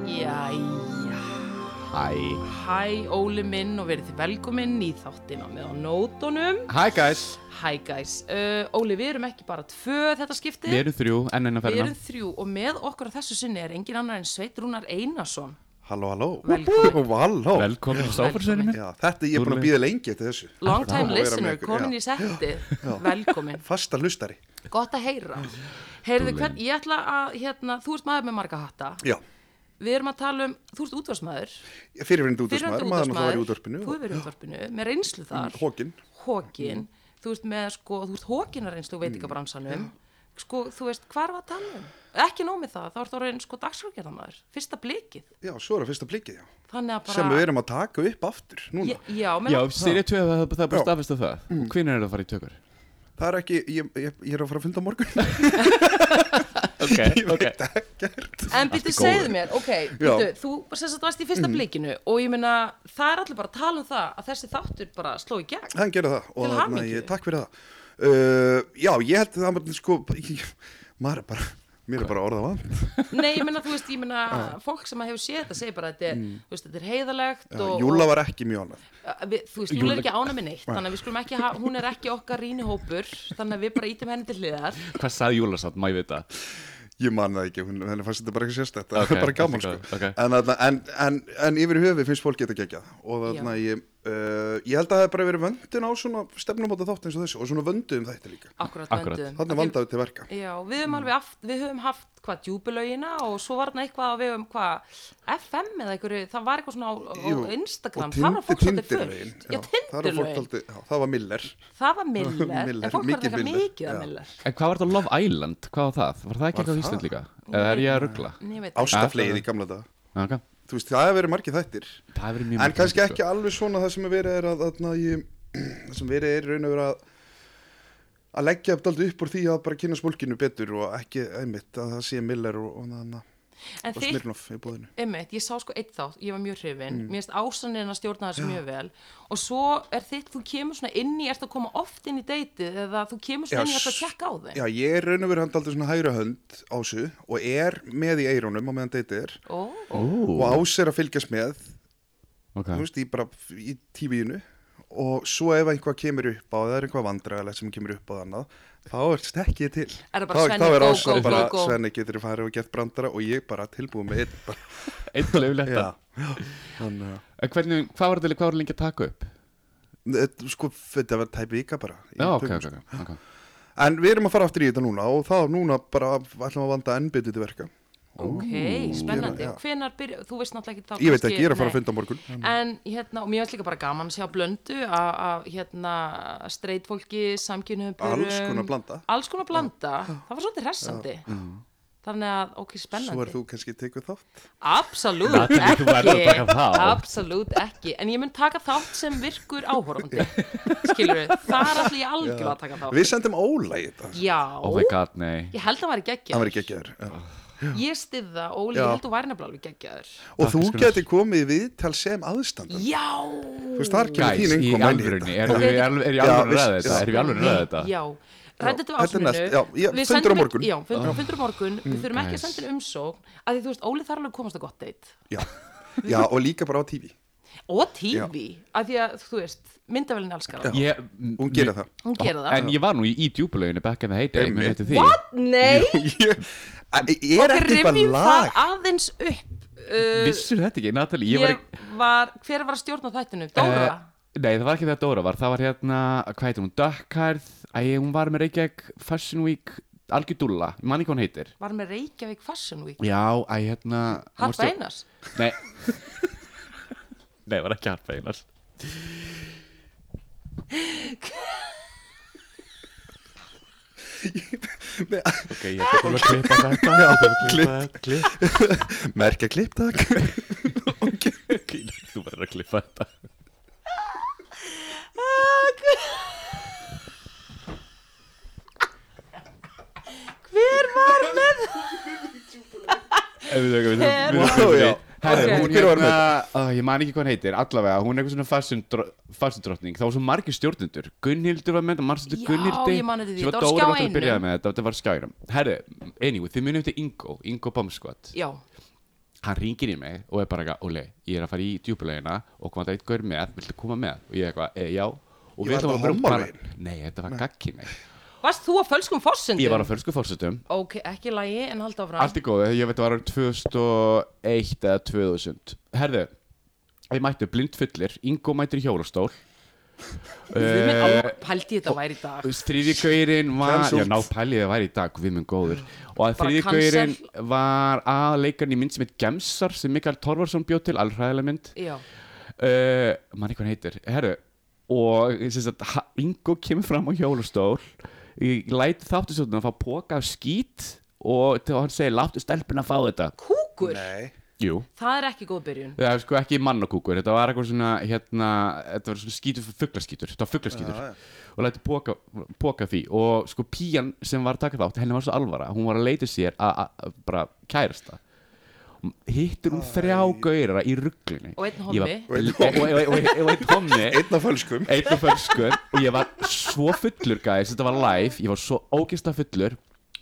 Jæja, Hæ hæ Óli minn og verið þið velkominn í þáttina með á nótunum. Hæ guys, Hæ guys, uh, Óli við erum ekki bara tvö þetta skipti, við erum þrjú enn eina við ferðina erum þrjú og með okkur á þessu sinni er engin annar en Sveit Rúnar Einarsson. Halló, halló Velkomin. Ó, Halló Velkomin í sáfarsveinu minn Já, þetta ég er búin að býða lengi eftir þessu Long Gaman time að vera með listener, ykkur, komin já. í settið, velkomin, Fasta hlustari gott að heyra. Heyrðu, hvern, ég ætla að, hérna, þú ert maður með marga hatta, Já, við erum að tala um, þú ert útvarsmaður, fyrirverindi útvarsmaður Maður nú það var í útvarpinu þú hefur verið í útvarpinu, með reynslu þar, Hókin Mm. hókin, þú ert með sko, þú ert hókinareynslu og veitingabransanum sko, þú veist, hvað er að tala um? Ekki nóg með það, þá ert orðin sko dagskrárgerðamaður, fyrsta blikið, Já, svo er að fyrsta blikið, já þannig að bara Sem við erum að taka upp aftur núna Ég- Já, menn, Já, Sirja 2, það það er bara Já. Mm. staðfist af það Hvinna er það að fara í tökur? Það er ekki, ég, ég, ég er að fara að funda á morgun Ok, Ég veit það ekkert en býttu segðu mér, ok, Já. Mm. býttu, þú sem sagt varst í fyrsta blikinu og ég meina, það er allir bara að tala um það að þessi þáttur bara sló í gegn. Hann gerir það Til og þarna, hamingju. ég, takk fyrir það uh, Já, ég held að það var sko ég, Maður er bara, mér er bara orða vant Nei, ég meina, þú veist, ég meina, fólk sem hefur séð þetta segir bara að þetta er, þú veist, þetta er heiðalegt og... Júla Mm. var ekki mjög annað Að við, þú veist, Júla er ekki ána með neitt þannig að við skulum ekki, ha- hún er ekki okkar rínihópur þannig að við bara ítum henni til hliðar hvað sagði Júla satt, má ég vita Ég man það ekki, hún, henni fannst þetta bara ekki sérstætt Það Ok, er bara gaman sko allt í góðu, ok. en, þarna- en, en, en yfir höfuð finnst fólk geta gegjað Og þarna ég, uh, ég held að það hef bara verið vöndin á svona stefnumóta þátt eins og þessu Og svona vöndu um þetta líka akkurat, Akkúrat. vönduðum. Þannig Af því- vandaði til verka Já, við höfum alveg haft, við höfum haft hvað djúbulögina og svo var þarna eitthvað að við höfum hvað FM eða einhverju, það var eitthvað svona á, á Jú, Instagram, og það var fólk svolítið tindirlögin, fullt. Já, það, var fólk tindurlögin, svolítið- já, það var Miller það var Miller, Miller, en fólk var mikið að taka Miller, mikið já. af Miller. En hvað var þetta Love Island? Hvað var það? Var það ekki eitthvað á það? Ísland líka? Eða er ég að ruggla? En ég veit ekki. Ástaflegið í gamla dag Okay. Þú veist, það hefur verið margið þættir Það hefur verið mjög Mm. En margir kannski þættir, ekki alveg svona það sem er verið er að þarna ég- Það sem verið er í raun og verið að að leggja upp daldið upp úr því að bara kynna smólkinu betur og ekki, einmitt, að það sé Miller og, og, þarna- En og þið Smirnoff í búðinu Einmitt, ég sá sko eitt þátt, ég var mjög hrifin Mm. mér finnst ásanin að stjórna þessu mjög vel og svo er þitt, þú kemur svona inn í ert að koma oft inn í deytið eða þú kemur svona inn í ert að s- tjekka á þeim Já, ég er raun og verið handaldið svona hægra hönd á þessu og er með í eirónum á meðan deytið er Ó, og ás er að fylgjast með, sko. þú Ok. veist, í bara í tífiðinu og svo ef einhvað kemur upp á það er einhvað vandræðilegt sem kemur upp á það annað, þá er stekkið til Er það bara Þá- Svenni, þá er go, Ása go, go, bara, go. Svenni getur þið farið og gert brandara og ég bara tilbúið með einn bara, Eitt lögulegt já, þannig að En hvernig, hvað var þetta hvað var lengi að taka upp? Þetta- sko, þetta var tæp vika bara í Já, ok, tökum, ok, ok, sko. ok en við erum að fara aftur í þetta núna og þá núna bara ætlum að vanda enn betur til verka ok, spennandi já. hvenar byrja, þú veist náttúrulega ekki þá ég veit ekki, ég er að kannski- fara að funda á morgun nei. en hérna, og mér finnst líka bara gaman að sjá blöndu a- af hérna streitfólki, samkynum Alls konar blanda. Mm. alls konar blanda, það var svolítið hressandi þannig að, ok, spennandi Svo er þú kannski teguð þátt Absolutt Natalie, þú verður að taka ekki þá. Absolutt ekki En ég mun taka þátt sem virkur áhorfandi Skilur við, þar ætlum ég algjörlega að taka þátt Við sendum Óla í þetta Já, Oh my god, nei ég held að hann væri Það geggjaður var ekki ekki þér Ég styða, Óli, Já. ég held að hann væri nefnilega alveg geggjaður Og þú fyrir. getur komið við til sem aðstandar Já Þú veist, þar kemur Guys, þín í engum alvörunni, erum við í alvöru- er í Já, alvöru veist- ræða þetta? Erum já. við í alvöru ræða þetta? Já, rættu þetta á Þetta er ásmunnu næst, já, ég- Við fundur á sendum- morgun. Já, Ah. fundur, fundur á morgun Mm, Við þurfum ekki að Guys. senda inn umsókn að því þú veist, Óli þarf alveg að komast að gott deitt Já. Já, og líka bara á TV og TV, að því að þú veist myndavælinn elskar hann, Ég, Hún gerir það hún gera það En ég var nú í, í djúbulöginu back in the heyday Einmitt. Mér heitir því What? Nei Ég ég er Ok, ekki eitthvað rifjum lag það aðeins upp uh, Vissur þetta ekki, Natalie? ég Ég var var, ekki hver var að stjórna þættinu? Dóra? Eh, Nei, það var ekki það Dóra var Það var hérna, hvað heitir hún, Dökkhærð Æ, hún var með Reykjavík Fashion Week Algjör Dúlla, ég man ekki hvað hún heitir var með Reykjavík Fashion Week? Já, æ, hérna hún var Harpa stjórn- Einars? Nei Nei, það var ekki Harpa Einars Ok, ég ætla bara að klippa þetta Já, klippa þetta Klippa Merkja klipp, takk Þú verður að klippa þetta Hver var með Ef við tökum við Hver- við tökum Vá, við já. Herru, Ok. hún Hver var hérna, uh, ég man ekki hvað hann heitir, allavega, hún er eitthvað svona fashion dro- fashion drottning, þá var svo margir stjórnendur, Gunnhildur var með þetta, margstu Já, Gunnhildi, ég man eftir því, sem þetta var var á Dóra Skjá náttúrulega einum. byrjaði með þetta, þetta var skjáirum. Herru, anyway, þið munið eftir Ingo, Ingo Bamskvatt, já, hann ringir í mig og er bara eitthvað, Óli, ég er að fara í djúpulegina og koma þetta eitt gaur með, viltu koma með? Og ég eitthvað, e, já, og Ég við var ætlum þetta að vera bara- hommalegin. Nei, þetta var gagkinni. varst þú á fölskum fossundum? Ég var á fölsku fórsetum, ok, ekki lægi en halda áfram Allt í góðu, ég veit að það var árið 2001 eða 2000 Herðu, við mættu blind fullir Ingo mættir í hjólastól Við Eh, minn alveg pældi ég þetta væri í dag Þriði gaurinn var Cancelled. Já, ná pælið það væri í dag, við minn góður Og að Bara þriði cancel. gaurinn var aðleikarn í mynd sem heit Gemsar sem Mikael Torfarsson bjóð til, alveg hræðilega mynd Já, uh, mann eitthvað heitir herru, og sem sagt, ha- Ingo kemur fram á hjólustól ég læti þáttisjóttunum að fá póka af skít og til- og hann segir, láttu stelpun að fá þetta kúkur, Nei, Jú, það er ekki góð byrjun það er sko ekki mannakúkur þetta var eitthvað svona, hérna þetta var svona skítur, fugglaskítur, þetta var fugglaskítur Já, já. og læti póka, póka því og sko píjan sem var að taka þátt henni var svo alvara, hún var að leita sér að að- að bara kærasta hittur hún þrjá gauðra í rugglinni Og einn hommi. og einn hommi og og- og- og einn hommi einn af Hérna fölskum einn og fölsku og ég var svo fullur guys, þetta var live, ég var svo ógeðslega fullur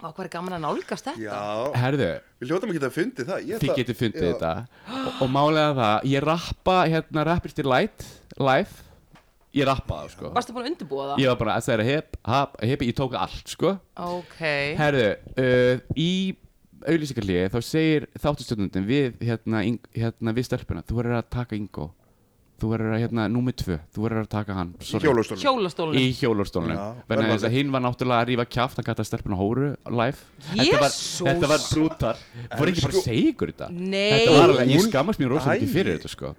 Vá, hvað er gaman að nálgast þetta? Já, herðu, við hljóðum ekki að fundi það Ég þið ætla- getið fundið Já. þetta og, og málega það, ég rappa hérna rappist í light, live ég rappaði sko Varstu búin að undirbúa það? ég var bara að segja hip, hop, hip ég tók allt sko Ok, herðu, uh, í auðlýsingarlíði þá segir þáttustjórnundin við hérna, Ing- hérna við stelpuna, þú verður að taka Ingo þú verður að hérna, númið tvö þú verður að taka hann, Í hjólastólum hjólastólunum í hjólastólnum Já, þannig að vel þess að valið. hinn var náttúrulega að rífa kjáft hann kallaði stelpuna hóru live þetta var, Jesús! þetta var brútal voru ekki bara að segja ykkur þetta Nei. þetta var alveg, ég Hún- skammast mér rosalega ekki Æi. fyrir þetta sko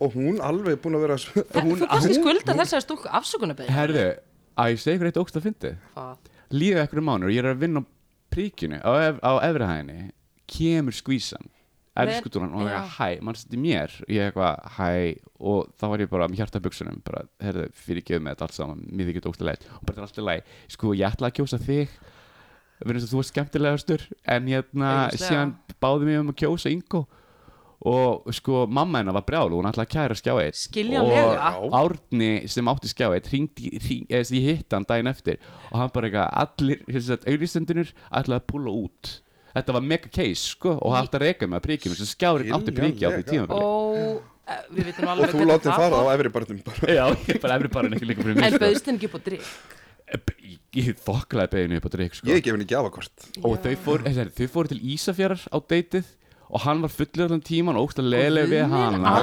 Og hún alveg búin að vera Þetta hún- þú kannski hún- skulda þessari stúlku afsökunarbyrjun herðu, að ég segja ykkur eitt ógst að fyndi Hvað? líða ykkur um mánu og ég er að vinna á príkinu á, ef, á efrihæðinni kemur skvísan Nei, elskutulan og já. eitthvað hæ, mann seti mér og ég eitthvað hæ og þá var ég bara með hjarta í buxunum, bara, herðu, fyrir með þetta allt saman, mér þykir þetta ógstilega og bara þetta er alltaf læg, sko, ég ætla að kjósa þig við erum þú er skemmtilegastur en hérna, Augljóslega. síðan báði mér um að kjósa Ingo og sko, mamma hennar var brjál og hún ætlaði að kæra skjáið Skiljanlega. og Árni sem átti skjáið hringdi, hring, eða sem ég hitt hann daginn eftir og hann bara eitthvað, allir auðvistendunir ætlaði að púla út þetta var mega case, sko, og hann ætti að reka með príkjum, þess að skjáðurinn átti príkja á því Skiljanlega. tíma Og eh, við vitum nú Og alveg þú hvernig látið það fór. fara á efri barnum bara Já, ég bara efri bara ekki líka fyrir mig En sko. bauðst henni ekki upp á drikk Ég- Ég þokklaði beðinu upp á dreik, sko Ég gef henni gjafakort og þau fóru, þessari, þau fóru til Ísafjörðar á deytið og hann var fullur allan tíman og ógst að leiðilega við hana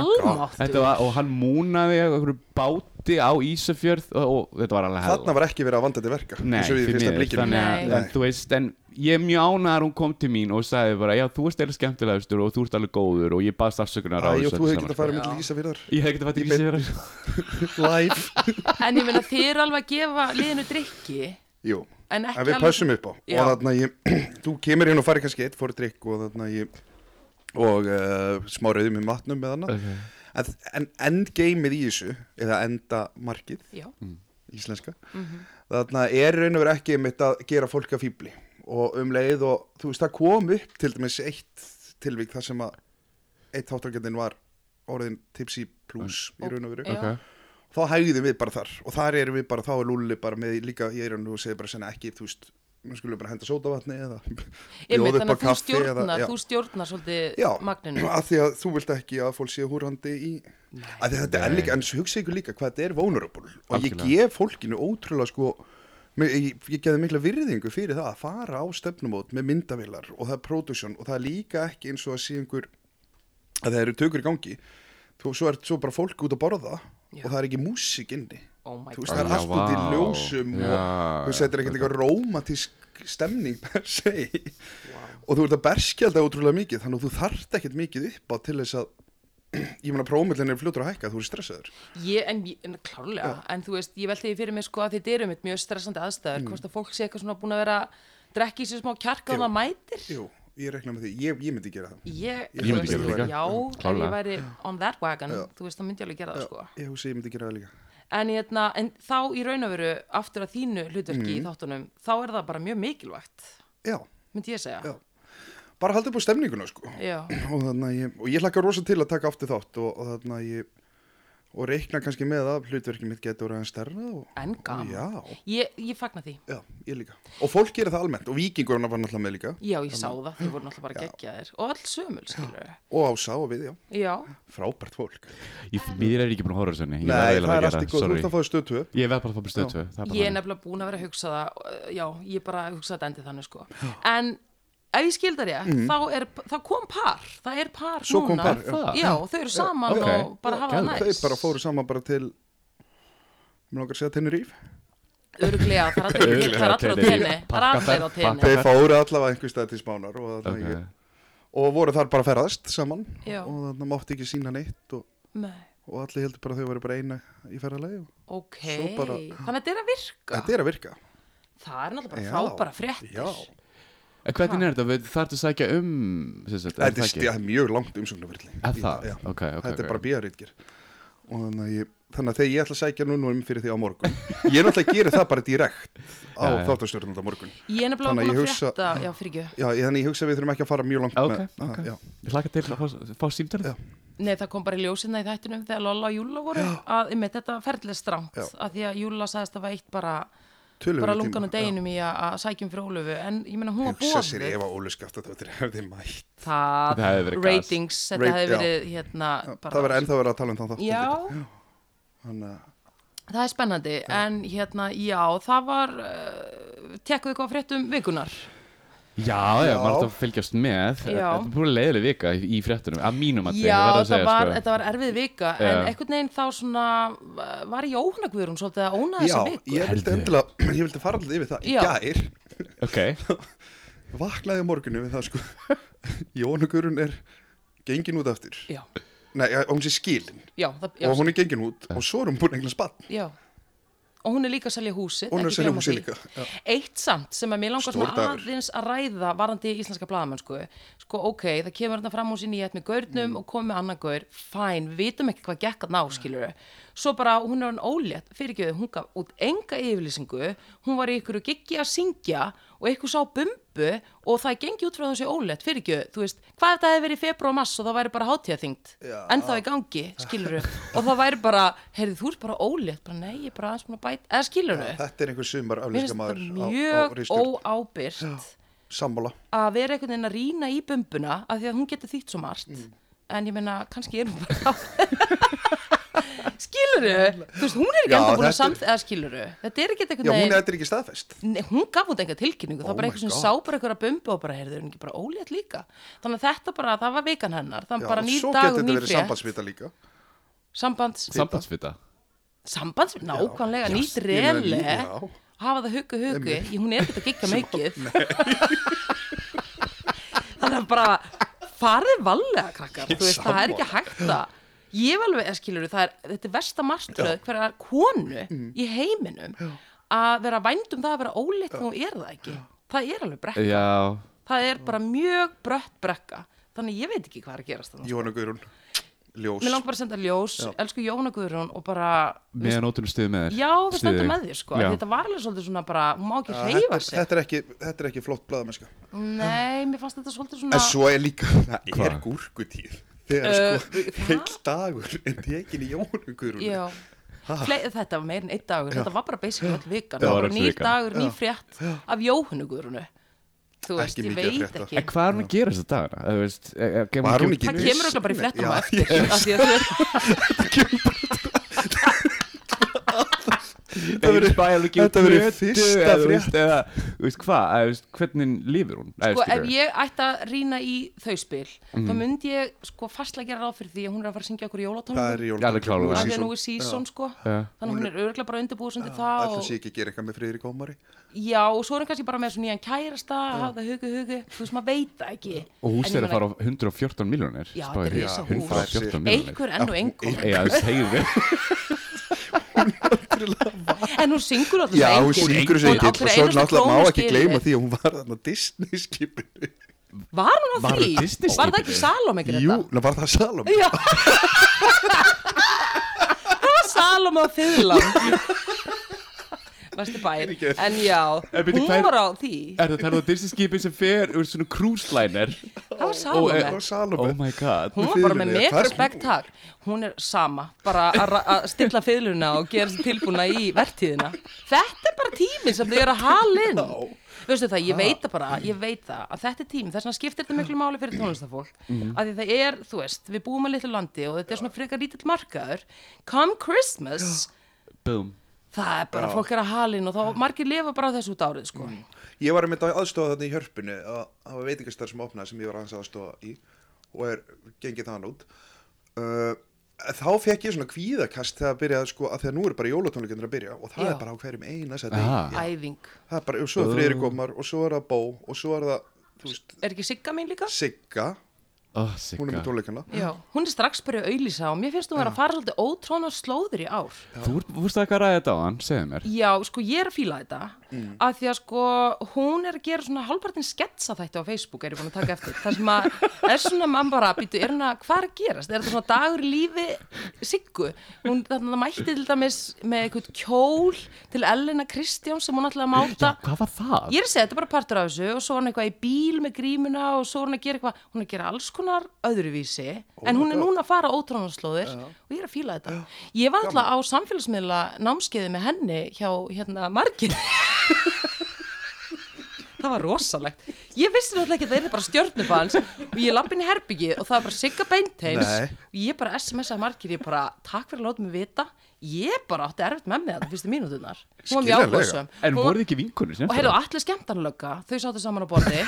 Þetta var, og hann múnaði á einhverju báti á Ísafjörð og, og þetta var alveg hella Þarna var ekki verið að vanda til verka Nei, eins og í því fyrsta miður, blikinu. þannig Nei. að en, þú veist, en ég er mjög ánæðar hún kom til mín og sagði bara, já, þú ert eða skemmtilegastur og þú ert alveg góður og ég baðst afsökunar á Æ, og þessu þú hefði öllu getað saman, að fara með Lísa fyrir sko. Ég hef ekki það fætt í í Ísafjörðar þar Live En ég meina þið er alveg að gefa liðinu drikki Jú, En ekki en við alveg- pössum upp á Já. Og þarna ég, þú kemur hérna og farið kannski eitt fór drikk Og þarna ég Og uh, smá rauðum í matnum með hana Ok. En, en endgameið í þessu Eða endamarkið Já, íslenska Mhm. þarna er raun og verið ekki einmitt að gera fólk að fýbli og um leið og þú veist það kom upp til dæmis eitt tilvík þar sem að eitt þáttarkjöndin var orðin tipsy plus í raun og veru Já. þá hægðum við bara þar og þar erum við bara þá er Lúli bara með líka í eirun og segir bara senna ekki þú veist nú skulum við bara henda sótavatni eða Einmitt, bjóða þannig að þú kaffi eða- stjórnar, já. þú stjórnar svolítið Já, magninu að því að þú vilt ekki að fólk sé húrhandi í að því að þetta er líka, en svo hugsa ykkur líka hvað þetta er vulnerable og Algjörlega. ég gef fólkinu ótrúlega sko mér- ég, ég gefði mikla virðingu fyrir það að fara á stefnumót með myndavilar og það er production og það er líka ekki eins og að sé einhver að það eru tökur í gangi þú, svo er svo bara fólk út að borða Já. og það er ekki músík inni Oh my þú veist, god það er Já, allt út í vá. ljósum Já, og þú veist, þetta er ekkert eitthvað rómatísk stemning per se og þú ert að berskja þetta ótrúlega mikið þannig að þú þarft ekkert mikið upp á til þess að ég meina prófumillin er fljótur að hækka þú ert stressaður Ég, en, ég- en klárlega, en þú veist, ég velti því fyrir mig sko að þetta eru mitt mjög stressandi aðstæður, Mm. hvort að fólk sé eitthvað svona búin að vera drekki sér smá kjarka og það mætir. Jú, ég rekna með því, ég, ég myndi gera það Ég, Ég þú myndi veist, gera það líka. Já, en Klárlega. ég væri on that wagon, þú veist, þá myndi ég alveg gera það sko. ég hugsi ég myndi gera það líka En, hérna, en þá í raun og veru, aftur að þínu hlutverki í þáttunum, þá er það bara mjög mikilvægt, Já, myndi ég segja. Já. bara haldið upp á stemninguna sko. já, og þannig að ég, og ég hlakka rosa til að taka aftur þátt og, og þannig að ég og reikna kannski með að hlutverkið mitt getur aðeins stærra og en gaman já, ég, ég fagna því, já, ég líka og fólk gera það almennt og vikingurna var náttúrulega með líka já ég sá það þið voru náttúrulega bara geggjaðir og all sömul skilur og ása og við, já, já, frábært fólk Ég mér er ekki búin að horfa á þessu henni Ég verð eiginlega Nei, að það er gera allt í góð, þú sorry. ert að fá stötu Ég verð bara að fá mér stöð tvö ég það er bara er þannig. nefnilega búin að vera að hugsa það uh, já, ég bara hugsa þetta endið þannig sko en ef ég skildar ég, þá, er, þá kom par það er par Svo kom núna par, já. Það? já, þau eru saman ok. og bara hafa það Geðveikt. næst þau bara fóru saman bara til mér langar að segja Teneríf örglega, það er allir- það er allir á tenni Örugglega, það er pakka allir á tenni ferð, þau fóru allavega einhver stað til Spánar og, þarna Ok. ég, og voru þar bara að ferðast saman Já. og þannig mátti ekki sína neitt og, Nei, og allir heldur bara að þau voru bara eina í ferðalegi og ok, Svo bara- þannig að þetta er að virka þetta er að virka það er náttúrulega Já. bara frábæra fréttir Já. En Hvernig er þetta? Við- Þarf þetta að sækja um sem sagt, þetta er það ekki? stið, mjög langt umsóknarverli Er það? Já. Ok, ok, þetta ok. er bara bíjarítgir og þannig að, ég, þannig að þegar ég ætla að sækja núna um fyrir því á morgun ég er náttúrulega að gera það bara direkt á Já, já. þáttastjórnum á morgun ég er nefnilega Þannig að búin ég að hugsa- frétta já, fyrir ekki, já, ég- þannig ég hugsa að við þurfum ekki að fara mjög langt Ah, Ok, með, ok. Ah, já. Ég hlakka til að fá- fá símtalið Já. Nei, það kom bara í ljósinna í þættunum þegar Lolla og Júla voru að einmitt, þetta ferðlega stramt Já. að því að Júla sagðist að það var eitt bara Töluverður bara tími, lungan og já. deginum í að- að sækjum fyrir Ólufu en ég meina hún var hugsa sér bóðið ef að Óli skjátt að þetta hefði mætt það, Þetta hefði verið gas. ratings, þetta Rate- hefði já. verið hérna bara, það verður ennþá verið að tala um það þátt já, þannig að það er spennandi en hérna, já, það var uh, tekkuðu eitthvað á fréttum vikunar Já, já, Já. maður þarf að fylgjast Já. með Þetta er búin leiðileg vika í í fréttunum Að mínum að Já, það verð að segja, var, sko. þetta var erfið vika Já. en einhvern veginn þá svona uh, var Jóhanna Guðrún svolítið að óna Já, þessa viku ég vildi endilega, ég vildi fara alltaf yfir það í Já. gær, sko. Ok, vaknaði á morgunu við það sko, Jónugurinn er gengin út aftur, Já, nei, ja, hún sé skilin já, það, já, og hún er gengin út og svo er hún búin eignast bann, já og hún er líka að selja húsið hún er ekki sér gleyma hún sé því. líka, já, Eitt samt sem að mér langar Stór svona dagur. aðeins að ræða varandi íslenska blaðamenn sko. sko, ok, það kemur þarna fram hún sinni í ett með Mm. gaurnum og kom með annan gaur fæn, vitum ekki hvað gekk að ná, skilur svo bara, hún er hann ólétt fyrirgjöðu, hún gaf út enga yfirlýsingu hún var í ykkur giggi að syngja og ykkur sá bumbu og það gengi út frá þessi ólétt fyrirgjöðu, þú veist hvað ef þetta hefði verið í februar og mass og það væri bara hátíðaþyngt Já. en þá í gangi, skilur og það væri bara, heyrðu, þú ert bara ólétt bara, nei, ég er bara aðeins búin að bæta, eða skilur þetta er einhver sumar Mér finnst aflýska þetta maður mjög ritstjórn. óábyrst sammála, að vera einhvern veginn að rýna í bumbuna af því að hún getur þýtt svo margt Mm. en ég meina, kannski er hún bara skiluru þú veist, hún er ekki Já, enda búin að þetta er- samþ eða skiluru, þetta er ekki já, einhvern hún er veginn þetta er ekki staðfest, Nei, hún gaf út einhver tilkynningu, það Oh var bara my eitthvað sem God. sá bara einhverja bumbu og bara, heyrðu, er hún ekki bara ólétt líka þannig að þetta bara, það var vikan hennar það já, var bara og nýr svo dagur, getur þetta nýr verið frétt sambandsvita líka, sambands, sambandsvita sambands, nákvæmlega, nýtt ég meina, rele já. hafa það hugu hugu, hún er ekkert að gigga mikið þannig að bara farið vallega krakkar, þú veist, það er ekki hægt að ég var alveg, skilur, það er þetta er versta martröð hverja konu í heiminum að vera vænd um það að vera óleitt þegar hún er það ekki það er alveg brekka, Já, það er bara mjög brött brekka, þannig ég veit ekki hvað er að gerast þannig, Jónugurinn, ljós, mér langar bara að senda ljós elsku Jóna Guðrún og bara meðan ótunum stuði með þér Já, við Styð stöndum þig. með þér sko Já. af því Þetta var alveg svolítið svona bara, hún má ekki Já, hreyfa Ah, þetta, sig þetta er ekki, þetta er ekki flott blaðamennska, Nei, mér fannst þetta svolítið svona En svo er líka, það er Hvað? gúrkutíð Þegar Uh, sko, heill dagur er tekin í jónugurunni Já Ah. Fle þetta var meir en einn dagur, þetta var bara basically all vikan, Já, það var var bara öll nýr vikan. dagur, nýr frétt af Jóhannugurinu Þú veist, Ekki ég mikið að veit frétta. ekki En hvað er hún að gera þess að dagana? Þú veist, eh, eh, kemur- Var hún kemur- ekki Það kemur örugglega bara í fréttum á eftir Af því að þú veist, Þetta verður bæðið ekki þetta verður fyrsta frétt. Eða, þú veist hvað, eða, þú veist, hvernig lifir hún? sko, ef ég ætti að rýna í þau spil Mhm. þá myndi ég sko fastlega gera ráð fyrir því að hún er að fara að syngja okkur Það jólatónum er Já, það er af því klárlega. að jónugurunni nú er season sko Já. þannig að hún er örgulega bara undirbúið sem til það Það og sé ekki að gera eitthvað með friðri gómari Já, og svo er hann kannski bara með svona nýjan kærasta að hafa það hugu hugu, þú veist maður veit það ekki Og En hús ég er að meina, fara á 114 miljónir Já, þetta er risa hús. 114 miljónir Einhver enn og einhver Já, þú segir við En hún syngur alltaf Já, hún syngur þessu á ytill og hverju svo einustu náttúrulega krónu má ekki skilur. gleyma því að hún var þarna Disney skipinu Var hún á Var því? hún á Disney Var það skipinu? ekki Salome ekki Jú, ná var það Salom Já Það var Salome á Fyðlan næsti bær Fyrirgefðu. en já, En bíddu, hún hver- var á því Er það talað um dyrsiskipi sem fer úr svona cruise liner? það var Og- Salome og eh, Salome Oh my god hún var bara fiðlunni, með það er megar hún. spektak hún er sama, bara að ra- að stilla fiðluna og gera sér tilbúna í vertíðina þetta er bara tíminn sem þau eru að hala inn veistu það, ég veit það bara, ég veit það að þetta er tíminn, þess vegna skiptir þetta miklu máli fyrir tónlistafólk af því það er, þú veist, við búum að litlu landi og þetta er svona frekar lítill markaður come Christmas Boom það er bara, fólk er að hala inn og þá margir lifa bara á þessu út árið, sko Ég var einmitt að aðstofa þarna í hörpinu að það var veitingastar sem opnaði sem ég var aðeins að aðstofa í og er gengið þann út uh, þá fekk ég svona kvíðakast þegar að byrja sko að þegar nú er bara jólatónleikendur að byrja og Já. það er bara á hverjum eina sæti Aha. æfing, það er bara, og svo er Friðrik Ómar og svo er það Bó og svo er það, þú veist, er ekki Sigga mín líka? Sigga oh, hún er Sigga með tónleikana Já, hún er strax byrjuð að auðlýsa og mér finnst hún vera að fara svolítið ótrón og slóður í ár Þú ert- þú veist það hvað ræðið á hann, segðu mér Já, sko, ég er að fíla þetta af því að sko, hún er að gera svona halvpartin sketsa þetta á Facebook er ég búin að taka eftir, það sem að er svona mann bara, býtu, er hún að, hvað er að gerast er þetta svona dagur í lífi siggu hún þarna mætti til dæmis með eitthvað kjól til Elena Kristján sem hún ætlaði að máta Hvað var Ég það? er að segja, þetta er bara partur af þessu og svo er hún eitthvað í bíl með grímuna og svo er hún að gera eitthvað, hún er að gera alls konar öðruvísi, en hún er núna að fara ótrónarslóðir og ég er að fíla þetta. Ég var alltaf á samfélagsmiðla námskeiði með henni hjá hérna margir. það var rosalegt. Ég vissi náttúrulega ekki að það er bara stjórnubans og ég lapp inn í herbyggið og það var bara sigga beinteins Nei. og ég bara SMS-aði margir, ég bara takk fyrir að láta mig vita, ég bara átti erfitt með mig þetta fyrstu mínútunar. Hún var mjög Skiljanlega. áhugasöm. En Hún- voruð þið ekki vinkunir sem Og heyrðu, allir skemmtanlögga, þau sáttu saman á borði.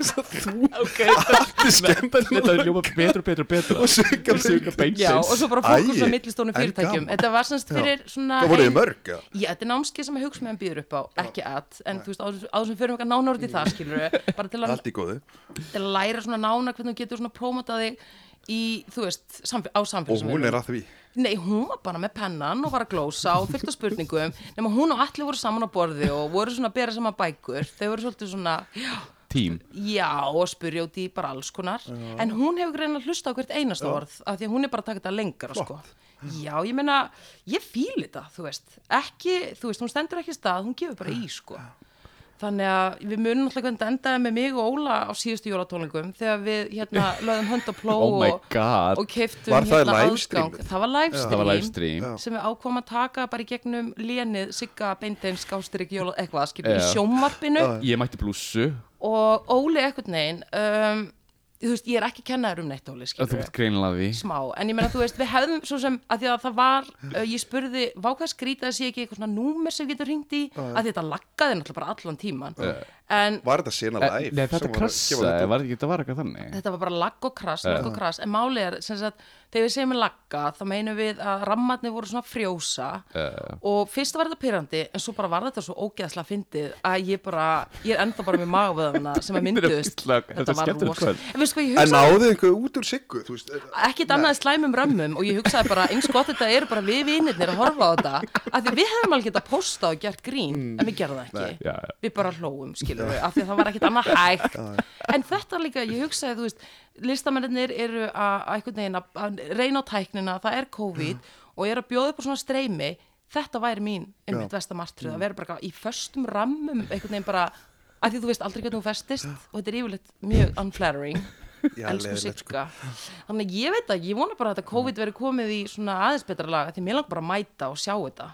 allir Þetta skemmtilega er ljóma betur og betur og betur Og Sigga beinsins Já, og svo bara fókus á Æi, millistónu en fyrirtækjum. gaman. Þetta var semst fyrir svona... það voru þið ein- mörg eða? Já, þetta er námskeið sem hugsmæðan býður upp á, ekki að, en þú veist, áður áður sem fyrir mjög nánort í það, skilur bara til að, allt í góðu til að læra svona nána hvernig þú getur svona prómotað þig í, þú veist, samf á og samfélagsmiðlum. hún er að því Nei, hún var bara með pennan og var að glósa og fyllt á spurningum, nema hún og allir voru saman á borði og voru svona að bera saman bækur, þau voru svolítið svona, já, Tím Já, og spurja út í bara alls konar En hún hefur greinilega hlusta á hvert einasta orð af Því að hún er bara að taka þetta lengra sko. Já, ég meina, ég fíli þetta Þú veist, ekki, þú veist, hún stendur ekki í stað Hún gefur bara í, sko Þannig að við munum alltaf hvernig þetta endaði með mig og Óla á síðustu jólatónlingum þegar við hérna lögðum hönd á pló Oh my og, God. og keiftum Var það hérna livestreamið? aðgang. Það var livestream, Það var livestream. sem við ákváðum að taka bara í gegnum lénið Sigga Beindeins Gástrík Jóla eitthvað, skilur í Já. sjónvarpinu Ég mætti blússu og Óli ekkert neginn um, þú veist, ég er ekki kennaður um neitt Óli Þú skilur ert greinilega að því smá, en ég meina, þú veist, við hefðum svo sem, að því að það var, uh, ég spurði vákvæð skrýta að sé ekki eitthvað svona númer sem getur hringt í, að því þetta laggaði náttúrulega bara allan tíman, en var þetta sena Eh, live Nei, þetta eh, sem var að gefa krassaði, þetta út? var þetta var eitthvað þannig þetta var bara lagg og krass, lagg og krass, en málið er, sem sagt, þegar við segjum lagga, þá meinum við að rammarnir voru svona að frjósa og fyrst var þetta pyrrandi, en svo bara var þetta svo ógeðslega fyndið að ég bara, ég er ennþá bara með magavöðana sem að Þetta er mynduðust, ógeðslega- þetta er skemmtilegt rosa- kvöld. En veistu hvað, ég en hugsaði náðu einhver út úr siggu þú veist eh, ekkert annað en slæmum römmum og ég hugsaði bara eins gott þetta eru bara við vinnirnir að horfa á þetta af því við hefum alveg getað postað og gert grín en við gerðum það ekki Já, já. við bara hlóum skilur við af því að það var ekkert annað hægt en þetta líka ég hugsaði þú veist listamennir eru að- að einhvern veginn að- að reyna á tæknina það er COVID og eru að bjóða upp á svona streymi þetta væri mín einmitt vestamartröð að vera bara í föstum rammum einhvern veginn bara af því þú veist aldrei hvernig þú festist og þetta er yfirleitt mjög unflattering Já, elsku leiðilegt, Sigga þannig að ég veit að ég vona bara að þetta COVID veri komið í svona aðeins betra lag því mér langar bara að mæta og sjá þetta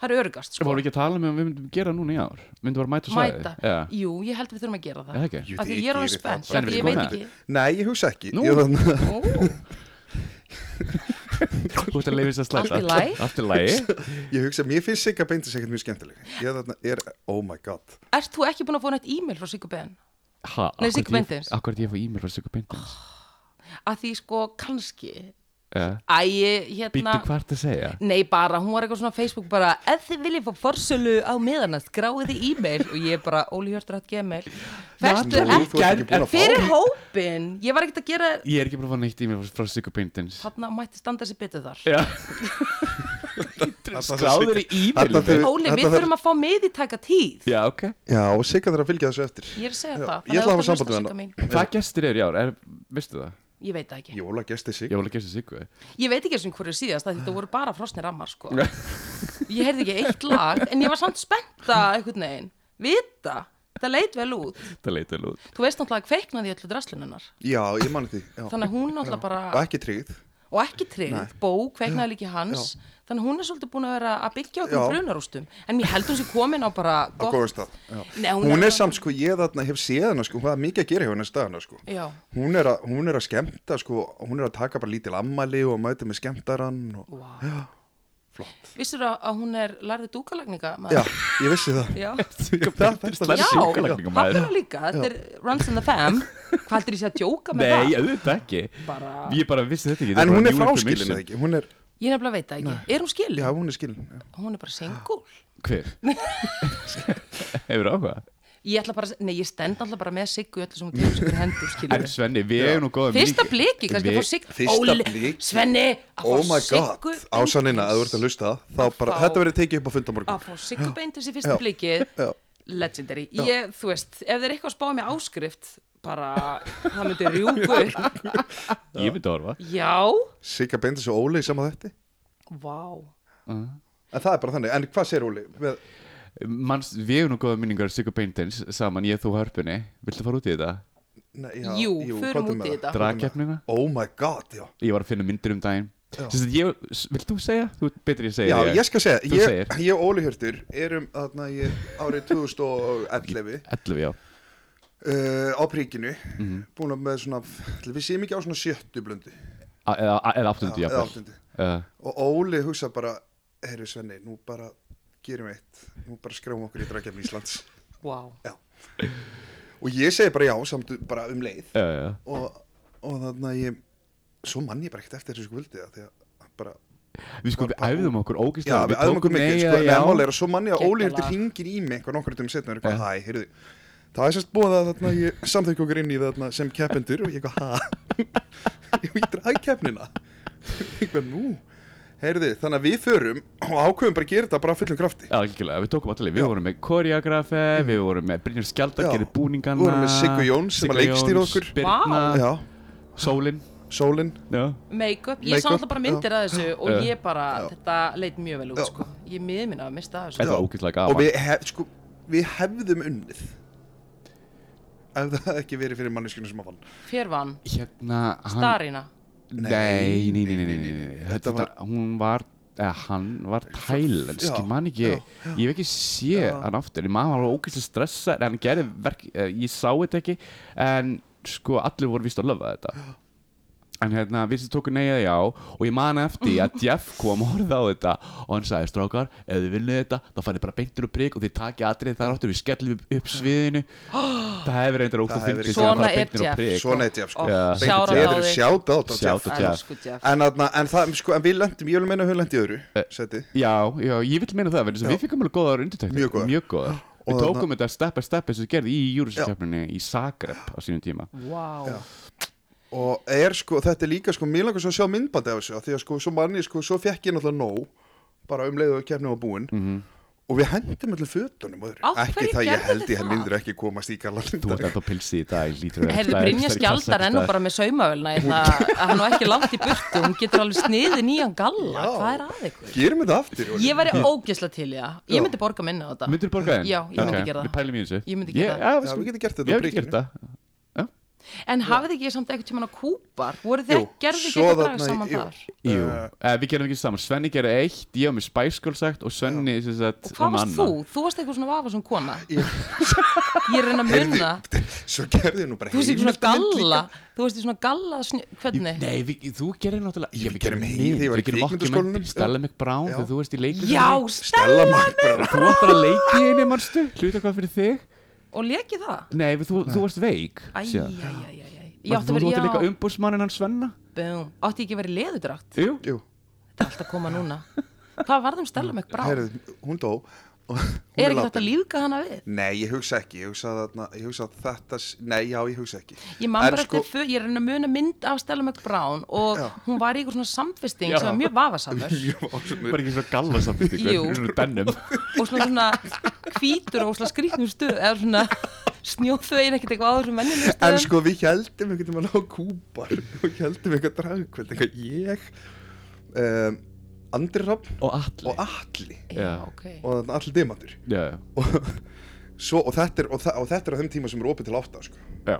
það er örgast Við sko vorum ekki að tala með um við myndum gera núna í ár Myndum bara mæta og sæði mæta, Já jú, ég held við þurfum að gera Er það það ekki? Jú, af því ég þið er gerið alveg það spennt, bara. af því Þannig ég veit við ekki nei, ég hugsa ekki Nú. ég, þannig, Ó, Þú ert að leifist að slæta Allt í lagi. Allt í lagi ég hugsa, mér finnst Sigga Beintis ekkert mjög skemmtileg ég þarna er, oh my god ert þú ekki búin að fá nætt e-mail frá Sigga Ben? Ha, Nei, akkur Sigga ég- Beinteins. Akkur er ég að fá e-mail frá Sigga Ah. Bindins af því sko, kannski Já æ, ég, hérna Býttu hvað ertu að segja Nei bara, hún var eitthvað svona á Facebook bara Ef þið viljið fá forsölu á miðanast Gráið þið e-mail og ég bara Óli Hjörtur hatt gmail Festu Nú, þú ert ekki búin ekki að fá Fyrir hópin, ég var ekkert að gera Ég er ekki bara að fá neitt e-mail frá- frá Sigga Bindins Þarna mætti standa þessi betur þar Já Skráður í e-mailum Þarna þau- Óli, við þarna þau- þurfum að fá með í taka tíð Já, ok já, og Sigga þarf að fylgja þessu eftir Ég er að segja Já, það þannig ég ætla að ef hafa þú samband við hlustar, hana. Sigga mín, Hvað gestir eru í ár? Er, veistu það? Ég veit það ekki Jóla gesti Ég Sigga var að gesta Siggu Ég veit ekki eins og hverju síðast að þetta voru bara frosni rammar sko. ég heyrði ekki eitt lag en ég var samt spennta einhvern veginn vita, það leit vel út það leit vel út þú veist náttúrulega að kveiknaði í öllu drasluninnar Já, ég manni því já. þannig að hún náttúrulega Og bara ekki tryggð og ekki tryggð, bó, kveiknaði líki hans þannig að hún er svolítið búin að vera að byggja okkur Já. brunarústum en ég held hún sér komin á bara á gott- góðum stað já. Nei, hún hún, er- er samt sko, ég þarna hef séð hana sko, hvað er mikið að gera hjá henni staðana sko Já. hún er, að, hún er að skemmta sko, hún er að taka bara lítil ammali og mæta með skemmtarann og... wow. vissur að, að hún er lærði dúkalagninga já, ég vissi það Já, Slær já, það sjúkalagningum maður fyrir líka Þetta er Runs in the Fam Hvað heldur ég sé að djóka með Nei, það? auðvitað ekki Bara- Ég bara vissi þetta ekki þetta en er hún bara er new fráskilin information. eða ekki hún er, Ég nefnilega veit það ekki Er hún skilin? já, hún er skilin já. Hún er bara single Hver? Hefur áhuga? Ég ætla bara, nei ég stend alltaf bara með Siggu í öllu sem hún tegur sigur hendur skilur En Svenni, við erum nú góðum Fyrsta bliki, kannski að fá Siggu Fyrsta Óli- bliki. Svenni, að fá oh my god, Siggu ásannina að þú ert að hlusta þá bara, Fá- þetta verður tekið upp á fundamorgun Að fá Siggu beintins í fyrsta blikið já. Legendary Ég, þú veist, ef það er eitthvað að spá mér áskrift bara, það myndi rjúku upp. Ég myndi að horfa Já, Sigga beindi svo Óli í sama þetta vá en það er bara þannig, en hvað sér Óli? Með, Manns, Við erum nú góða minningar Sigur Beintins saman, ég þú og Hörpunni Viltu fara út í þetta? nei, já, Jú, förum komdu út í með það. þetta. Dragkeppnina? oh my god, já Ég var að finna myndir um daginn Sist, að ég, s- vilt þú segja? Þú ert betri ég segja Já, ég skal segja, Þú ég, segir. ég og Óli Hjörtur erum þarna í árið 2011 11, já uh, á príkinu Mhm. búin að með svona, ætli við séum ekki á svona sjöttu blöndu A- Eða, eða 8, já eða áttundu Uh, og Óli hugsa bara, heyrðu Svenni nú bara gerum við eitt nú bara skráum okkur í dragjafn Íslands Vá já. og ég segi bara já samt bara um leið uh, og, og þannig að ég svo mann ég bara ekkert eftir þessu sko vildi það því að bara Við sko, við Bara- æfðum okkur ógislega Já, við aðum okkur mikið, sko, en mál er að svo manni að Geggjað Óli Hjörtur lag. hringir í mig eitthvað nokkur tíma setna og er eitthvað, hæ, heyrðu, það er sérst búið að þarna, ég samþekki okkur inn í þarna sem keppendur og ég eitthvað, hæ, ég vítir að keppnina, eitthvað, nú, heyrðu, þannig að við förum og ákveðum bara að gera þetta bara af fullum krafti. Já, algjörlega, við tókum allir, við vorum með koreografi, við vorum með Brynjar Skjaldar, Mm. Já. gerði búningana Við vorum með Siggu Jóns sem Siggu að leikstýra Jóns, okkur. Birna, Vá. Já, Sólin sólinn, Já, Make-up, ég Make-up, sá alltaf bara myndir að þessu og Já. ég bara, þetta leit mjög vel út Já. sko. ég miði minna að mista af þetta þessu var ógislega og gaman við, hef, sko, við hefðum unnið, ef það hefði ekki verið fyrir manneskinu sem að vann. Hver vann? Hérna, hann Starina Nei, nei, nei, nei, nei, nei, nei. Þetta Þetta var, var- hún var eða hann var tælensk, Já, ég man ekki já, ég hef ekki sé hann aftur ég maður var ógæslega stressa en hann gerði verk, eh, ég sá þetta ekki en sko allir voru vist að löfa þetta en hérna við sem tóku neyjaði já og ég man eftir að Jeff kom og horfði á þetta og hann sagði strákar, ef þið viljið þetta þá farið bara beintur og prik og þið takið atrið þar áttur við skellum upp sviðinu það hefur reyndar ógæslega fyndið hefur verið þegar gaman. bara beintir og Svona er prik. Svona eitt, já, sko. Já. Oh, Shout out á þig. Sjáta á þig. Shout out. Já. Elsku Jeff. En, atna, en, það, sko, en við lendum, ég vil meina að við lendum í öðru Eh. seti. Já, já, ég vil meina það vegna þess að Já. Við fengum alveg góðar undirtæktir Mjög góðar. Mjög góðar Við Og þarna- tókum þetta step by step eins og við gerði í júrisakeppninni í Zagreb á sínum tíma Vá, Og er sko, þetta er líka sko, mér langar svo að sjá myndbandi af þessu af Því að sko, svo manni, sko, svo fekk ég náttúrulega nóg Bara um leið og keppnum á búin Mhm. Og við hendum allir fötunum og öðru. Á hverju Ekki það, gerðu ég held þið ég að það? myndir ekki komast í galan Þú ert ennþá pilsi í dag lítur að- heyrðu það er- Brynja það er skjaldar enn og kassakstæð. bara með saumavölna ég ætla að hann á ekki langt í burtu hún getur alveg sniðið nýjan galla Já. hvað er að ykkur? Gerum þetta aftur Óli. Ég væri ógeðsla til í það ég Já. myndi borga minna á þetta Myndirðu borga þeim? Já, ég myndi Ok, gera það. Við pælum í þessu Ég myndi gera það. Já, Já, við getum gert Ég þetta á hef prikinu. gert það en hafið ekki samt eitthvað tíman á kúpar voru þið Jú, gerðu ekki svo eitthvað þarna draga í- saman jú. þar Jú, uh, við gerum ekki saman Svenni gerði eitt, ég var með Spice Girl sagt og Svenni sem sagt og hvað um varst þú? annað. þú varst eitthvað svona vafa kona Ég- ég er að reyna að muna Heyrðu, Svo gerðu nú bara Þú veist í svona heimildamynd galla líka. Þú veist í svona galla snj... Hvernig? Nei, við, þú gerir náttúrulega Ég- Já, við gerum hið, ég var í Við gerum kvikmyndaskólanum. mockumentary, Stella McBrown Já. þegar þú varst í leikur Já, Stella Stella Mark bara. Þú ættir að leiki einu mannstu Hluta hvað fyrir þig Og leki það Nei, við- þú, þú varst veik Æj, síðan. æj, æj, æj Ég Varst átti Þú að þú átti líka um- vera, já, umbúrsmannin hans Svenna búm Átti ég ekki að vera í leðudrátt Jú Jú, Þetta er allt að koma núna Hvað varðum Stella með brá? Er heyrðu, hún dó og hún ekki látin. þetta lífga hana við? Nei, ég hugsa ekki, ég hugsa, þarna, ég hugsa að þetta, s- nei, já, ég hugsa ekki Ég man En sko- bara eftir, fö- ég er að reyna að muna mynd af Stella McBrown og hún var í eitthvað svona samfesting sem var mjög vafasamur Var ekki svo galla samt Jú. Svona bennum og svona svona hvítur og svona skrýtnum stöð eða svona snjóþvegin ekkert eitthvað áður sem menninu En stöðum sko við heldum einhvern veginn á kúpar og heldum einhvern dragkvöld eitthvað ég um, Andri Rafn og allir og Atli Já. ok og þarna Atli Dimantur já, já, og, svo, og, þetta er, og, þa og þetta er á þeim tíma sem er opið til átta sko. já.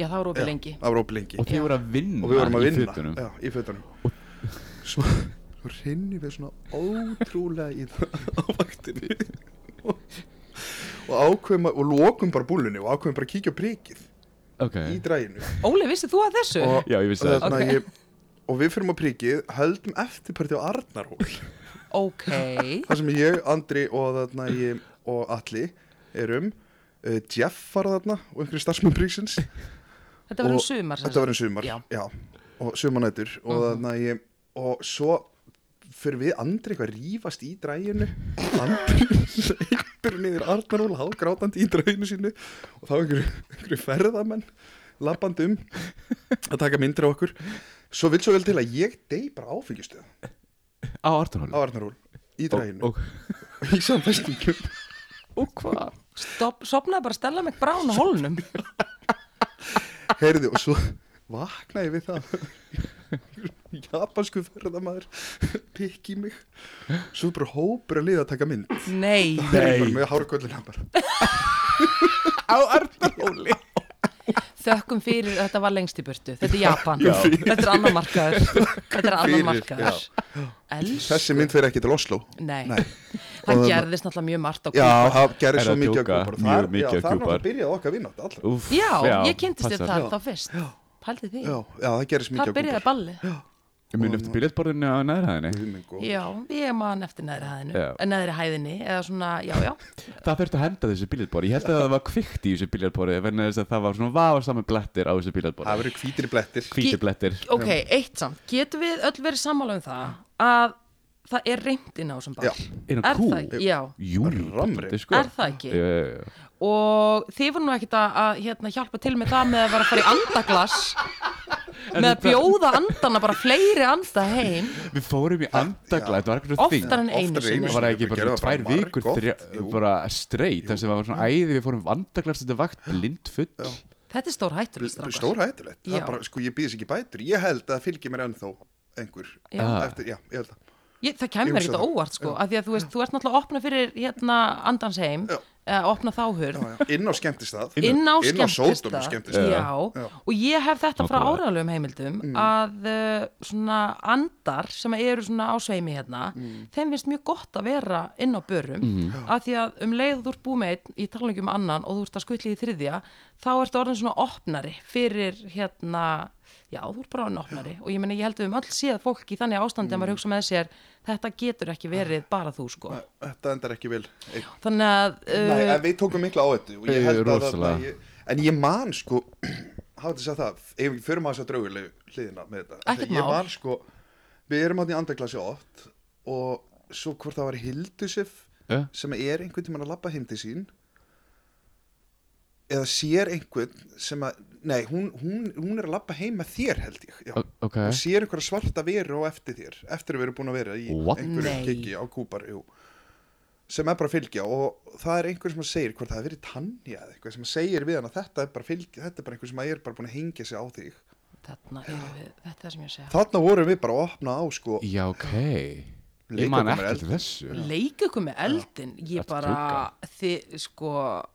Já, það var opið lengi það var opið lengi og þið voru að vinna og við vorum að í vinna fötunum. já, í fötunum svo, svo rinnir við svona ótrúlega í það á vaktinni og ákveðum að, og lokum bara búlunni og ákveðum bara að kíkja á prikið ok, í dræginu Óli, vissið þú að þessu? og, Eh. já, ég vissi og, það Ok. þarna, ég, og við fyrir um á prikið höldum eftirparti á Arnarhól Ok þar sem ég, Andri og, þarna, ég, og Alli erum uh, Jeff var þarna og einhverju starfsmenn priksins Þetta var um Og- sumar sem Þetta var um sagt. sumar, Já. Mhm. já, Og sumarnætur og, uh ég, og svo fyrir við Andri eitthvað að rífast í dræginu Andri leipur niður Arnaról hágrátandi í dræginu sínu og þá einhverju, einhverju ferðamenn lappandi um að taka myndir á okkur svo vil svo vel til að ég dey bara áfengistuð á á Artunhóli Arnaról í dræginu og, í samfestingum og hvað Stopp, sopnaði bara að stella mig brána hólnum heyrðu og svo vakna ég við það japansku ferðamaður pikk í mig svo bara hópur að liða að taka mynd Nei, þeir eru bara með hárköllina bara á Artunhóli þökkum fyrir að þetta var lengst í burtu Þetta er Japan, Já. þetta er annar markaður Þetta er annar fyrir, markaður Els, þessi mynd fyrir ekki til Oslo nei Nei. Það Og- gerðist náttúrulega mjög margt á já, Kúbu. það gerir Er svo að mikið að djóka, kúpar mjög það, já, mikið á það er Kúbar. náttúrulega byrjaði okkar að vinna þetta allra Úf, já, ég kynntist þér passar. þar þá fyrst Pældi því, já, já, það gerist þar mikið að byrjaði kúpar balli Ég muni eftir bílétborðinu á næðraðinni Já, ég man eftir neðri hæðinu Já. eh, Neðri hæðinni, eða svona, já, já Það þurfti að henda þessu bílétborði Ég held að það var kvikt í þessu bílétborði Venni þess að það var svona vafarsamu blettir á þessu það bílétborði verður hvítir blettir Hvíti blettir Ok, eitt samt, getum við öll verið sammála um það að það er reynd inn á þessum Já. ball Inn á Er kú? það ekki? Já, Jú, Rammri. þetta sko Er það ekki? Já, já, já. og þið voru nú ekkert að, að hérna, hjálpa til með það með að vera að fara í andaglass með að þetta- bjóða andana bara fleiri anda heim Við fórum í andagla, þetta var eitthvað svona oftar en einu Oftar en sinni Það var ekki Við bara gerðum tvær það bara vikur margoft, þrjá, jú. bara straight þar sem var svona æði við fórum vandaglast þetta vakt blindfull Þetta er stór hættur stóra hættulegt það Já. er bara, sko, ég býðis ekki bætur ég held að það fylgir mér ennþá einhver Já. Ah. eftir, já, ég held að Ég, það kemur Ég mér hugsa ekkert það. óvart sko, af því að þú veist, þú ert náttúrulega að opna fyrir hérna andans heim, Já. að opna þáhur, Já, já. inn á skemmtistað inn á inn á sótum skemmtistað, skemmtistað Mm. já, og ég hef þetta frá Nákvæmlega. áraðlegum heimildum að uh, svona andar sem eru svona á sveimi hérna, Mm. þeim finnst mjög gott að vera inn á börum, af því að um leið og þú ert búið með einn í talningu um annan og þú ert að skutli í þriðja, þá ertu orðin svona opnari fyrir hérna, já, þú ert bara orðin opnari og ég meina ég held að við um öll séð fólk í þannig ástandi Mm. að maður hugsa með sér, þetta getur ekki verið bara þú sko. þetta endar ekki vel Einn. Þannig að, Nei, uh, en við tókum mikla á þetta og ég Eh, held að þarna rosalega. ég, en ég man sko hafa þetta sagt það, ef við förum að þess að draugulegu hliðina með þetta, Ekkert Þegar ég mál. man sko við erum hann í andaglasi 8 og svo hvort það var Hildusif Eh? sem er einhvern tímann að labba heim til sín eða sér einhvern sem að, nei, hún, hún, hún er að labba heim með þér held ég já. O- ok. og sér einhverja svarta veru á eftir þér eftir að við erum búin að vera í What? einhverju Nei. kiki á kúpar jú. sem er bara að fylgja og það er einhver sem að segir hvort það hefur verið tannja eða eitthvað sem segir við hann að þetta er bara fylgja þetta er bara einhver sem er bara búin að hengja sig á þig þarna erum við, þetta er það sem ég að segja. þarna vorum við bara að opna á sko Já, ok Ég Leika man okkur ekki með eld. til þessu leika ykkur með eldin ég Ertu bara, þið sko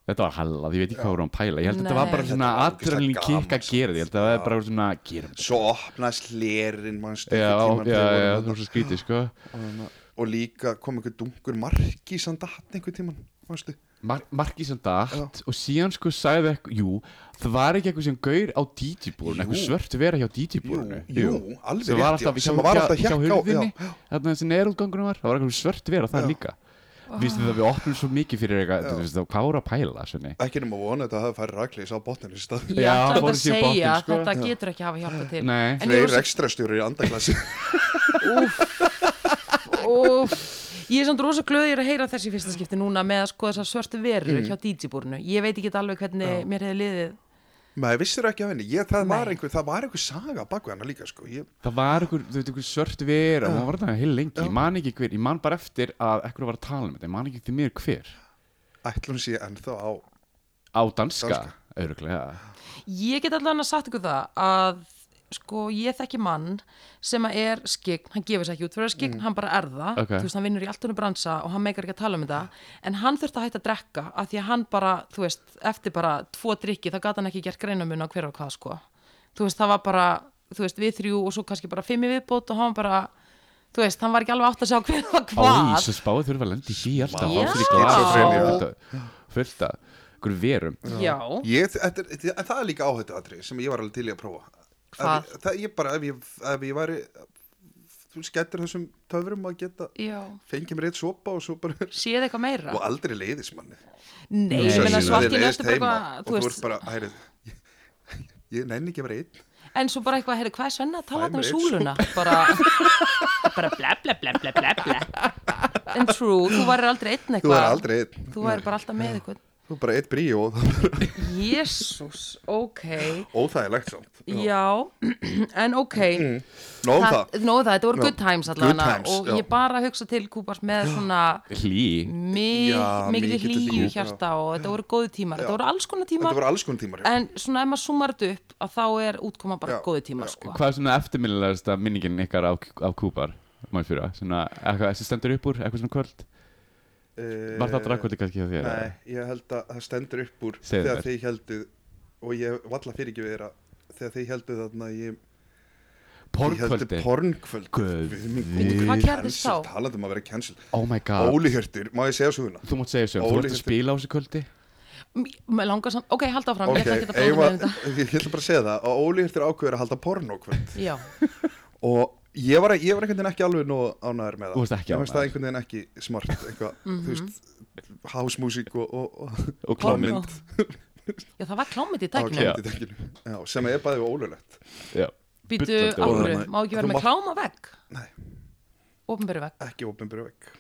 Þetta var hallað, ég veit ekki hvað voru hann pæla Ég held að þetta Nei. var bara svona Þetta var ógeðslega adrenalin gaman, sko. kikka að gera þetta. Ég held að það var bara svona gerum þetta. svo opnaðist lerin manstu, Já, einhvern tímann já, þegar við já, vorum það var þarna. svo skrítið, sko og líka kom einhver dungur marki sandat einhver tíman manstu Mar Marki sem dætt og síðan sko sagði eitthvað, jú Það var ekki eitthvað sem gaur á DJ-búrun Eitthvað Jú. svört vera hjá DJ-búrunu Jú, jú, alveg sem var rétt, já, alltaf, sem var alltaf hjá, hjakk á- hjá hurðinni já, þarna þessi nerútgangunum var, það var eitthvað svört vera það Já. líka Vistu það við opnum svo mikið fyrir eitthvað, þú veist það, hvað voru að pæla senni? ekki nema vona þetta að hafa færi rakleis á botninu í stað ég Já, ætla fórum að síðan segja botninn, sko. þetta getur ekki hafa hjálpa til Nei. en ég Tveir er, ekstrastjóri í andaglasi og, ég er samt rosa glöð ég er að heyra þessi fyrsta skipti núna með sko þessar svörtu veru Mm. hjá DJ-búrinu ég veit ekki hvernig mér hefði liðið Maður vissir ekki af henni, ég, það, var Nei. einhver, það var einhver saga baku hennar líka sko. ég, Það var einhver, þú veit, einhver svört vera og það var það heil lengi, ég man ekki hver, ég man bara eftir að ekkur var að tala um þetta, ég man ekki því mér hver Ætlum sé ennþá á Á danska, Danska. auðvitað, ég get allan að sagt ykkur það að sko, ég þekki mann sem að er skikn, hann gefur sér ekki út fyrir að vera skikn, hann bara er það, Ok. þú veist, hann vinnur í allt hennu bransa og hann meikar ekki að tala um þetta, en hann þurfti að hætta að drekka af því að hann bara, þú veist, eftir bara tvo drikki, þá gat hann ekki gert greinamun á hver og hvað, sko. Þú veist, það var bara, þú veist, við þrjú og svo kannski bara fimm í viðbót og hann bara, þú veist, hann var ekki alveg átt að sjá hver og hvað. Ís, spáðið þurfa að lenda í því alltaf Já. Ásir í glas Já. fullt af- fullt af einhverjum verum Já, Ég, þetta, er- þetta, en það er líka áhættu atrið sem ég var alveg til í að prófa Hvað? Að ég- Það ég bara, ef ég, ef ég væri þú skettir þessum töfrum að geta já, fengið mér eitt sopa og svo bara séð eitthvað meira. og aldrei leiðis manni Nei, Nei, ég meina nei, nei. svarkinu Leiðist eftir bara heima eitthvað, og þú veist, þú ert bara, hæri ég, ég nenni ekki að vera einn En svo bara eitthvað, heyrðu, hvað er Svenna að tala þetta um Dæmir einn súluna? Bara, bara ble, ble, ble, ble, ble, ble. En true, þú væri aldrei einn eitthvað. þú er aldrei einn, Þú væri bara alltaf með eitthvað. þú er bara einn brí og Jésús, ok. óþægilegt samt Já, en ok. nóðum Mm, það, Nóð það, þetta voru Já. good times Good allavega. times, Og já. ég bara hugsa til Kúbars með svona Hlý Já, mikið mikilli hlýju hlýju, já. hjarta og þetta voru góðu tímar. Þetta voru alls konar þetta tímar. voru alls konar tímar En svona ef maður summar þetta upp að þá er útkoma bara Já, góðu tímar sko. Hvað er svona eftirminnilegasta minningin ykkar af, af Kúpar? Má ég fyrir Svona eitthvað sem stendur upp úr, eitthvað svona kvöld Eh, Var það drakkvöldi kannski hjá þér? Nei, ég held að það stendur upp úr Segðu þegar mér. þeir heldu og ég valla fyrir ekki vera þegar þeir heldu þarna ég, ég heldu Porrkvöldi? pornkvöld Guð Hvað gerðist þá? talandi um að vera cancel Oh my god Óli Hjörtur, má ég segja svo huna? Þú mátt segja þessu, þú Óli- ert að spila á þessu kvöldi? Mér langar samt, ok, halda áfram, ég ætla ekki að um eigum fróða að- með þetta. ég ætla bara að segja það að Óli Hjörtur ákveður að halda pornokvöld Já, og ég var, ég var einhvern veginn ekki alveg nú ánæður með það Þú varst ekki Mér fannst það ánægður. einhvern veginn ekki smart eitthvað, Mhm. þú veist hásmúsík og, og, og Og Porno. klámynd já það var klámið í á dækinu. klæmt í tekinu Já, sem er bæðið ólulegt Já Býtu, af Bullandi óánægð. hverju, óánægð. má ekki vera Þú með mátt- kláma vegg? Nei. Opinberu vegg, ekki opinberu vekk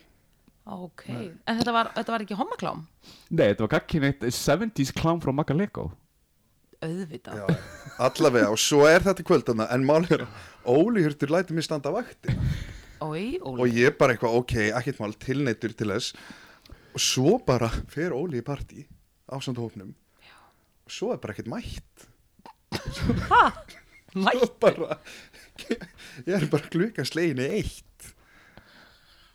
ok. En þetta var, þetta var ekki homaklám, Nei, þetta var gagkinneitt 70s klám frá Magga Lego auðvitað. Já, allavega og svo er þetta kvöldana en málið er að Óli Hjörtur læti mér standa vakti Ói, og Óli, ég bara eitthvað ok, ekkert mál tilneittur til þess og svo bara fer Óli í partí á samt hópnum og svo er bara ekkert mætt mætt, og bara ég er bara glukka sleginu eitt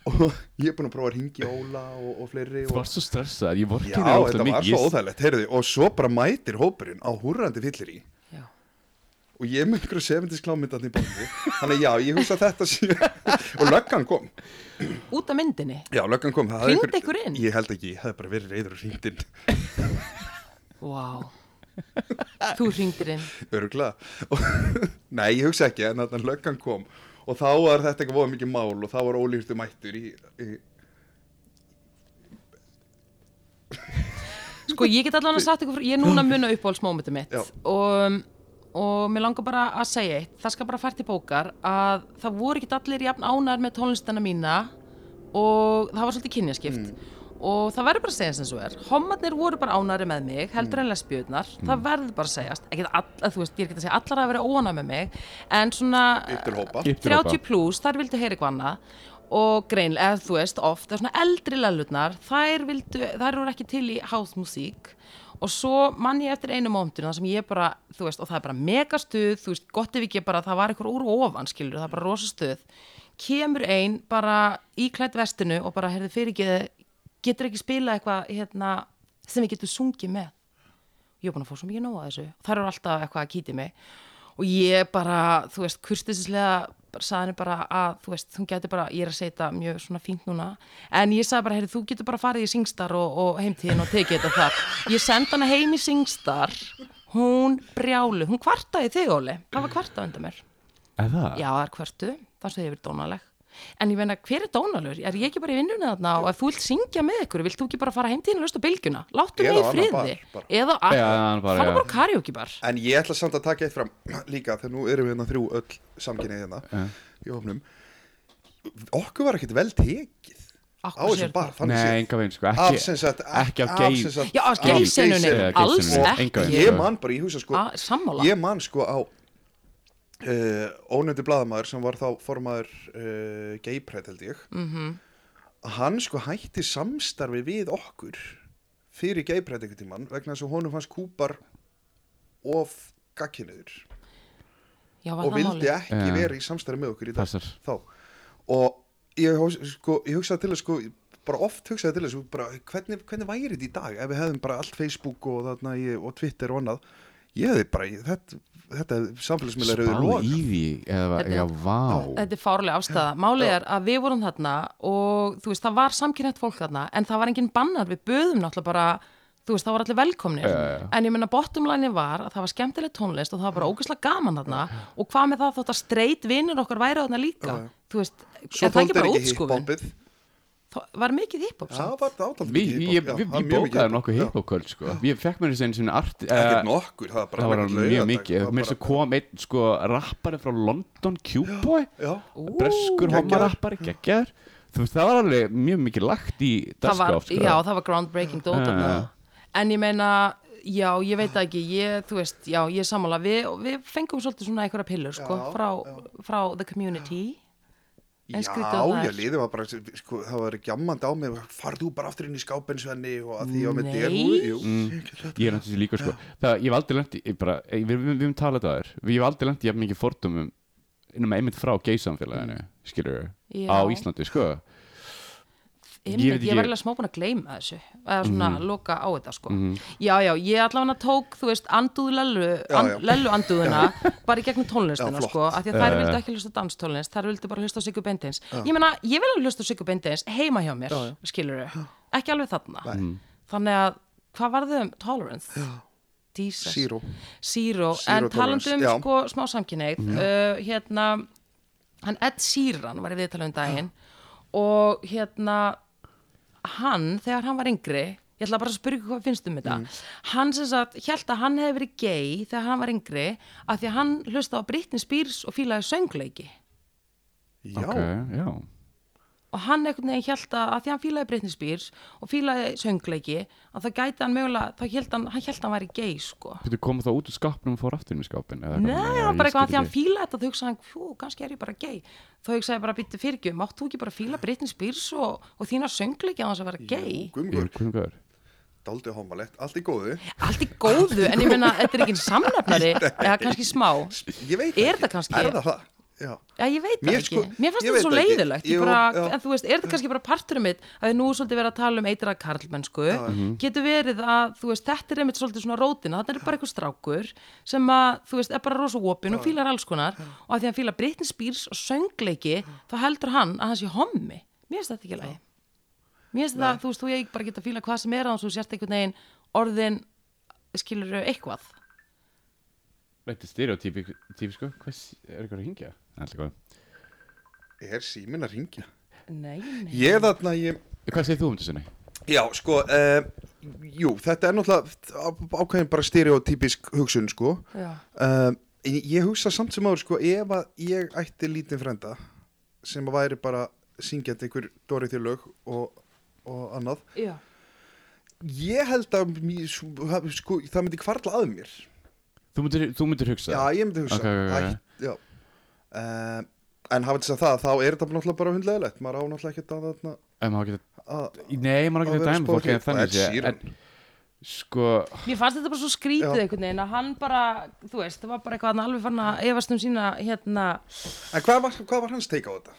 og ég er búin að prófa að ringi Óla og, og fleiri Þú og varst svo stressað, ég vorkið Já, þér þetta var svo óþægilegt, heyrðu, og svo bara mætir hópurinn á húrrandi fyllir í já. og ég er með einhverju 70s klámyndarni í bóndi þannig að já, ég hugsa að þetta sé og löggan kom, Út af myndinni, já, löggan kom það hafði Hringdi ykkur inn? Ég held ekki, ég hafði bara verið reyður og hringd inn, vá. Þú hringdir inn, öruglega og, Nei, ég hugsa ekki, en þannig að löggan kom og þá var þetta eitthvað voða mikið mál og þá var ólýrtu mættur í, í Sko, ég get allan að sagt ykkur, frá- ég er núna að muna uppáhaldsmómentum mitt Já. og, og mér langar bara að segja eitt, það skal bara fært í bókar að það voru ekki allir jafn ánæður með tónlistana mína og það var svolítið kynjaskipt og það verður bara að segja sem svo er, homarnir voru bara ánæður með mig, heldur en lesbjörnar, það verður bara að segjast, ekki allar, þú veist, ég er ekki að segja allar að vera óanæð með mig, en svona... yttur hópa Yttur- Til 30 hópa. pluss, þær vildu heyra eitthvað annað og greinlega, eða þú veist, oft eða svona eldri lallurnar, þær vildu þær eru ekki til í háðmusík og svo mann ég eftir einu mómtinu þar sem ég bara, þú veist, og það er bara megastuð þú veist, gott ef ekki bara, það var eitthvað úr og ofan skilur, það er bara rosa stuð kemur ein bara í klætt vestinu og bara, heyrðu fyrir ekki getur ekki spila eitthvað, hérna sem við getum sungið með ég er búin að fá svo mikið nóg að þessu og þær eru alltaf eitthvað að kýti mig og ég bara, þú veist, kurtisislega sagði henni bara að, þú veist, hún getur bara ég er að segja þetta mjög svona fínt núna en ég sagði bara, heyrðu, þú getur bara farið í Singstar og, og heimtíðin og tekið þetta þar ég sendi hana heim í Singstar hún brjálu, hún kvartaði þig, Óli það var kvartað undan mér Eða? já, það er kvartu, þannig að ég verið dónaleg en ég meina, hver er dónalur? Er ég ekki bara í vinnunni þarna og ef þú vilt syngja með ykkur vilt þú ekki bara fara heimtíðin og lösta bylgjuna? Láttu Eða mig í á annan friði bar, bara. eða á Já, annan bar, farðu já. bara á karaoke bar En ég ætla samt að taka eitt fram líka þegar nú erum við hérna þrjú öll samkynnið hérna í ofnum Okkur var ekkert vel tekið á Akkur þessu sér bar, þannig Nei, séð. enga veginn, sko af Ekki, sem sagt ekki af af sem gay sagt- Já, af af gaysenunni, gaysenunni. alls Og ekki. ég man bara, ég hugsa sko A- Ah, sammála. ég man sko á uh, ónöndi blaðamaður sem var þá formaður uh, gayprætt held ég mm Mhm. hann sko hætti samstarfi við okkur fyrir gayprætt einhvern tímann vegna þess að honum fannst kúpar of gagkinuður Já, var og það vildi málið? ekki Já. vera í samstæri með okkur í dag Passar. þá og ég, hugsa- sko, ég hugsaði til þess sko, bara oft hugsaði til þess sko, bara, hvernig, hvernig væri þetta í dag ef við hefðum bara allt Facebook og, þarna, ég, og Twitter og annað ég hefði bara, ég- þetta, þetta samfélagsmiðlar hefði Spá lóð í því eða, Þetta- já, vá Þetta er fárlega afstæða. Málið er að við vorum þarna og þú veist, það var samkynrætt fólk þarna en það var enginn bannar, við böðum náttúrulega bara þú veist, það var allir velkomnir Já, já, já. en ég meina bottomlæni var að það var skemmtileg tónlist og það var bara ógeðslega gaman þarna og hvað með það þótt að streit vinnur okkar væri þarna líka Já, já. þú veist, svo er það ekki þóldi bara ekki útskúfin? hiphopið Það var mikið hiphop það samt. var átaldi Við, ég, við, við bókaði nokkuð hiphopköld sko. Ég fekk mér þess einu sinni art eh, ekkert nokkur, það var bara Það var einhvern mjög laugardag, mikið það var Mér þess að bara- kom einn sko rappari frá London Cubeboy já, Breskur Geggjaður. homarappari, geggjar Þú veist, það var alveg mjög mikið lagt í það var, dagskráf sko. já, það var groundbreaking dót Já, þarna. já, já. en ég meina, já, ég veit það ekki ég, þú veist, já, ég er sammála við, við fengum svolítið svona einhverja pillur sko, Já, frá, frá the community En skrítið að það Já, er. ég liði var bara, sko, það var gjammand á mig, farðu þú bara aftur inn í skápinn Svenni og að því ég var með Nei. derhúi, jú, Mm. Ég er náttúrulega líka sko það, Ég hef aldrei lent í, ég bara, ég, við, við, við höfum talað það þér Ég hef aldrei lent í jafn mikið fordumum Innum einmitt frá geysamfélaginu Skilur Já. á Íslandi sko Ég, Ég ég, ég var veit ekki- Mhm. eiginlega smá búin að gleyma þessu eða svona loka á þetta sko já já, ég allavega tók, þú veist, andúð lellu, Já, an, já. lellu andúðuna bara í gegnum tónlistina Já, flott. sko, af því að þær Já, já. vildu ekki hlusta á danstónlist þær vildu bara hlusta á Sigur Bendins ég meina, ég vil alveg hlusta á Sigur Bendins heima hjá mér, skilur þau, ekki alveg þarna Mm. þannig að, hvað varðu um tolerance? Jesus zero. Zero, Zero en talandi um tolerance, já. Mhm. sko smá samkynneið uh, hérna, hann Ed Sheeran var í viðtala um daginn og hérna hann, þegar hann var yngri ég ætla bara að spyrja ykkur hvað finnst um þetta Mhm. hann sem sagt, held að hann hefði verið gay þegar hann var yngri, af því að hann hlusta á Britney Spears og fílaði söngleiki Já, Ok, já og hann einhvern veginn held að, að því að hann fílaði Britney Spears og fílaði söngleiki að það gæti hann mögulega, þá held hann, hann held að hann væri gay sko Þú kom það út úr skápnum og fór aftur inn í skápin eða Nei, það eitthvað, var ég bara eitthvað að skil því hann ekki. fíla þetta þá hugsaði hann, fú, kannski er ég bara gay þá hugsaði ég bara, býttu fyrirgjöf, mátt þú ekki bara fíla Britney Spears og, og þína söngleiki á þess að vera gay Gumgur, Jú, hvernig góður. daldi homalett, allt í góðu. allt í góðu, en ég meina, þetta er ekki samnefnari, eða kannski smá Ég veit Er ekki. það kannski? Er það það? Já. Já, ég veit það Mér ekki, sko- mér fannst þetta ég veit svo það ekki. leiðilegt Jú, ég bara, já. en þú veist, er þetta kannski bara parturum mitt að nú er svolítið verið að tala um eitra karlmennsku Mhm. getur verið að, þú veist, þetta er einmitt svolítið svona rótina, þetta er bara eitthvað strákur sem að, þú veist, er bara rosa opin og fílar alls konar og að því að hann fílar Britney Spears og söngleiki þá heldur hann að hann sé hommi mér finnst þetta ekki leiði mér finnst þetta, þú veist, þú ég bara geta að fíla hvað sem er á þú sért einhvern veginn orðin skilur eitthvað Þetta er stereotypi típi, sko Hvers, er eitthvað að hingja? Alltaf góð Er síminn að ringja? Nei, nei. Ég þarna, ég, Hvað segir þú um þessu? já, sko, uh, jú, þetta er náttúrulega á- ákveðin bara stereotypisk hugsun, sko. Já. Uh, ég hugsa samt sem áður, sko, ef að ég ætti lítinn frenda sem að væri bara syngjandi einhver Dorothy lög og, og annað, Já. Ég held að mér- svo- sko, það myndi kvarla að mér Þú myndir, þú myndir hugsa Já, ég myndi hugsa Ok, ok, ok. Æ, já. Uh, En hafði þess að það, þá er þetta náttúrulega bara hundlegilegt Maður á náttúrulega ekkert að þarna Ef maður geta að- Nei, maður á ekki að að vera dæma fólk spókið. eða þannig Ed sé Sheeran. en, Sko, Mér fannst þetta bara svo skrítið Já. einhvern veginn að hann bara, þú veist, það var bara eitthvað hann alveg fann að efast um sína, hérna, En hvað var, hvað var hans teika á þetta?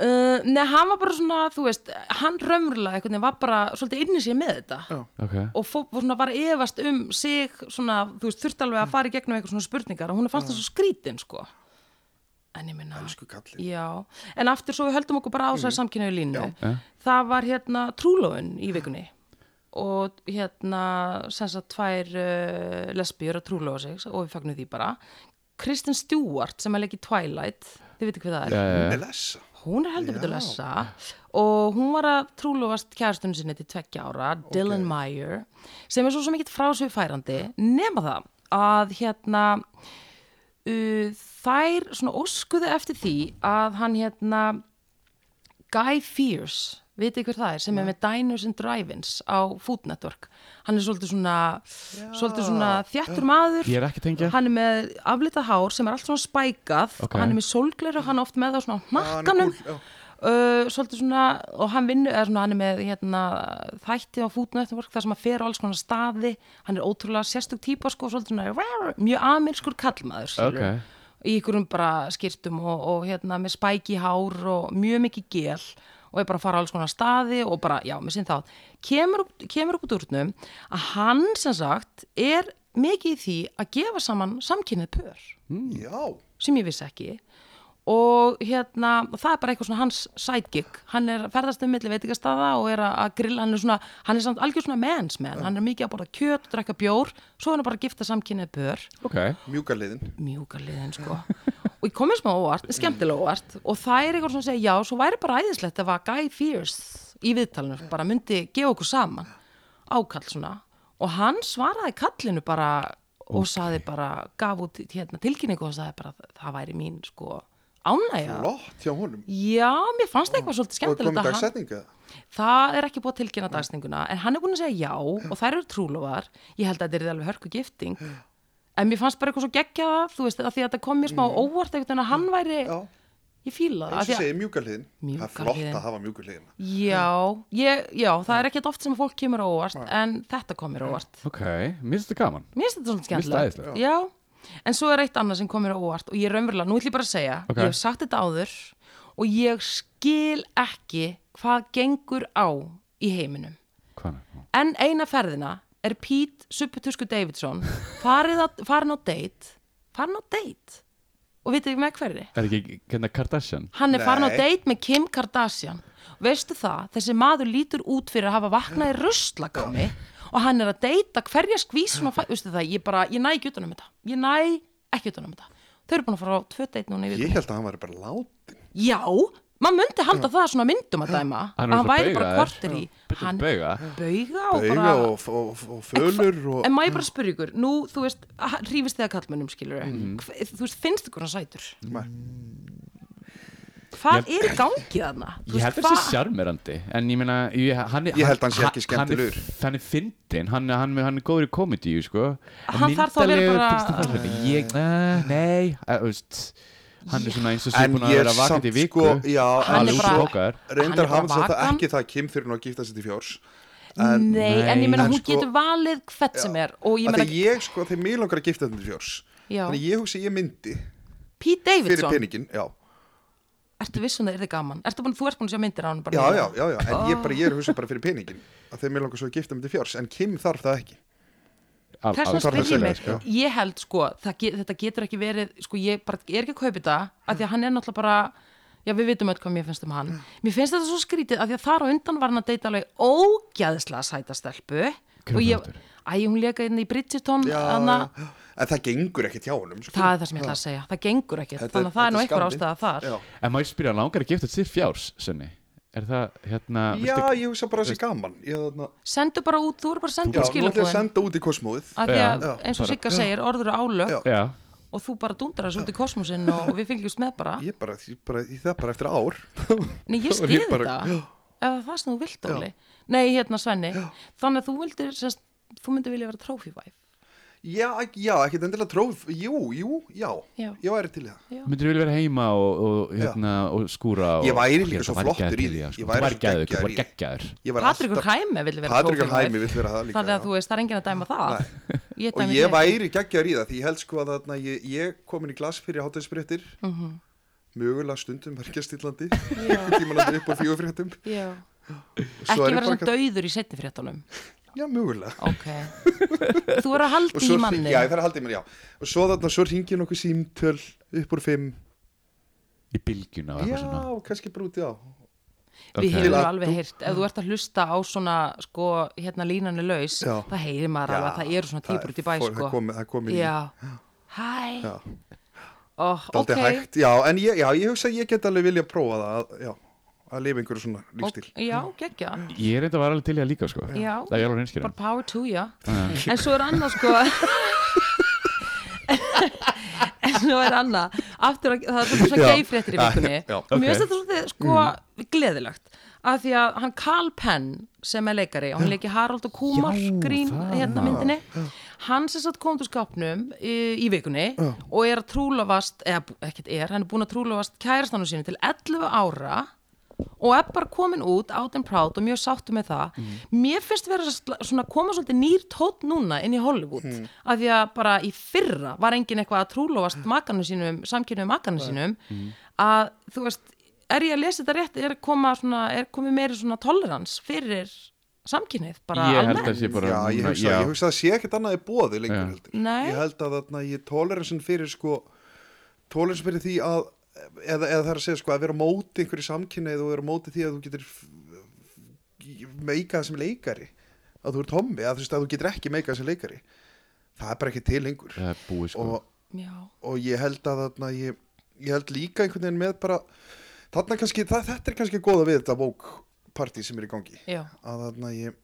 uh, neða hann var bara svona, þú veist, hann raumurlega einhvern veginn var bara svolítið inn í sér með þetta ok og fó, fór svona bara að efast um sig, svona, þú veist, þurfti alveg að fara í gegnum eitthvað svona spurningar og hún fannst það svo skrítin, sko. En ég minna, Elsku kallinn. já, en aftur svo við höldum okkur bara á þessari mm. samkynniðu línu, það var hérna trúlóun í vikunni og hérna sem sagt tvær uh, lesbíur að trúlóa sig og við fagnum því bara Kristen Stewart sem er leik í Twilight þið veitir hvað það er, Eh. Uh. Elessa hún er heldur betur Já. lessa og hún var að trúlóast kærastunum sinni til tveggja ára, Dylan Meyer sem er svo sem ekkit frásvið færandi nema það að hérna uh, þær svona óskuðu eftir því að hann hérna Guy Fears vitið hver það er sem er með Diners and Drive-ins á Food Network hann er svolítið svona, svolítið svona þjættur maður Ég er ekki að tengja. hann er með aflitað hár sem er allt svona spækað Ok. og hann er með sólgleru hann er oft með það svona á hann er hnakkanum kúl, já. Uh, svolítið svona, og hann vinnur eða svona hann er með hérna, þætti á Food Network þar sem hann fer á alls konar staði hann er ótrúlega sérstök típa sko, svolítið svona rar, mjög amerskur kallmaður skilur. Ok. í ykkurum bara skýrtum og, og hérna með spæki hár og mjög mikið gel og er bara að fara á alls konar staði og bara, já, með sinn þátt kemur, upp- kemur upp út úrnum að hann sem sagt er mikið í því að gefa saman samkynnið pör Já, sem ég vissi ekki og hérna, það er bara eitthvað svona hans sidekick, hann er ferðast um milli veitingastaða og er að- að grilla, hann er svona hann er samt algjör svona men's man, hann er mikið að borða kjöt og drekka bjór, svo er hann bara að gifta samkynnið pör ok, mjúka liðin mjúka liðin sko og ég komið smá óvart, skemmtilega óvart og það er eitthvað svona að segja já, svo væri bara æðislegt ef að Guy Fears í viðtalinu bara myndi gefa okkur saman ákall svona og hann svaraði kallinu bara og saði bara, gaf út hérna, tilkynningu og saði bara það væri mín sko ánægja Lott hjá honum Já, mér fannst það eitthvað svolítið Og skemmtilegt komið að hann- dagsetninga Það er ekki búið að tilkynna dagstenguna en hann er búin að segja já og þær eru trúlofar ég held að þetta er alveg hörku gifting en mér fannst bara eitthvað svo geggja það þú veist, af því að þetta kom mér smá óvart einhvern veginn að hann væri, Mm. Já, ég fíla það af eins því og að, segir mjúka liðin Það Mjúka er flott hliðin. að hafa mjúka liðina já, ég, já, það er ekkert oft sem fólk kemur á óvart en þetta kom mér á óvart ok mér finnst þetta gaman Mér finnst þetta svona finnst skemmtilegt. það Já, en svo er eitt annað sem komir á óvart og ég er raunverulega, nú ætlum ég bara að segja, Ok. ég hef sagt þetta áður og ég skil ekki hvað gengur á í heiminum. hvað er En eina ferðina er Pete Suppetusku Davidson farið að, farin á date, farin á date og vitið ekki með hverri? Er ekki hérna Kardashian? Hann er farin á Nei. date með Kim Kardashian Veistu það, þessi maður lítur út fyrir að hafa vaknað í ruslagámi og hann er að deyta hverja skvísun og fæ, veistu það, ég bara, ég næ ekki utan um þetta ég næ ekki utan um þetta þau eru búin að fara á tvö date núna yfir Ég held að hann væri bara látin Já, maður myndi halda það svona myndum að dæma að Hann er hann svo væri bara baugaður. kvartir í Hann hann Bauga? bauga og Beiga bara og, og, og fölur og En má ég bara spyrja ykkur, nú, þú veist, að- rífist þið að kallmennum, skilur Þú veist, finnst ykkur hann sætur? Mhm. Nei. Hvað er í gangi þarna? Þú Ég veist, held að það hvað- sé sjarmerandi En ég meina ég, hann, er- Ég held hann sé ekki skemmtilegur. Hann er, hann er fyndin, hann, er- hann, er- hann er góður í komedíu sko. Hann þarf þá að vera Myndarlegur, bara- textinn þarf að vera- Ég, eh, nei eh, þú veist, Hann er svona eins og sé búin að ég vera vakandi í viku sko, já, Hann en er Alveg bara- sko, bókar. hann er reyndar bara hafa sér það vakan. ekki það að Kim þurfi nú að gifta sér til fjórs Nei, en ég meina En hún sko- getur valið hvert sem er og ég Þegar meina, ég, ég sko, þegar mig langar að gifta þetta til fjórs Já. Þannig ég hugsi ég myndi Pete fyrir Davidson peningin Já, Ertu vissun það er þið gaman? Ertu búin, þú ert búin að sjá myndir á hann bara já, núna? já, já, já. En ég, bara, ég er að hugsa bara fyrir peningin að þegar mig langar svo að gifta mig til fjórs En Kim þarf það ekki Al- Þess al- vegna þarf að spyr ég segja mig, það, ég held sko, það get, þetta getur ekki verið, sko ég bara er ekki að kaupa þetta, af því að hann er náttúrulega bara, já við vitum öll hvað mér finnst um hann. Mér finnst þetta svo skrítið, af því að þar á undan var hann að deyta alveg ógæðislega sæta stelpu. Hver og var ég- það aftur? Æ, hún leka inn í Bridgerton, já, þannig að já. En það gengur ekkert hjá honum sko. það er það sem ég ætla að segja, það gengur ekkert, Þetta er- þannig að það er nú þetta er einhver skammvinn. ástæða þar. Já, En maður spyrja hann langar að gifta sér fjárs Sunni Er það hérna já viltu- ég hugsa bara að það sé gaman Ég þarna Sendu bara út, þú Ah. eru bara að Já, senda út nú ætlum ég að skilabúðin. senda út í kosmóið að því Já. að Já. eins og Bara- Sigga segir orður og álög Já. Já, og þú bara dundrar þessu út í kosmosin og við fylgjumst með bara Ég bara, ég bara, ég það bara eftir ár Nei, ég Þá er skil ég bara- þetta ef það er það sem þú vilt, Óli Nei, hérna Svenni, þannig að þú vildir semst, þú myndir vilja vera trófívæf Já, já, ekkert endilega tróð Jú, jú, já, Já. ég væri til í það myndir vilja vera heima og, og, hérna, og skúra og, Ég væri líka Ég svo það væri flottur í geðveikt því. það, sko. Þú Ég væri væri svo geggjaður, geggjaður þú væri í því. geggjaður Ég væri Patrikur alltaf- Hæmi vil vera Patrekur trófívæf Hæmi vill vera það líka Þannig já. að þú veist, það er enginn að dæma það ég og dæmi þig. ég væri geggjar í það því ég held sko að þarna, ég, ég komin í glas fyrir hátæðisbrettir Mhm. mögulega stundum verkjastillandi tímanandi upp á fjóðfréttum Já. Ekki vera svona dauður í setni fréttunum já mögulega Ok Þú er að og haldi svo, í hring- manni já, ég þarf að halda í manni já. og svo þarna svo ringi nokkuð símtöl upp úr fimm í bylgjuna og já eitthvað svona kannski bara út í á Við Ok. hefur Til að- alveg heyrt, ef þú ert að hlusta á svona, sko, hérna línan er laus, Já. það heyrir maður Já, alveg að það eru svona það týpur út er í bæ, fólk- sko. það komið- það komið í- Já, hæ, já, oh, ok, okay. hægt, já en ég, já, ég hugsa að ég get alveg vilja prófa það að, já, að lifa einhverju svona ok, lífstíl já, geggja, Ég reynda að vera alveg til í það líka sko Já. Það er alveg reynskjur bara power to, já, en svo er annað, sko, en svo er annað, aftur að, það er svona Já. svona geifréttir í vikunni, Já, og mér ok. finnst þetta svona, sko, gleðilegt, af því að hann Carl Penn, sem er leikari, og hann leiki Harald og Kumar, Já, grín, það. hérna myndinni, hann sem satt komið úr skápnum í, í vikunni og er að trúlofast, eða bú- ekkert er, hann er búin að trúlofast kærastanum sínu til 11 ára og er bara komin út out and proud og mjög sáttu með það Mm. mér finnst vera sl- svona koma svolítið nýr tótt núna inn í Hollywood Mm. af því að bara í fyrra var engin eitthvað að trúlófast makanum sínum samkynum makanum sínum Mm. að þú veist, er ég að lesa þetta rétt er, að koma svona, er komið meiri svona tolerans fyrir samkynið bara Ég held almennt að sé bara Já, ég núna- hugsa, já. ég hugsa að það sé ekkert annað í bóði lengur Já. heldur. Nei. Ég held að þarna, ég toleransin fyrir sko, toleransin fyrir því að eða, eða það er að segja sko að vera á móti einhverju samkynneið og vera á móti því að þú getur f- f- meika það sem leikari að þú ert hommi, að þú veist að þú getur ekki meika það sem leikari það er bara ekki til lengur Það er búið sko og, Já, og ég held að þarna, ég, ég held líka einhvern veginn með bara þarna kannski, það, þetta er kannski góða við þetta bókparti sem er í gangi já, að, þarna, ég,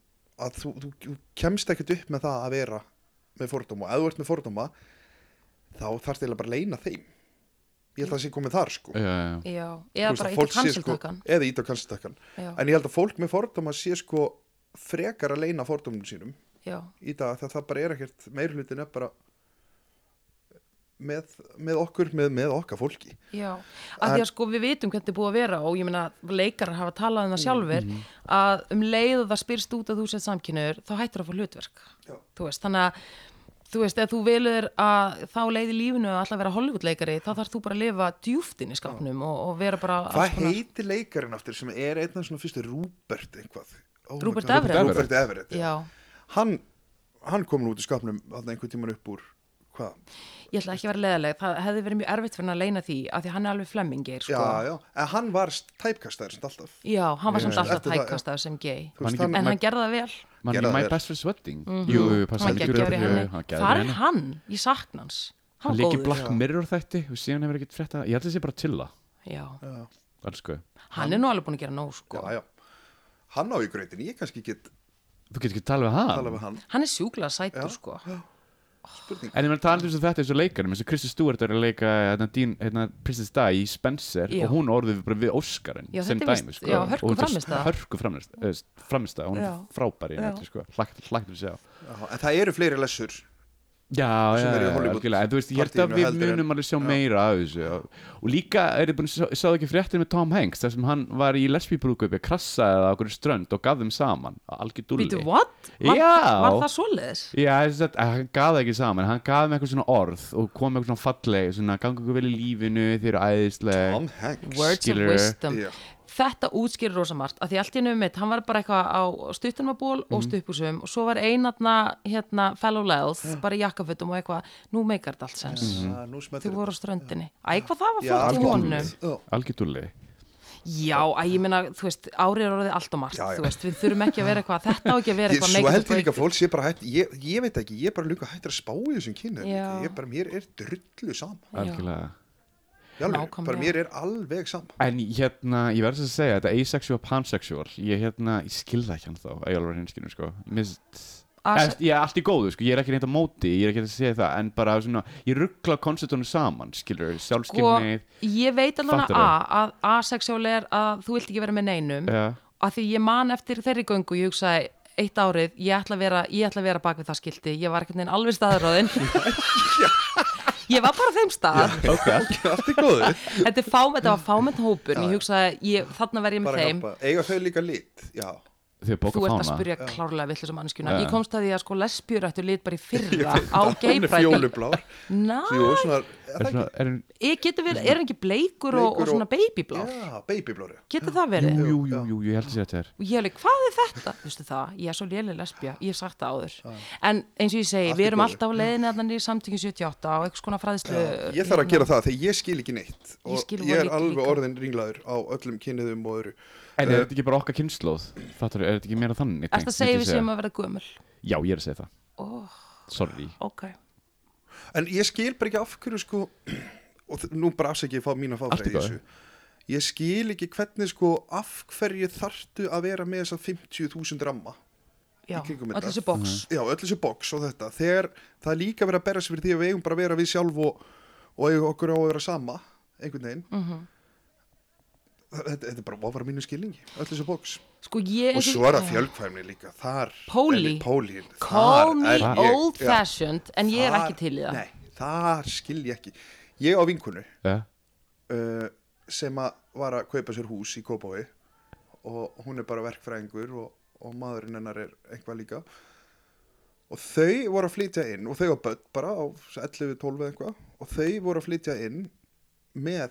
að þú, þú, þú kemst ekkert upp með það að vera með fordóma og ef þú ert með fordóma þá þarfst eða bara að leina þeim ég held að það sé komið þar sko já, já, já. já Þú eða veist, bara að eitt fólk sé, sko, kansiltakan eða ít á kansiltakkan Já. en ég held að fólk með fordóma sé sko frekar að leina fordómum sínum Já, í dag þegar það bara er ekkert meirhlutin er bara með, með okkur, með, með okkar fólki já, af því að sko við vitum hvernig þetta er búið að vera og ég meina leikarar hafa talað Mm, um það sjálfur mhm. að um leið og það spyrst út að þú sett samkynur þá hættur að fá hlutverk Já. þú veist, þannig að þú veist, ef þú velur að þá leið í lífinu að alltaf vera Hollywoodleikari þá þarf þú bara að lifa djúftin í skapnum og, og vera bara alls Hvað konar- heitir leikarinn aftur sem er einn af svona fyrstu Rúbert eitthvað? Oh my Rupert God, Everett. Rupert Everett, Já, hann, hann kom nú út í skapnum þarna einhvern tíman upp úr hvað, ég ætla ekki að vera leðaleg það hefði verið mjög erfitt fyrir hann að leina því af því að hann er alveg flemmingir sko. já, já en hann var tæpkastaður sem alltaf já, hann var Ég- samt alltaf eftir það, já. tækastað sem gay þú veist, Hann hann, en Ma- hann gerði það vel Man, Gerða My það vel. Best Friend's Wedding Jú, passa Mhm. hann var geggjaður í henni Það það er hann, ég sakna hans Hann hann var leikir góður Black Mirror þætti og síðan hefur ekkert frétta Ég held að það sé bara til það já. Alls sko hann er nú alveg búin að gera nóg sko. já, já. hann á í gröðin ég kannski get Þú getur ekki talað við hann talað við hann hann er sjúklega sætur sko. spurning, En ég meðan talað um þess að þetta er svo leikarum eins og Kristi Stewart er að leika hérna, Dean, hérna, Princess Di í Spencer Já. og hún orðið bara við Óskarinn Já, sem þetta er víst- dæmi sko. já, hörku Og hún er frammistaða. Hörku framist hún er Já. frábæri Já. sko. Lagt að sjá já, en það eru fleiri lessur Já, sem já, er í já, Hollywood algjörlega, en þú veist, ég held að partíinu við heldur en- munum alveg sjá meira af þessu og, og líka er ég búin að sjá- sáðu ekki fréttir með Tom Hanks þar sem hann var í lesbíbrúkupi, krassaði það á okkur strönd og gaf þeim saman, algjör dúlli Býtu, what? Var, Já. var það svoleiðis? Já, þess að að hann gaf það ekki saman, hann gaf þeim eitthvað svona orð og kom með eitthvað svona falleg, svona gangi okkur vel í lífinu, þeir eru æðisleg Tom Hanks Words Skilurðu? of wisdom Já. Þetta útskýrir rosa margt að því allt í nefnum mitt, hann var bara eitthvað á stuttunumaból og stuppusum og svo var einarna hérna, fellow lels, bara í jakkafötum og eitthvað, nú meikar þetta allt sens Ah, nú þau smettir voru á ströndinni, æ hvað það var Já, fólk í algjörlega. honum Já. algjör dúlli Já, að ég meina, þú veist, árið er orðið allt og margt, Já, já. þú veist, við þurfum ekki að vera eitthvað, þetta á ekki að vera Ég, eitthvað svo make it held ég break líka að fólk sé bara hætt ég, ég veit ekki, ég er bara líka hættur að spá í þessum kynni Já. ég bara, mér er drullu sama algjörlega Í alvöru, Nákvæmlega. bara mér er alveg sama En hérna, ég verður þess að segja, þetta asexual, pansexual, ég hérna, ég skilða ekki hann þá, að ég alveg hinskinu, sko. Mist, Ase- Eft, ég er allt í góðu, sko, ég er ekki neitt á móti, ég er ekki að segja það, en bara svona, ég ruggla konceptunum saman, skilur, sjálfskeinnið, sko, ég veit alveg Fattarðu? að, að asexuál er að þú vilt ekki vera með neinum Já. að því ég man eftir þeirri göngu ég hugsaði eitt árið, ég ætla að vera, ég ætla að vera bak við það skildi, ég var ekkert neinn alveg staðurróðin ég var bara á þeim stað ok, allt- allt er góður þetta, er fá, þetta var fámenn hópur ég hugsaði, ég, þarna verð ég með bara þeim hjálpa, eiga þau líka lit já, þau þú bóka ert að fána. spyrja klárlega villisum mannskjuna Já. ég komst að því að sko lesbjur ættu lit bara í fyrra veit á Ah. það, hún er geibræði fjólublár. Ná, Jú, svona, er Er það svona, er, ég getur verið, er hann ekki bleikur, og, Bleikur og svona og- babyblár Já, babyblár, já. getur það verið? jú, jú, jú, jú, ég held að segja þetta er. og ég er alveg, hvað er þetta? Þú veistu það, ég er svo léleg lesbja, ég hef sagt það áður en eins og ég segi, Allt í við erum góðu. alltaf á leiðinni þannig í samtökin 78 og einhvers konar fræðislu Ég þarf að gera það þegar ég skil ekki neitt og hérna. skil voða ég, er lítið alveg líka. orðin ringlaður á öllum kynniðum og öðru En er þetta ekki bara okkar kynnslóð? Fattur, er þetta ekki meira þannig? Ertu að tengt, segja myndi ég við séum að vera gömul? Já, ég er að segja það. Oh, Sorry. ok En ég skil bara ekki af hverju sko og þ- nú bara afsækja ég fá mína Allt í fáfræði í góðu. þessu Ég skil ekki hvernig sko af hverju þartu að vera með þessa 50.000 ramma Já, Í kringum öll þetta. þessi box Mhm. Já, öll þessu box og þetta þegar það er líka verið að berja sig fyrir því að við eigum bara að vera við sjálf og, og eigum okkur á að vera sama einhvern veginn Mhm. þetta, þetta er bara ofar mínu skilningi öll þessu box Sko ég og svo er það fjölkvæmni líka þar Póli. Póli Call me þar er ég- old já, fashioned en ég er þar- ekki til í það nei, þar skil ég ekki ég á vinkunu Já. uh, sem að var að kaupa sér hús í Kópavogi og hún er bara verkfræðingur og, og maðurinn hennar er einhvað líka og þau voru að flytja inn og þau var börn bara á 11-12 eða eitthvað og þau voru að flytja inn með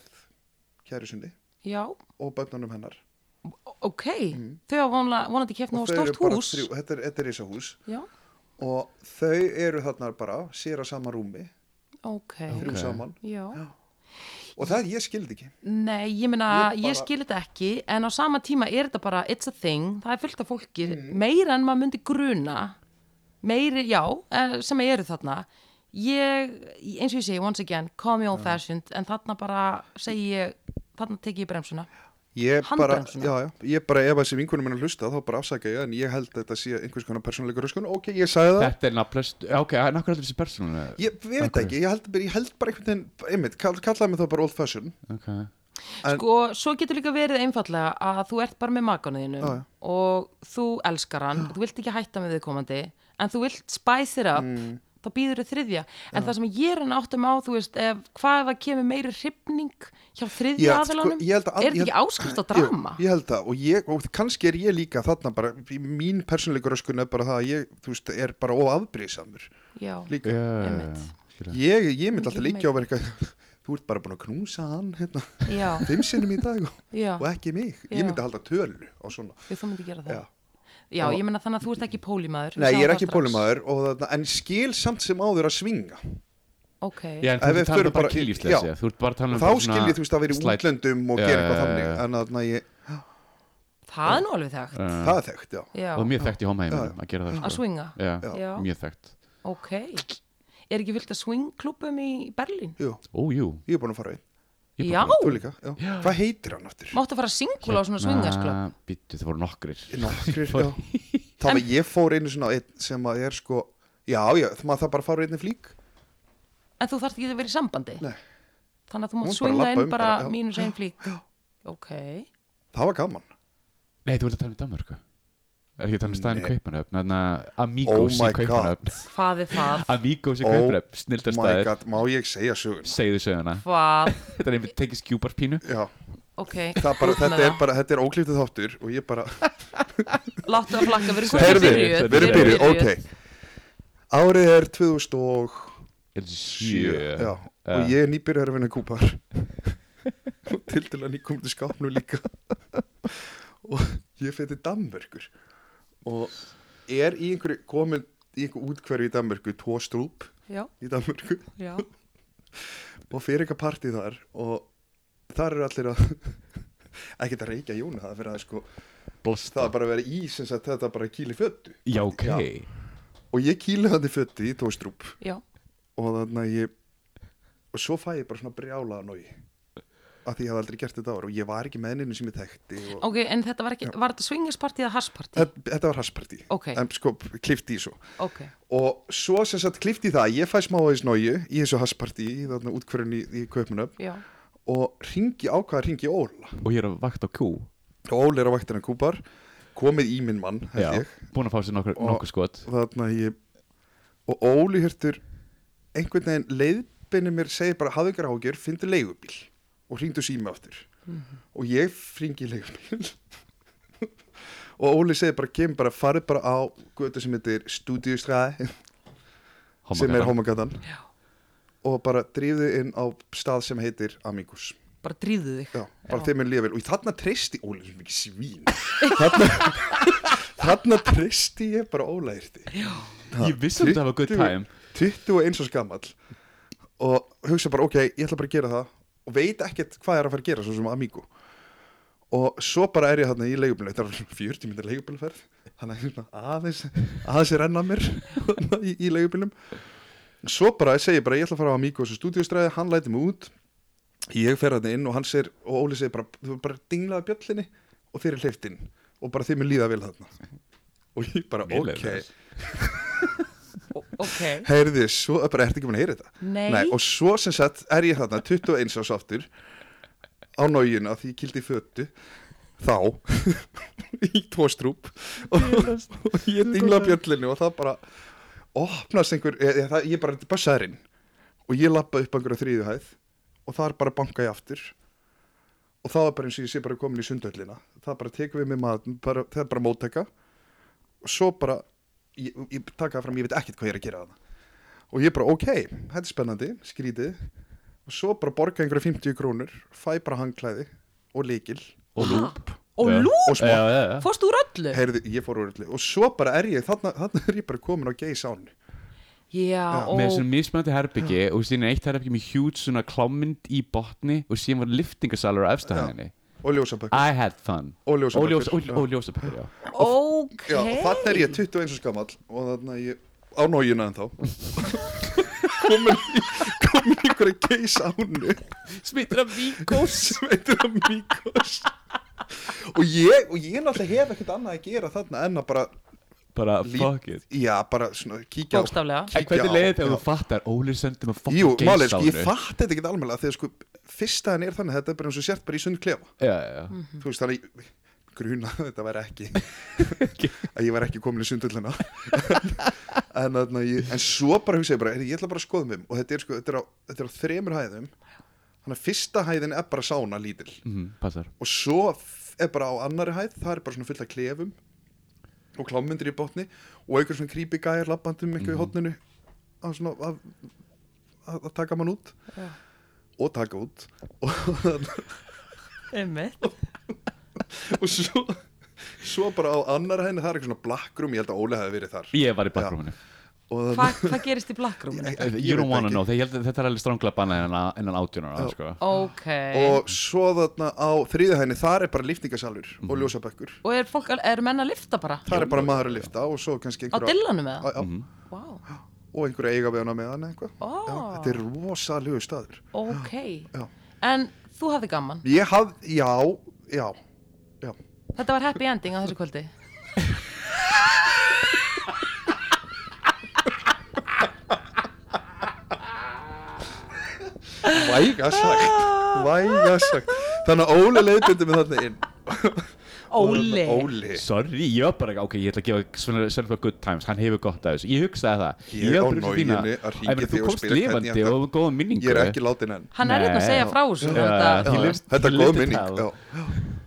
kæri sinni já, og börnunum hennar ok þau hafa vonandi, vonandi keft ná Mm. þau eru stórt bara hús þrjú, þetta er, þetta er ísa hús já, og þau eru þarna bara sér að sama rúmi, ok, þrjú Ok. saman já og það ég skildi ekki Nei, ég meina, Ég ég, bara- skil þetta ekki en á sama tíma er þetta bara it's a thing, það er fullt af fólki Mm. meira en maður myndi gruna meiri, já, eh, sem eru þarna ég, eins og ég segi once again, call me old fashioned en þarna bara segi ég þarna tek ég bremsuna ég bara, Handbremsuna. já, já, ég bara ef þessi vinkunum minn að hlusta þá bara afsaka ég en ég held að þetta sé einhvers konar persónuleika röskun ok, ég sagði það, Þetta er nafnlust, já, ok, en akkur heldur þessi persónulega ég, ég veit Akkur- ekki ég held, ég held bara einhvern veginn einmitt, kall, kallaði mig þá bara old fashion Ok, En- sko, svo getur líka verið einfallega að þú ert bara með makanu þínu Já, já. og þú elskar hann þú vilt ekki hætta með viðkomandi en þú vilt spice it up Mm. þá býður þau þriðja en það sem ég er hann áttum á þú veist, ef, hvað ef það kemur meiri hrifning hjá þriðja Já, sko, aðalanum ég held að- er ég þetta ekki held- áskrift á drama Jú, ég held það og, ég, og kannski er ég líka þarna bara, í mín persónuleika röskun er bara það að ég, þú veist, er bara óafbrýðsamur já, líka, já, já, Einmitt. já, skilja. ég, ég myndi alltaf Ég líka á verið eitthvað, þú ert bara búin að knúsa hann hérna, já, fimm sinnum í dag og, já, og ekki mig, Já. ég myndi halda tölu og svona, Jú, þú myndi gera það já já, ég menna þannig að þú ert ekki pólimaður Nei, ég er ekki bólumæður en skil samt sem áður að svinga okay. Já, en Ef þú við ert talað förum um bara bara í- kynlífsleysi já. Þú ert bara talað um þá bara skil svona ég þú veist að vera í slight- útlöndum og Já, gera já, eitthvað já, þannig já. en þarna ég, það er nú alveg þekkt Já. það er þekkt, já já, Og mjög þekkt í homaheiminum að gera það að sko. swinga Já, Já. mjög þekkt ok, er ekki fyllt að swingklubum í Berlín? Jú, Ó, jú ég er búin að fara einn, Ég Já, þú líka já. hvað heitir hann aftur? máttu fara að singula á Hérna- svona swingasklub Býttu, það Hérna, voru nokkrir Nokkrir, já þá var ég fór einu svona á einn sem að er sko já, já, það maður það bara fara einni flík en þú þarft ekki að vera í sambandi Nei. þannig að þú mátt Þú mátt bara swinga labba inn um bara bara, já. mínus einn flík ok, það var gaman, Nei, þú ert að tala um Danmörku Er ekki að tala um staðin Nei. Kaupanöfn Þannig að Oh Amigos my í Kaupanöfn hvað er það Amigos í Oh Kaupanöfn my Snildar staðir god, má ég segja sögun Segðu söguna hvað, Þetta er einmitt tekið skjúbarpínu já, ok það bara, út með þetta er bara, þetta er óklíftið þáttur og ég bara láttu að flakka, við erum hvort Heyrðu, byrjuð, við erum þið byrjuð, ok Árið er 2007 Sjö já, og ég er nýbyrjar að vinna í Kúpar og til til að nýkomum til skápnu líka og ég fyrir Danmörkur og er í einhverju komin í einhverju útkverju í Danmörku tvo strúp já, í Danmörku já, og fyrir eitthvað partí þar og þar eru allir að ekkert að reykja Jónu það er verið að sko það Blosta er bara að vera í sem sagt þetta er bara að kýli föttu Já, ok Já. og ég kýli þannig föttu í tvo strúp já, og þannig að ég og svo fæ ég bara svona brjálaða nógi að því ég hafði aldrei gert þetta ára og ég var ekki með nynnu sem ég þekkti og ok en þetta var ekki, var þetta swingaspartí eða hasspartí þetta, þetta var hasspartí Ok. en sko klifti í svo ok, og svo sem sagt klifti í það ég fæ smá aðeins nógi í þessu hasspartí í þarna útkvörun í, í kaupmunum já, og ringi ákvaða ringi Óla Og ég er að vakt á Q og Óla er á vaktina Kúpar komið í minn mann held Já ég Búin að fá sér nokkur, Og- nokkur skot þarna ég og Óli hértur einhvern veginn leiðbeinir mér segir bara hafðu ykkur ágjör, fyndu leigubíl og hringdu síma aftur og ég hringi í leigubíl og Óli segir bara kem bara, farið bara á götu sem heitir Studiostræði sem er Homagatan. homagatan og bara drífðu inn á stað sem heitir Amigos bara dríðu þig Já, bara þeim er líka vel og þarna treysti Óli sem ekki svín þarna, þarna treysti ég bara Óla yrti Ég vissi að þetta var good time 21 og skamall og hugsa bara ok, ég ætla bara að gera það og veit ekkert hvað er að fara að gera svo sem Amigo og svo bara er ég þarna í leigubílum þetta er 40 minnir leigubílferð þannig að svona aðeins aðeins er enna mér í, í leigubílum svo bara segi ég bara ég ætla að fara á Amigo þessu stúdíustræði, hann læti mig út ég fer þarna inn og hann segir og Óli segir bara, þú bara dinglaði bjöllinni og þeir er hleyftinn og bara þeim er líða vel þarna og ég bara Vel er ok það. O- ok, heyrði, svo, bara ertu ekki búin að heyra þetta Nei. og svo sem sagt er ég þarna 21 ás aftur á nájuna því ég kildi fötu þá í tvo strúp og, og ég dingla bjöllinu og það bara opnast einhver, ég, það, ég bara, bara særinn og ég lappa upp einhverja þriðu hæð og þar bara banka ég aftur og það var bara eins og ég sé bara komin í sundhöllina það bara tekur við mig maður bara, það er bara mótteka og svo bara ég, ég taka það fram, ég veit ekkert hvað ég er að gera það og ég bara ok, þetta er spennandi skrítið og svo bara borga einhverja 50 krónur fæ bara hangklæði og líkil Og lúp Og Já. lúp, og smá, Já, já, já fórstu úr öllu? heyrðu, ég fór úr öllu og svo bara er ég, þarna, þarna er ég bara komin á geis ánu Já, ó, með svona mismöndi herbyggi og síðan eitt herbyggi með hjút svona klámynd í botni og síðan var liftingasalur á efstu hæðinni og ljósabökk I had fun Og ljósabekkur. og, ljós, og, og ljósabekkur, já ok Já, og þannig er ég 21 skamall og þannig að ég á nógina en þá komin í komin í einhverja geis ánu Smittur af vík sem heitir að Mikos og ég, og ég náttúrulega hef ekkert annað að gera þarna en að bara Bara lít- fuck it já, bara svona kíkja Bókstaflega En hvernig Já, leiði þegar já. þú fattar Óli sendi með fucking Jú, málið, er, sko, geisánu ég fatt þetta ekki alveg þegar sko, fyrsta henni er þannig þetta er bara eins og sért bara í sundklefa Já, já, já þú veist þannig ég- gruna að þetta væri ekki að ég væri ekki komin í sundullina en, en, ég, en svo bara hugsa ég bara "Heyrðu, ég ætla bara að skoða mig um." og þetta er, sko, þetta, er á, þetta er á þremur hæðum þannig að fyrsta hæðin er bara sána lítil Mhm, Passar og svo f- er bara á annari hæð það er bara svona fullt af klefum og klámyndir í botni og einhver svona creepy gæjar labbandum eitthvað um í hotninu að, svona, að, að, að taka mann út og taka út og Einmitt og svo, svo bara á annar henni það er eitthvað svona black room, ég held að Óli hefði verið þar Ég var í bakgrúminu og Hva- það, Hvað gerist í blackroominu? Ég- ég You don't veit wanna ekki. know Þegar ég held að Þetta er alveg strángla banna innan, innan átjónara sko. Ok og svo þarna á þriðu henni þar er bara liftingasalur og ljósabökkur Og er, fólk, er menn að lifta bara? þar er bara maður að lifta og svo kannski Á einhverja dillanum eða? á- á- Vá, og einhverja eiga við hana með hann eitthvað Ó. Já, þetta er rosalegu staður ok Já. En þú hafði gaman ég haf, já, já já, Þetta var happy ending á þessu kvöldi væga sagt Ah. væga sagt þannig að Óli leiðbindi mig þarna inn Óli Óli Sorry, ég var bara, ok, ég ætla að gefa Svenna Svenna good times, hann hefur gott af þessu Ég hugsaði það var Ég á bara eins og nóginni þína- að hringja Ég meina, þig Þú og komst spyrja hvernig ég lifandi ætla- og eh? góða minningu ég er ekki látin enn Hann er Nei. hérna að segja frá þessu Já, þetta- He Já, lived- þetta he er góð lived it minning out. já.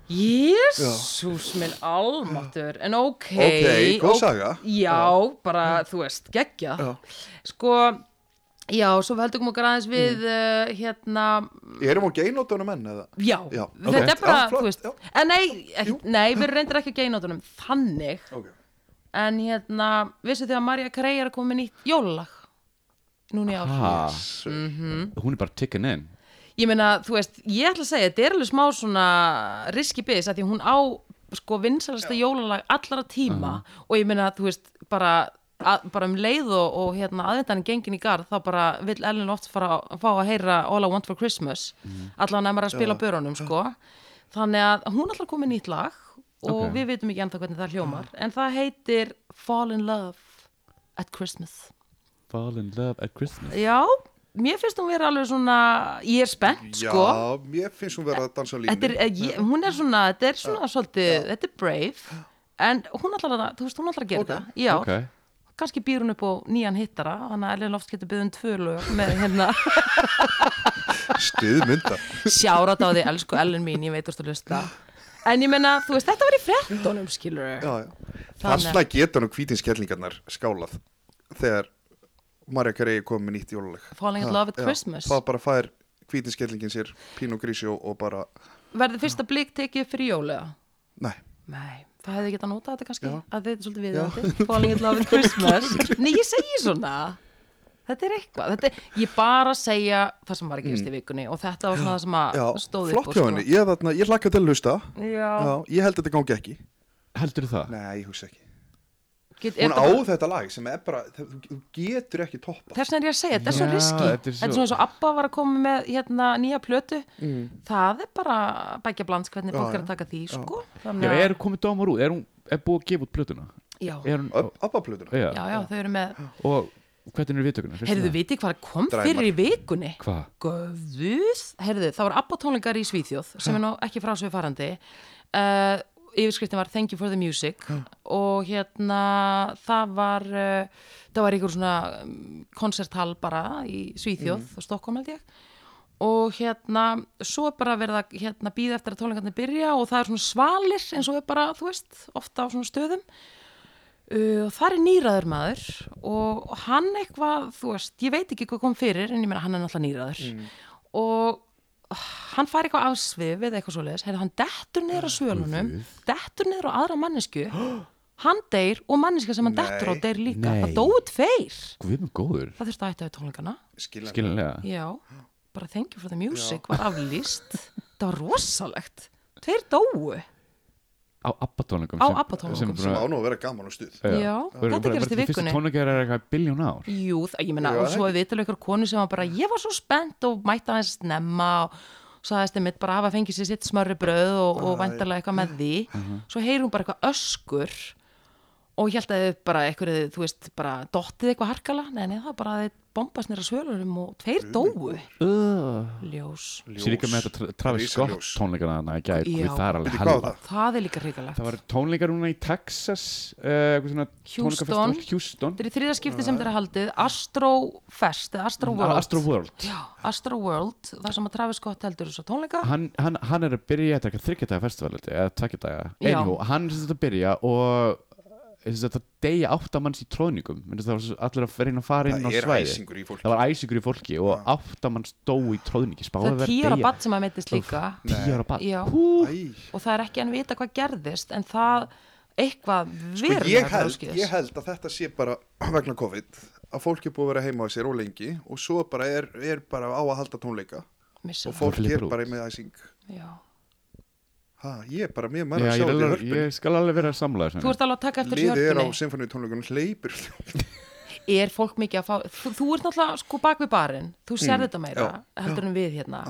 Jésús minn almáttur En ok Ok, góð ok, saga. Já, bara, þú veist, geggja Já. Sko, já, svo veldum okkur aðeins við Mm. uh, Hérna, erum við geinótunum enn eða? já, Já, Þetta ok. er bara, Já, flott, þú veist já. En nei, ekki, nei, við reyndir ekki að geinótunum Þannig, ok en hérna Vissu þið að Marja Krey er að koma með nýtt jólalag Núna í Ah. ár Ha, Mm, Hmm. Hún er bara tickin in Ég meina, þú veist, ég ætla að segja, þetta er alveg smá svona riski bis að því hún á sko vinsalasta jólalag allara tíma og ég meina, þú veist, bara, að, bara um leið og, og hérna aðvendanin gengin í garð þá bara vill Ellen oft fara að fá að heyra All I Want For Christmas allan að maður að spila á börunum, sko þannig að hún ætla að koma með nýtt lag og Ok. við vitum ekki ennþá hvernig það hljómar en það heitir Fall In Love At Christmas Fall in love at Christmas Já, mér finnst hún vera alveg svona ég er spennt, Já, sko mér finnst hún vera að dansa á línu þetta er, eh, ég, hún er svona, þetta er svona svolítið, þetta er brave en hún ætlar að, þú veist, hún ætlar að gera þetta já, Ok, kannski býr hún upp á nýjan hittara þannig að Ellen Lofts getur byggðum tvö lög með hérna, Stuðmynda sjárat á því elsku Ellen mín, ég veit úrst að lusta en ég meina, þú veist, þetta var í frettunum skilur, Þannig- Þarna getur hann hvítinskellingarnar skálað Þegar Marja Carey kom með nýtt jóluleg Falling in Love at Christmas. Það bara fær hvítinskellingin sér pín og grísi og, og bara verður fyrsta blik tekið fyrir jólega Nei, nei, það hefði getað notað þetta kannski að þetta er svolítið viðjöndi, Falling in Love at Christmas nei, ég segi svona Þetta er eitthvað, þetta er, ég bara segja það sem var að gerast í vikunni og þetta var svona það sem Mm. já, að stóði flott hjá henni Ég, þarna, ég lakka til að hlusta já. Ég held að þetta gangi ekki heldur það? Nei, ég hugsa ekki Get, Hún er þetta á bara- þetta lag sem er bara Þú þú getur ekki toppa Þess vegna er ég að segja, þetta er svo Já, riski þetta er Þetta er svo- svona eins og Abba var að koma með hérna, nýja plötu Mm. Það er bara bækja blands hvernig fólk já. er að taka því sko. Já, Þannig að- er komið dómar út? Er hún er búið að gefa út plötuna? já, Er hún, Abba-plötuna já. já, já, þau eru með Og hvernig eru viðtökunar? Heyrðu, vitið hvað kom Dræmar. fyrir í vikunni? Hvað? Guðuð, heyrðu, það voru Abba tónleikar í Svíþjóð sem er nú ekki frá svo farandi uh, Yfirskriftin var Thank you for the music og hérna það var uh, mm, það var einhver svona um, konserthall bara í Svíþjóð og Stokkólm held ég og hérna, svo er bara verið að hérna, býða eftir að tónleikarnir byrja og það er svona svalir eins og er bara, þú veist, ofta á svona stöðum uh, og þar er nýraður maður og hann eitthvað, þú veist, ég veit ekki hvað kom fyrir en ég meina hann er náttúrulega nýraður og uh, hann fær eitthvað afsvið við eitthvað svoleiðis, heyrðu, hann dettur niður á svölunum, dettur niður á aðra mannesku, hann deyr og manneska sem hann dettur á Nei. deyr líka, Nei. það dóu tveir, Guð minn Sko, góður, það þurfti að hætta við tónleikana. skilja skiljanlega Já, bara thank you for the music var aflýst. það var rosalegt. Tveir dóu. Á abbatónleikum Á ABBA-tónleikum sem á nú að vera gaman og stuð Já, þetta gerist í Fyrstu vikunni. tónleikar er eitthvað biljón ár Jú, það, ég meina, Já, og það svo við til ykkur konu sem var bara, ég var svo spennt og mætti aðeins snemma og sagðist einmitt bara hafa fengið sér sitt smörri bröð og, og vandarlega eitthvað með því. Mhm. Svo heyrir hún bara eitthvað öskur og ég held að þið bara eitthvað, þú veist, bara dottið eitthvað harkala. Nei, nei, það var bara að þið bombast nýra svölurum og tveir dóu. Sér Ljós. líka með þetta tra- Travis Rísaljós. Scott tónleikana þarna í gær, Já. Guð, það er alveg Bíddu, hvað var helva. það? Það er líka hrigalegt. Það var tónleikar núna í Texas uh, eitthvað svona tónleikafestival, Houston Þetta er í þriða skipti sem þetta er haldið Astrofest eða Mm, Astro World Astro World Já, Astro World, þar sem að Travis Scott heldur þessu tónleika hann, hann, hann er að byrja þetta er eitthvað þryggjadaga festival held ég, eða tveggjadaga Já. Enjú, hann er sem sagt að byrja og eh, sem sagt að deyja átta manns í tróðningum Menni, það var svo allir að reyna að fara inn á það er svæði æsingur í fólki það var æsingur í fólki og átta manns dó í tróðningi Það er tíu ára badd sem að meittist líka tíu ára bad Já, Æ. og það er ekki enn vita hvað gerðist en það eitthvað Sko, ég, verulega held, gráskeiðis. ég held að þetta sé bara vegna COVID að fólk er búið að vera heima á sér og lengi og svo bara er, er bara á að halda tónleika Missa og fólk Fólk er hleypur út. bara með æsing það. Já. ha, ég er bara mjög Já, mæri að ég, er sjá því alveg, hörpunni ég skal alveg vera að samla þessu Þú ert alveg að taka eftir þessu liðið er á hörpunni symfóníu tónleikunum hleypur er fólk mikið að fá þú, þú ert náttúrulega sko bak við barinn þú Mm. sér þetta meira, heldur en við hérna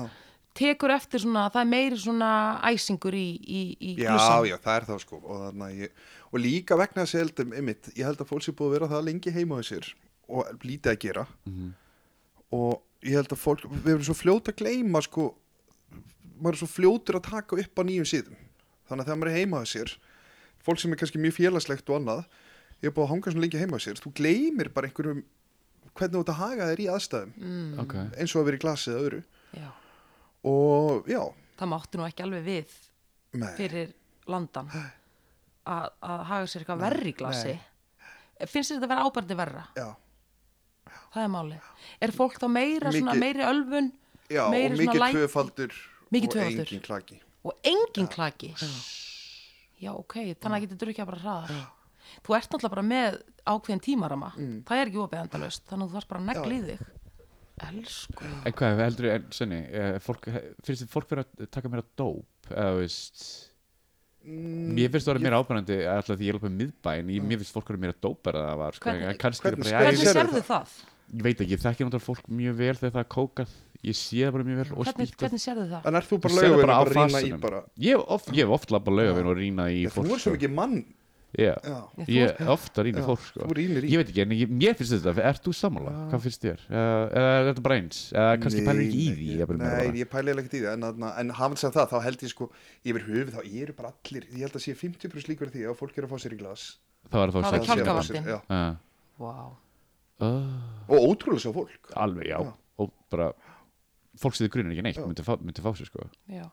tekur eftir svona, það er meiri svona æsingur í, í, í já, gluggann. já, það er það sko og, þarna, ég, og líka vegna þess að ég held, um, einmitt, ég held að fólk sé búið að vera það lengi heima á sér og lítið að gera Mhm. og ég held að fólk við erum svo fljót að gleyma sko maður er svo fljótur að taka upp á nýjum síðum þannig að þegar maður er heima á sér fólk sem er kannski mjög félagslegt og annað ég er búið að hanga svona lengi heima á sér þú gleymir bara einhverjum hvernig þú ert að haga þér í aðstæðum Mm. okay. eins og að vera í glasi eða öðru já. og já, það mátti nú ekki alveg við með fyrir landan að að haga sér eitthvað verri í glasi finnst þér þetta að vera ábærandi verra já, það er málið, er fólk þá meira svona, Mikið- meiri ölfun já meiri og svona mikið læti- tvöfaldur Mikið og tvöfaldur. engin klaki og engin klaki já ok, þannig að getur drukkja bara hraðar þú ert náttúrulega bara með ákveðin tímarama Mm. það er ekki óbeðandalaust, þannig að þú þarf bara að negla í þig elsku En hvað, heldur en senni fólk, eh, finnst þið fólk verið að taka meira dóp eða þú veist Mm, Mér finnst það að vera meira ábærandi alltaf því ég er alveg miðbæn, ég, mér finnst fólk verið meira dópar að það var, sko, Hvernig- en kannski er hvernig- bara, hvernig ég, sérðu sérðu það? ég veit ekki, ég þekki náttúrulega fólk mjög vel þegar það er kókað, ég sé það bara mjög vel og Hvernig, spýtt hvernig sérðu það? en er þú bara Þú sérðu lögum bara á að rýna í fastanum. bara Ég hef oft, ég hef oft labbað laugavinn og rýna í þú fólk sko. er svo mikið mann Já, já. Já, þú ég hef oft að rýna í Já, fólk sko. þú rýnir í. Ég veit ekki, en ég, mér finnst þetta, ert þú sammála? Hvað finnst þér? Eh, Eða er þetta bara eins? Eða eh, kannski Nei, pælir ekki í nei, því jafnvel meira bara. Nei, ég pælir ekkert í því En, þarna- en hafn sem það, þá held ég sko Yfir höfuð, þá eru bara allir Ég held að sé 50% líkur því að fólk er að fá sér í glas Það Ah. var þá Það var sex Það sé að fá kjálkavatn. sér, Kjálkavandinn. já. Já. Vá. Og ótrúlega svo fólk alveg já, og bara fólk sem þið grunar ekki neitt myndi fá, myndi fá sér sko Já.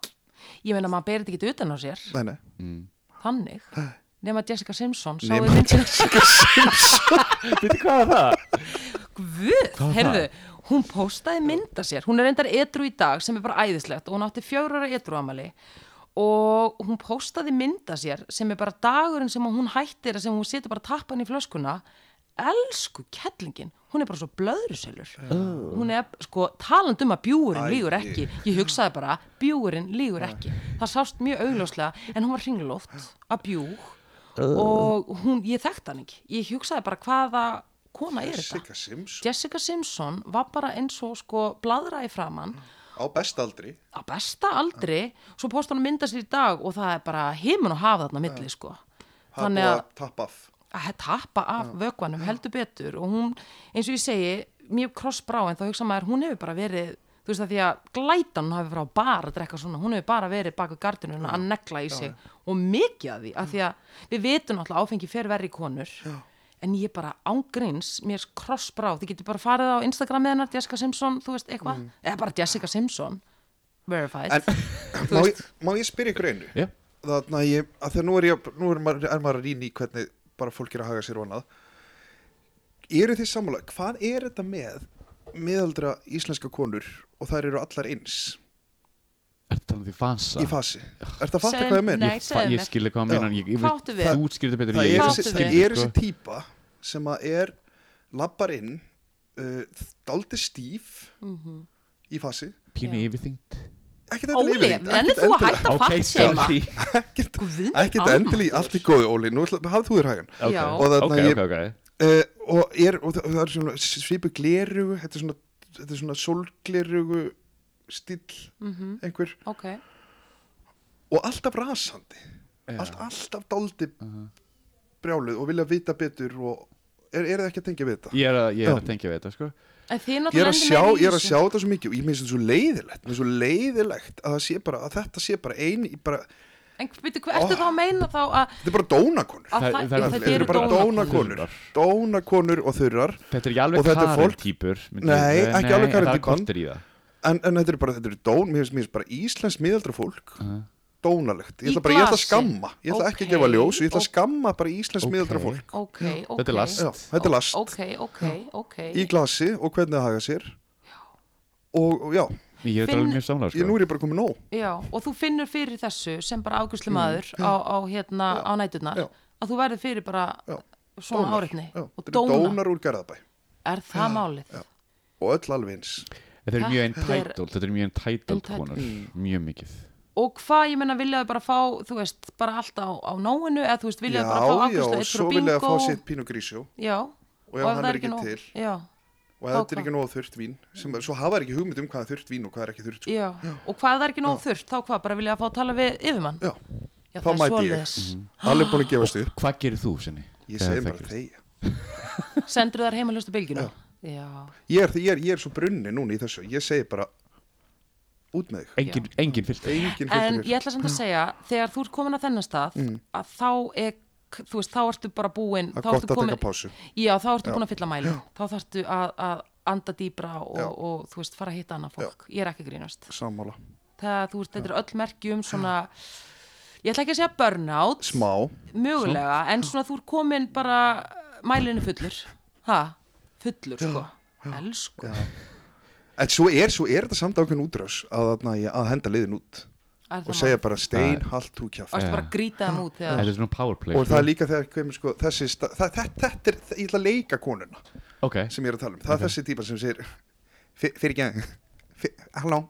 Ég meina maður berið ekki utan á sér Nei, nei þannig nema Jessica Simpson sáðu Nema myndin Viti hvað er það? Guð, heyrðu, hún postaði mynda sér hún er reyndar edru í dag sem er bara æðislegt og hún átti fjórara edru amali og hún postaði mynda sér sem er bara dagurinn sem hún hættir sem hún setur bara tappan í flöskuna elsku kettlingin hún er bara svo blöðruselur hún er sko taland um að bjúurinn Æi. lígur ekki ég hugsaði bara, bjúurinn lígur ekki það sást mjög augljóslega en hún var hringloft að bjúg Uh. og hún, ég þekkt hann ekki ég hugsaði bara hvaða kona er þetta Sigga Sims Jessica Simpson var bara eins og sko bladra í framann á bestaldri á besta aldri, svo posta hann mynda sér í dag og það er bara heimin og hafa þarna á milli sko. Það Þannig búið að, að tappa af að tappa af vökvanum heldur betur og hún, eins og ég segi, mjög krossbrá en þá hugsa maður, hún hefur bara verið, þú veist það því að glætan hún hafi frá bar að drekka svona, hún hefur bara verið bak við gardinuna að negla í sig og mikið að því, að því að við vitum alltaf áfengi fer verri í konur. Já. en ég bara ángríns, mér krossbráð, þið getur bara farið á Instagram með hennar Jessica Simpson, þú veist, eitthvað, eða bara Jessica Simpson, verified, En má ég, má ég spyrja ykkur einu? Já. Þannig að ég, að þegar nú er ég, nú er maður, er maður að rýna í hvernig bara fólk er að haga sér og annað. Eru þið sammála, hvað er þetta með meðaldra íslenska konur og þær eru allar eins Er þetta um því fansa? í fasi? Er þetta að fatta Segðu- hvað ég menn? nei. Ég, fa- segðu ég mér. skilði hvað hann Já. meinar ég, ég, Hvað áttu við? Þú skilði betur en Það ég er Hvað þessi, áttu það við? er þessi sko. típa sem að er labbar inn, uh, daldi stíf í fasi. Pínu yfirþyngd Ekki þetta Mhm. Óli, ennir þú að hætta að fatt seima? sorry. Ekkert, Guð minn ekkert almáttugur. endil í allt í góðu, Óli, nú ætla- hafðu þú þér hægan Ok, Já. og ok, þarna ég, ok, ok uh, og, er, og það, það er svona svipu glerugu, þetta er svona, þetta er svona sólglerugu stíll einhver Ok, og alltaf rasandi, allt, alltaf daldi brjáluð og vilja vita betur og er, er það ekki að tengja við þetta? Ég er að, ég er Já. að tengja við þetta sko en þið Ég er náttúrulega að lendir sjá, meira í ég er að þessu. sjá þetta svo mikið og ég minnst þetta svo leiðilegt, mér er svo leiðilegt að, það sé bara, að þetta sé bara ein, í bara, En byrju, hvað ertu þá að meina þá að, þetta er bara dónakonur. að Það- það, það er- það, Þetta það eru bara dónakonur. dónakonur, dónakonur og þurrar. Þetta er ekki Og alveg þetta er Karen fólk- típur myndi Nei, ég- ekki alveg en Karen Það er típan. kortir í það En, en þetta er bara, þetta er dón, mér finnst- mér finnst bara Íslands miðaldra fólk, dónalegt. Ég Í ætla bara, ég ætla að glasi. skamma, ég ætla ekki Ókei, að gefa ljós, ég ætla að ókei. skamma bara Íslands Ókei. miðaldra fólk. Ok, ok. Þetta er last. Já, þetta er last, Ok, ok, ok. í glasi og hvernig það haga sér. Og, og já, Ég er þetta Finn- alveg mjög samlega ég, sko nú er ég bara komið nóg. Já, og þú finnur fyrir þessu sem bara águstlu maður á, á, hérna, á næturnar. Mm, já. Að þú verður fyrir bara Já, svona dónar. áreitni. Já, Og þetta dóna. eru dónar úr Garðabæ Er það málið? og öll alveg eins. Þetta er Þetta mjög er- entitled Þetta er mjög entitled Entitled. Mm. konur Mjög mikið Og hvað, ég menna, viljaðu bara fá, þú veist, bara allt á, á nóinu, eða þú veist, viljaðu bara fá já, águstlu og eitt svo frá bingo. vilja að fá sitt pínu grísjó Já. Og ef ef hann það er ekki nóg- til. Já. og Þá ef þetta er hvað? ekki nóg þurrt vín, sem, svo hafa þær ekki hugmynd um hvað er þurrt vín og hvað er ekki þurrt. sko. Já, og hvað ef það er ekki nóg þurft, þá hvað, bara vilja að fá að tala við yfirmann? Já, Já, þá það er mæti ég. Mhm. svoleiðis. Alveg búin að gefast upp. Hvað gerir þú sinni? Ég segi bara þegja. Sendur þar heima hlusta bylginu? Já. ég er, ég, er, ég er svo brunni núna í þessu ég segi bara út með þig Engin, engin filter engin En hlutur ég ætla samt að segja, þegar þú ert komin að þennan stað, að þá er, þú veist, þá ertu bara búin. Mm. Það er þá gott ertu að komin- taka pásu. Já, þá ertu búin að fylla mælu. Þá þartu að, að anda dýbra og, Já. og, þú veist, fara að hitta annað fólk. Ég er ekki að grínast. sammála Það, þú veist, þetta er öll merki um svona, ég ætla ekki að segja burnout, smá mögulega, en svona þú ert komin bara, mælinu fullur. Ha? Fullur, sko. Elsku. en svo er, svo er þetta samt ákveðin útrás að, þarna ég- að henda liðin út Er og það segja bara stein haldt þú Og kjátt ertu bara að grýta þeim út Þetta þegar er svona powerplay og það er líka þegar kemur sko þessi sta- það, það, þetta er, það, ég ætla að leika konuna Ok sem ég er að tala um, það er þessi típa sem segir "Fyr- fyrir ekki halló,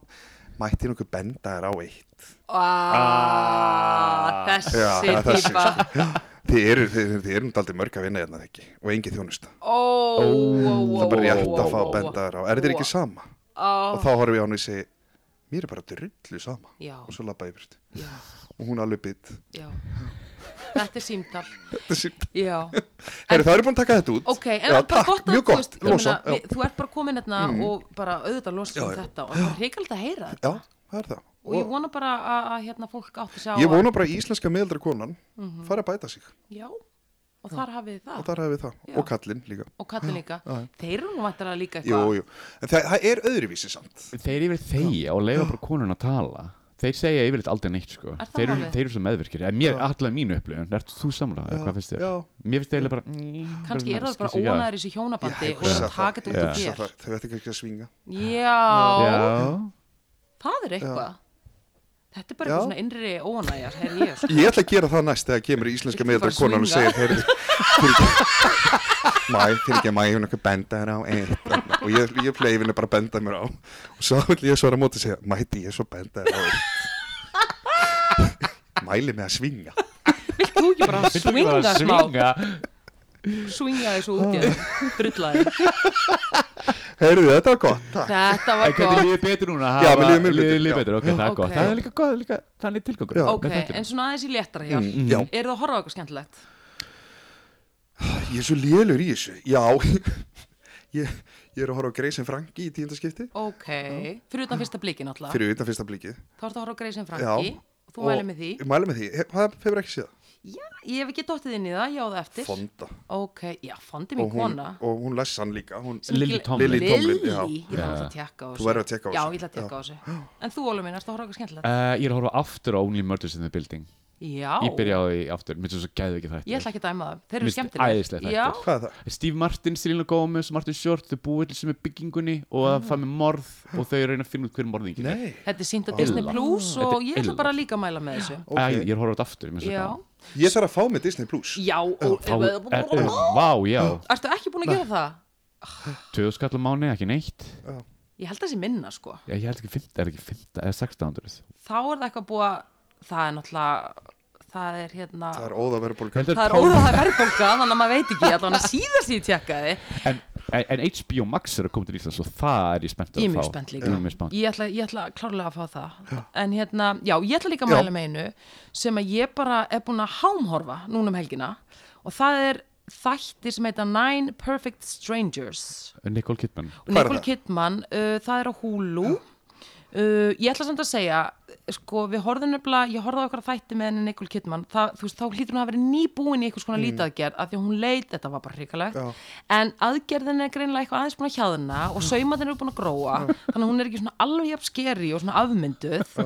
mætti nokkuð benda þær á eitt Ah, Þessi það er þessi, sko. típa þið eru, þið, þið eru aldrei mörg að vinna hérna ekki og engin þjónusta Ó, ó, ó, ó, það er bara ó, rétt að fá ó, að benda þér á er ó. þetta ekki sama? Ó, og þá horfum ég á hann og ég segi mér er bara drullu sama Já. og svo labba ég burt já, og hún alveg bytt já Þetta er símtal Herru, Já, það eru búin að taka þetta út ok, en Já, það er bara takk, gott að mjög þú gott, veist, ég losa meina, já. Mm. við- Þú ert bara komin hérna og bara auðvitað losa um þetta og það er reikald að heyra þetta já, það er það og ég vona bara að, að hérna fólk átti sig á ég að- Mhm. vona bara að íslenska miðaldra konan fari að bæta sig Já, og þar hafið þið og það þar hefði það, og kallinn líka og kallin líka, þeir eru nú vantar að líka jú, eitthvað jú. en það, það er öðruvísi samt Þeir yfir þeia og leiða bara konun að tala Þeir segja yfirleitt aldrei neitt sko Er það Þeir eru, málið? þeir eru svo meðvirkir En mér, allavega mínu upplifun Ert þú samlega? eða Hvað finnst þér? já. Mér finnst þeirlega bara mm, kannski eru það bara skýr sig, já. ónaðir í þessu hjónabandi Ég og eru hugsa að taka þetta út úr Hugsa þér það, þau ætti kannski að svinga Já, Já það er eitthvað Þetta er bara Já. eitthvað svona innri óanæjar, herri ég sko. ég ætla að gera það næst þegar kemur íslenska Viltu miðaldra bara konan og swinga? segir heyrðu, fyrir ekki mæ, fyrir ekki að mæ, ég hef nokkuð benda þær á eitt og ég, ég plegi henni bara að benda mér á og svo vil ég svara á móti og segja mæti ég svo benda þær á eitt mæli með að svinga Vilt þú ekki bara swinga smá Svinga Swinga þessu út í það Drullaði heyrðu þetta var gott Ah, takk. Þetta var En hvernig gott líður betur núna? Já, Hafa- mér líður mjög betur, Líður já. líður betur, ok, það er Ok. gott Það er líka gott, líka þannig tilgangur Já. Ok, en svona aðeins í léttara hér mm, já. Eru það að horfa á eitthvað skemmtilegt? ég er svo lélur í þessu já ég, ég er að horfa á Greysin Franki í tíundaskipti Ok, fyrir utan fyrsta bliki náttúrulega fyrir utan fyrsta blikið Þá ertu að horfa á Greysin já Franki og Þú mælir með því Ég mæli með því, He- það hefur ekki séð Já, ég hef ekki dottið inn í það, já það eftir Fonda Ok, já, fondi mín og hún, kona og hún les hann líka hún, sem Lily ekki- Tomlin. Lily, Lily Tomlin, já. ég þarf alltaf að Já. tekka á þessu Þú verður að tékka á Já, þessu. ég ætla að tekka á þessu En þú, Ólu mín, erstu að horfa okkur skemmtilegt Uh, ég er að horfa aftur á Only Murders in the Building Já, Ég byrja á því aftur, minnst þess að gæðu ekki þetta ég ætla ekki að dæma það Þeir eru Minnst skemmtilega æðislega þættir. Já, Hvað er það? Steve Martin, Selena Gomez, Martin Short Þau búið til sem er byggingunni og að fara með morð og þau reyna að finna út hver morðingin er. Nei þetta er sínt á Disney Illa. Plus Þetta og er ég ætla illa. bara líka að mæla með þessu Æ, Ég er að horfa á þetta aftur minnst þess Já, að gaman. Ég þarf að fá mig Disney Plus já og- Fá- er- er- Vá, já, Ertu ekki búin að gera það? töðuskallum mánu, ekki neitt Ég held að það sé minna, sko Já, Ég held ekki 15, er ekki 15 eða 1600 Þá er það eitthvað búið að Það er náttúrulega Það er hérna Það er óðaverubólka Heldur- Það er óðað að verðbólka, þannig að maður veit ekki allan að síðast ég tjekkaði. en, en, en HBO Max er að koma til Íslands og það er ég spennt að fá Ég er mjög spennt líka. Ég er mjög spennt. Ég ætla, ég ætla klárlega að fá það. En hérna, já, ég ætla líka að mæla með einu sem að ég bara er búin að hámhorfa núna um helgina og það er þætti sem heita Nine Perfect Strangers. Nicole Kidman Og Hvar er Nicole það? Kidman, uh, það er á Hulu. Uh, ég ætla samt að segja, sko, við horfðum nefnilega, ég horfði á okkar þætti með henni Nicole Kidman, það, þú veist, þá hlýtur hún að vera nýbúin í eitthvað svona mm. lítaðgerð, af því að hún leit, þetta var bara hrikalegt, Já. en aðgerðin er greinlega eitthvað aðeins búin að hjáðina og saumatin er búin að gróa, þannig að hún er ekki svona alveg jafn skeri og svona afmynduð,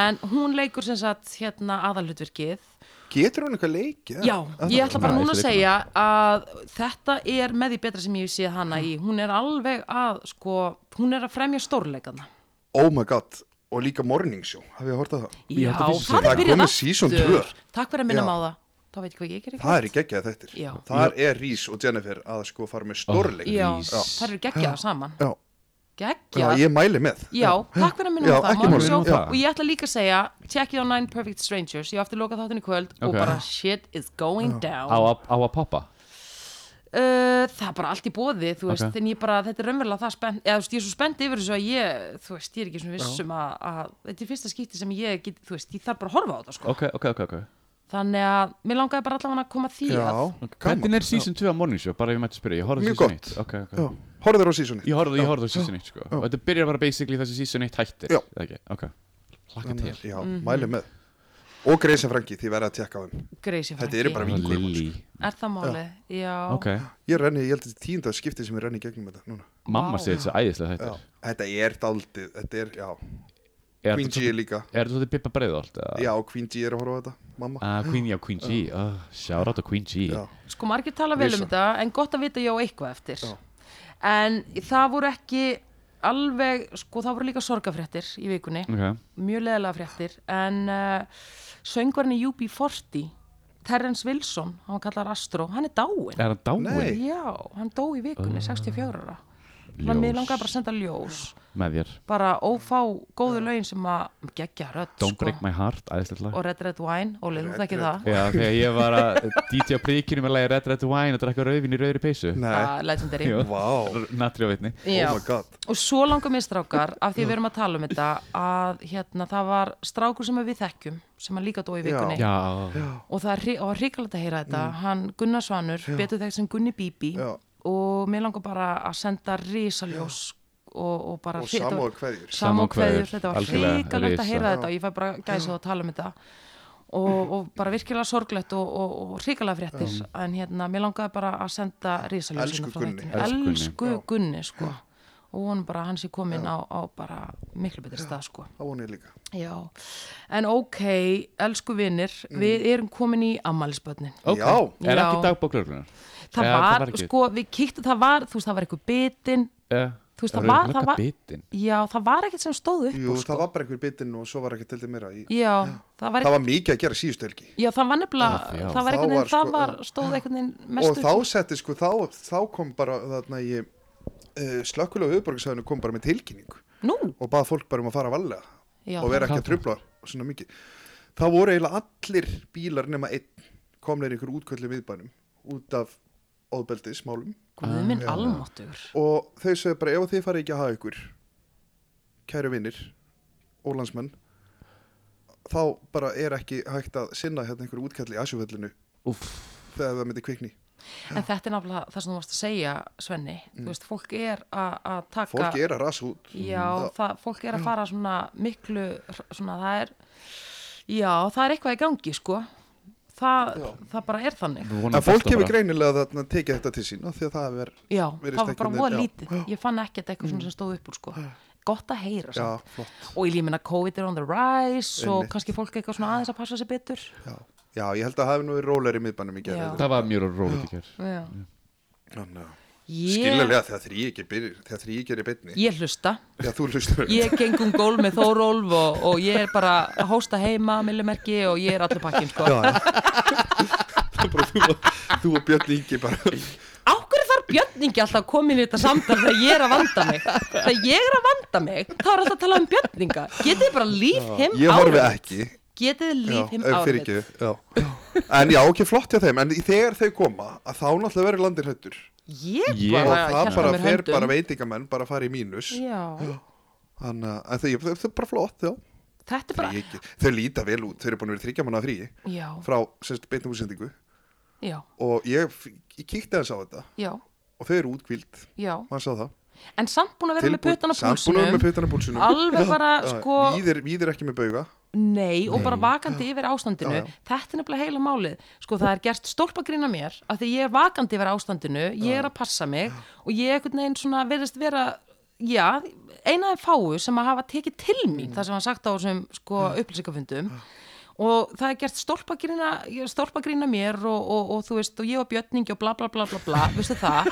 en hún leikur sem sagt, hérna, aðalhutverkið, Getur hún eitthvað leik? Já, ég ætla bara Nice, núna að leikuna. segja að þetta er með því betra sem ég sé hana í, hún er alveg að, sko, hún er að fremja stórleikana. Oh my god Og líka Morning Show Hafið ég hortað það? Ég Já, held að fyrstu það serían. er byrjað Það er komið season aftur 2. Takk fyrir að minna Já. mig á það Það veit ég hvað ég gerir Það er í geggjað þettir Já. Þar er Rís og Jennifer að sko fara með stórleik Já, Ís. það eru geggjaða saman Já. Já, Geggjaða ég mæli með Já, takk fyrir að minna Já, mig á það má ekki máli. sjá- Já. Og ég ætla líka að segja Checkið á Nine Perfect Strangers Ég á eftir loka þáttin í kvöld Og Ok. bara shit is going down á, uh, að- á að poppa Það er bara allt í bóði Þú veist, Ok. en ég bara Þetta er raunverulega það spennt Eða þú veist, ég er svo spennt yfir þessu að ég Þú veist, ég er ekki svona vissum að, að Þetta er fyrsta skipti sem ég get Þú veist, ég þarf bara að horfa á þetta sko Ok, ok, ok, ok Þannig að mér langaði bara allavega að koma því að Hvernig er season 2 á Morning Show? Bara ef ég mætti að spyrja, ég horfði á Mjög season gott. 1 Ok, ok Já. Horður á seasoni Ég horfði, ég horfði á season 1 sko Og þetta byrjar bara basically þessi season 1 hættir Já. okay, ok Laka til Já, Mhm. mæli með Og Greysa Franki, því verða að tekka á þeim Greysi Þetta eru bara vinkonur manns. Lily Er það málið? Já. Ok Ég renni, ég held að þetta er tíunda skipti sem ég renni í gegnum þetta núna Mamma Vá. segir þessi æðislega Já, þetta þetta er daldið, þetta er, já Er Queen G þetta er líka, er þetta svolítið Bippa Breiðholt? eða? já, Queen G er að horfa á þetta, mamma Ah, Queen, já, Queen G Ah, Shout out á Queen G Já, Sko margir tala vel um Lisa. þetta en gott að vita ég á eitthvað eftir. Já. En það voru ekki alveg, sko það voru líka sorgafréttir í vikunni. Ok Mjög leðilega fréttir. En uh, söngvarinn í UB40, Terrence Wilson, hann kallar Astro, hann er dáinn. Er hann dáin? Nei. Já, hann dó í vikunni, 64 ára. Ah, Ljós. Mér langaði bara að senda ljós. Með þér Bara ófá góðu lögin sem að gegja rödd, Don't sko. break my heart, æðislega lag. Og Red Red Wine, Óli, þú Red þekkir Red það. Já, þegar ég var að DJ á príkinu með lagi Red Red Wine og drakka rauðvin í rauðri peysu nei, Uh, legendary. Já. vá, oh Natriávitni Já. my god Og svo langar mér strákar, af því við erum að tala um þetta, að hérna, það var strákur sem við þekkjum, sem hann líka dó í vikunni. Já, Og það er hri- og var hrikalegt að heyra þetta. Hann Gunnar Svanur, betur þekkt sem Gunni Bíbi. Mm. Já. Og mér langar bara að senda risaljós og, og bara... Og samúð kveðjur. Samúð kveðjur, þetta var Algjörlega, hrikalegt risa. að heyra þetta og ég fæ bara gæsað að tala um þetta. Og, og bara virkilega sorglegt og, og, og hrikalega fréttir en hérna, mér langaði bara að senda risaljós Elsku hérna frá Gunni. þættinum. Elsku Gunni. Elsku Gunni, sko og honum bara að hann sé komin á, á bara miklu betri stað, sko Það vona ég líka Já, en ok, elsku vinnir, við erum komin í ammælisbötnin. Mm. ok Já. Er Já. ekki dagbók löglunar? Það Já, var, það var ekki- sko, við kíktum, það var, þú veist, það var eitthvað bitin, þú veist, það var, það var, bitin já, það var ekkert sem stóð upp, Jú, úr, sko. það var bara einhver bitinn og svo var ekki til þið meira í já, það var Það ekkert, var mikið að gera síðustu helgi já, það var nefnilega, Já, já. það var Þá eitthvað, var, það sko, var, stóð eitthvað Og mest þá upp, setti sko, þá, þá kom bara þarna í uh, Slökkulega höfuborgarsæðinu kom bara með tilkynningu nú, Og bað fólk bara um að fara valega já, Og vera það- ekki að trubla svona mikið Það voru eiginlega allir bílar nema einn Komleir ykkur útkvöldi miðbænum Út af óðbeldismálum guð Ah, minn almáttur, og þau sögðu bara ef þið farið ekki að hafa ykkur kæru vinnir og landsmenn þá bara er ekki hægt að sinna hérna einhverju útkalli í Asjúfellinu Úff þegar það myndi kvikni en þetta er náttúrulega það sem þú varst að segja, Svenni, þú veist, fólk er að að taka, fólki Mm. er að rasa út Já, það, fólk er að fara svona miklu, svona það er, já, það er eitthvað í gangi, sko. það, Já. það bara er þannig Við vonum En að besta fólk hefur bara. greinilega þarna tekið þetta til sín og því að það er já, það Virðist var bara einhvern móða veginn, já. Mm. lítið ég fann ekkert eitthvað svona sem stóð upp úr sko gott að heyra Já, samt flott og ég límina COVID er on the rise og Einmitt. kannski fólk eitthvað svona aðeins að passa sér betur Já, já ég held að það hefur nú verið rólar í miðbænum í Já. gerð Það var mjög rólið í hér já. ég, Skiljalega þegar þrý ekki byrjir Þegar þrý ekki er í byrni ég hlusta Já, þú hlustur ég geng um gól með Þórólf og, og ég er bara að hósta heima millimerki og ég er allir pakkin sko. Já, já Það er bara þú og- Þú og Björn Ingi bara á hverju þarf Björn Ingi alltaf að koma inn í þetta samtal þegar ég er að vanda mig þegar ég er að vanda mig, þá er alltaf að tala um Björn Inga getið þið bara líf him Ég horfi ekki getið þið Já, líf him eh, árið fyrirgefðu, já. En já, ekki flott hjá þeim En þegar þau koma, að þá náttúrulega verður landin hættur ég Ég- Og bara það hjálpa bara mér fer höndum bara veitingamenn Bara að fara í mínus já, Þannig að en þau- þau þau er bara flott, já þetta er Þau, bara ekki, þau líta vel út, þau eru búin að vera þryggja manna frí já, frá semst beintum útsendingu já, og ég, f- ég kíkti aðeins á þetta já, og þau eru útgvild, já maður sá það en samt búin að vera með Tilbúin- puttana samt búin að vera með púlsunum putana púlsunum alveg bara sko Víðir, víðir ekki með bauga Nei, og bara vakandi yfir ástandinu Já, já. Þetta er nefnilega heila málið Sko, það er gerst stólpagrín að mér af Því ég er vakandi yfir ástandinu, ég er að passa mig Og ég er einhvern veginn svona verðist vera Já, eina af fáu sem að hafa tekið til mín Mm. Það sem hann sagt á þessum sko, upplýsingafundum Og það er gert stólpagrína, stólpagrína mér og, og, og þú veist, og ég og Björningi og bla bla bla bla bla, veistu það?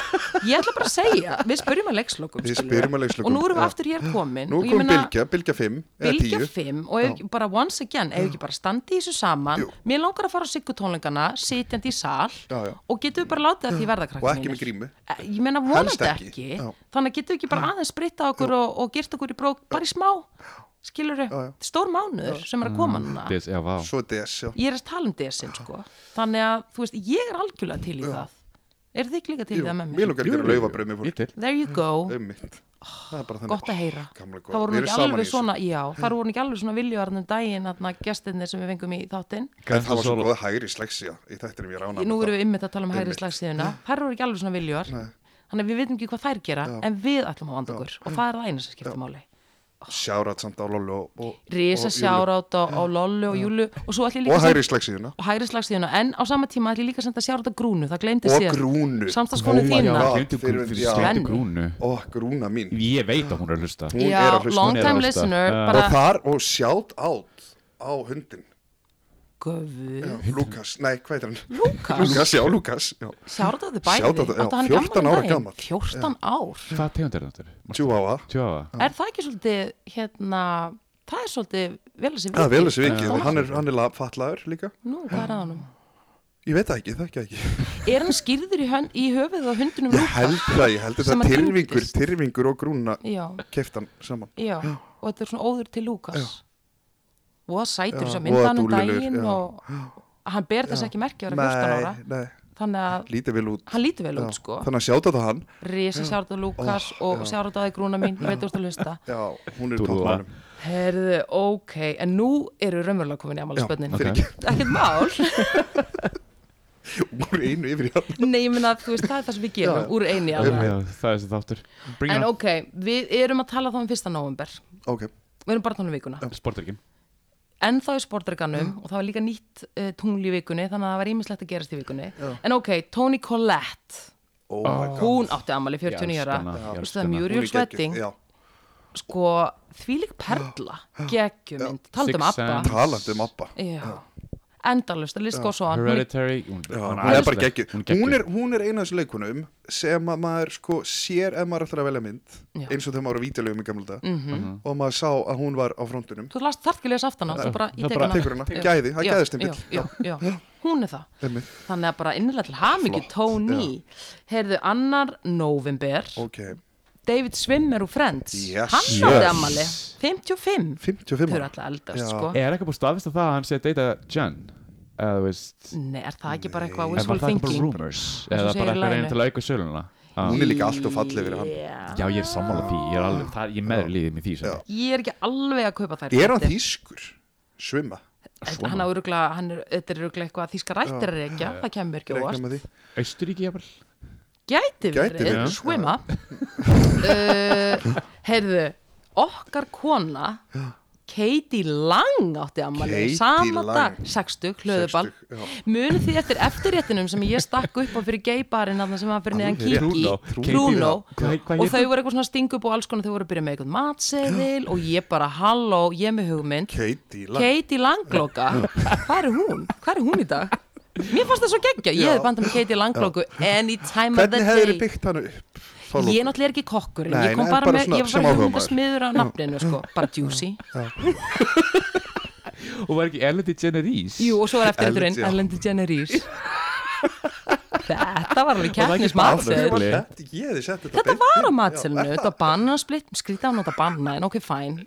Ég ætla bara að segja, við spyrjum að leikslokum Við skilurðu. spyrjum að leikslokum, Og nú erum við já. aftur hér komin Nú og ég kom meina- bylgja, bylgja 5 Bylgja 5 og ef, ekki- bara once again ef ekki bara standi í þessu saman Jú. mér langar að fara á siggutónleikana sitjandi í sal Já, já. og getum við bara látið að því verða krakki Og ekki með grímu. ég meina Helst vonandi ekki. ekki, Já. þannig að getum við ekki bara aðeins spritta okkur og, og gert okkur í brók bara í smá skilur Já, já. stór mánuður sem er að koma núna Des- Já, vá Svo DS, já ég er að tala um desin sko þannig að þú veist ég er algjörlega til í það er þið líka til í Jú, það með Mér mér? lókar að gera laufabröð með Ég fólk til There you go Ummitt Það er bara þannig gott að heyra Ó, gamla góða. það voru Við nú erum ekki alveg saman í þessu. Hmm. svona já, það voru nú ekki alveg svona viljuarnum daginn þarna gestinni sem við fengum í þáttinn En það var svo góð hægri slegsja í þættinum ég rána nú erum við ymmit að tala um hægri Einmitt. Hmm. slagsíðuna þær voru ekki alveg svona viljuar þannig að við veitum ekki hvað þær gera en við ætlum að vanda okkur og það er það eina sem skiptir máli Sjárat samt á Lollu og, og, risa og Júlíu. sjárátt á, á Lollu og Júlu og svo ætlum ég Og líka hægri slegsíðuna og hægri slagsíðuna en á sama tíma ætlum ég líka að senda sjárátt á grúnu það gleymdi Og sér grúnu samstagskonum my þína God. Gleymdu grú- Fyrir- fyrir já. Svenni. gleymdu grúnu Og grúna mín Ég veit að hún er að hlusta Hún já, er að Hún hlusta. long er að time hlusta. listener Já. Og bara þar og sjátt átt á hundin gufu Lukas, nei hvað er hann? Lúkas Lukas, já Lukas já. Sjárat á þið Shout bæði, out á- já, áttu hann 14 ára gammal gamall. 14 ár, Hvað tegund er þetta? Chihuahua Tjóa er það ekki svolítið hérna, það er svolítið vel að sé Það er vel þessi vikið, Stór- hann er, hann er la- fatlaður líka Nú, hvað er að honum? Ég veit það ekki, það ekki ekki Er hann skýrður í, hönd, í höfuð á hundunum Ég held það, ég held Sem þetta að Tyrfingur, týndist. Tyrfingur og grúna Já, keftan saman já, og þetta er svona óður til Lúkas og það sætur Já, þess að voða mynda hann um dúllulegur, daginn já. og hann ber þess ekki merki að vera 14 ára Nei, nei, þannig að lítið vel út hann lítur vel Já, út sko Þannig að sjátt átt á hann Risa sjárat á Lúkas og sjárat á þið grúna mín ég veit þú ert að hlusta Já, hún er Dúlla. tóttmálum Herðu, ok, en nú eru raunverulega komin í amálisbönnin ok. Ekkert mál Úr einu yfir í hann Nei, ég meina, þú veist, það er það sem við gerum úr eini alveg. Það er þessi þáttur Bring En it on ok, við erum að tala þá um fyrsta november Ok, Við erum bara að tala um vikuna Sportrykkin En þá í sportreganum og það var líka nýtt uh, tungl í vikunni Þannig að það var ímislegt að gerast í vikunni En ok, Toni Collette oh Ah. my god Hún átti ammali 49 ára Ég elska hana, ég Þú veist, það er elska hana. Hún er Muriel geggjuð, Sweating Já, Sko, þvílík perla Geggjumynd, talandi um Six Abba Sense. talandi um Abba Já, endalust, að list góð svo hann Hún er- Hereditary Hún Já, hún hún er bara æðisleg. geggjuð Hún hún, geggjuð. er- hún er eina af þessu leikunum sem að maður sko sér ef maður ætlar að velja mynd Já. Mhm. eins og þegar maður var á vídeolögum í gamla dag Mhm. og maður sá að hún var á frontunum Þú last þarf ekki að lesa aftan á, þú bara í Það bara tekuna tekur hana, gæði, það gæðist einn Já, já, já, hún er það bíl Þannig að bara innlega til hamingi Flott, Tony Heyrðu, annar november ok, David Swimmer úr Friends Yes. Hann Yes. átti ammali 55 Þau 55 eru ára alltaf eldast, Já. sko Er ekki búin að staðvista það að hann sé að deyta Jen Eða þú veist Nei, er það ekki bara eitthvað En wishful var það ekki bara thinking? rumors Eins og Eða segir í bara eitthvað laginu. reynd til að auka söluna Já. hún er líka allt og fallið fyrir hann Já, Já, ég er sammála því Ég er alveg það- Ég meður líðið með því sem er. ég er ekki alveg að kaupa þær er hann fréttir. þýskur? svimma Þetta- Hann á örugla, hann er, þetta er örugla eitthvað þýska rættir að reykja, það kemur ekki óvart Reikna með því. Austuríki jafnvel Gæti Gæti verið, verið. svima uh, Heyrðu, okkar Eh, kona Katie Lang átti ammali Katie sama Lang. dag, 60, hlöðuball Sextug, já. munið því eftir eftirréttinum sem ég stakk upp á fyrir geibarinn þarna sem var fyrir neðan Alveg rétt. kiki Trúnó. Trúnó Hvað- hvað og hét þau voru eitthvað svona sting upp og alls konar þau voru að byrja með eitthvað matseðil og ég bara halló, ég er með hugmynd Katie Lang Katie Langloka hvað er hún? hvað er hún í dag? Mér fannst það svo geggja, ég hefði bandað með Katie Langloku any time of the Hvernig hefur day þið byggt hann upp? þá lóku? Ég náttúrulega er ekki kokkurinn, Nei, ég kom nei, bara, bara með, svona ég var sem bara áhugamaður. hugmyndasmiður á nafninu sko, bara juicy og var ekki Ellen DeGeneres Jú, og svo var Ellen, eftirleiturinn já. Ellen DeGeneres Þetta var alveg var ekki keppnis bara- Af hverju matseðil var þetta- Ég hefði sett þetta Þetta beint var á inn. matselinu, þetta var banna splitt, skrýta hann þetta banna, en ok, fæn.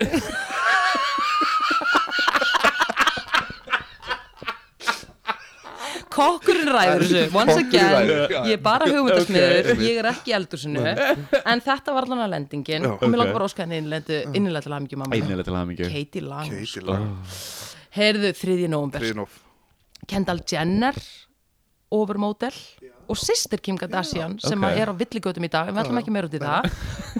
Kokkurinn ræður þessu, once Kokkurinn again, ræður, já. ég er bara hugmyndasmiður, ég er ekki í eldursinu, en þetta var allan að lendingin Já, og mér ok. langar bara óskan innilega til hamingju mamma. Einnilega til hamingju Katie Lang. Katie Lang Heyrðu, 3. november, Trin of Kendall Jenner, overmodel og sýstir Kim Kardashian sem ok. okay. er á villigötum í dag, en við ætlum ekki meira út í það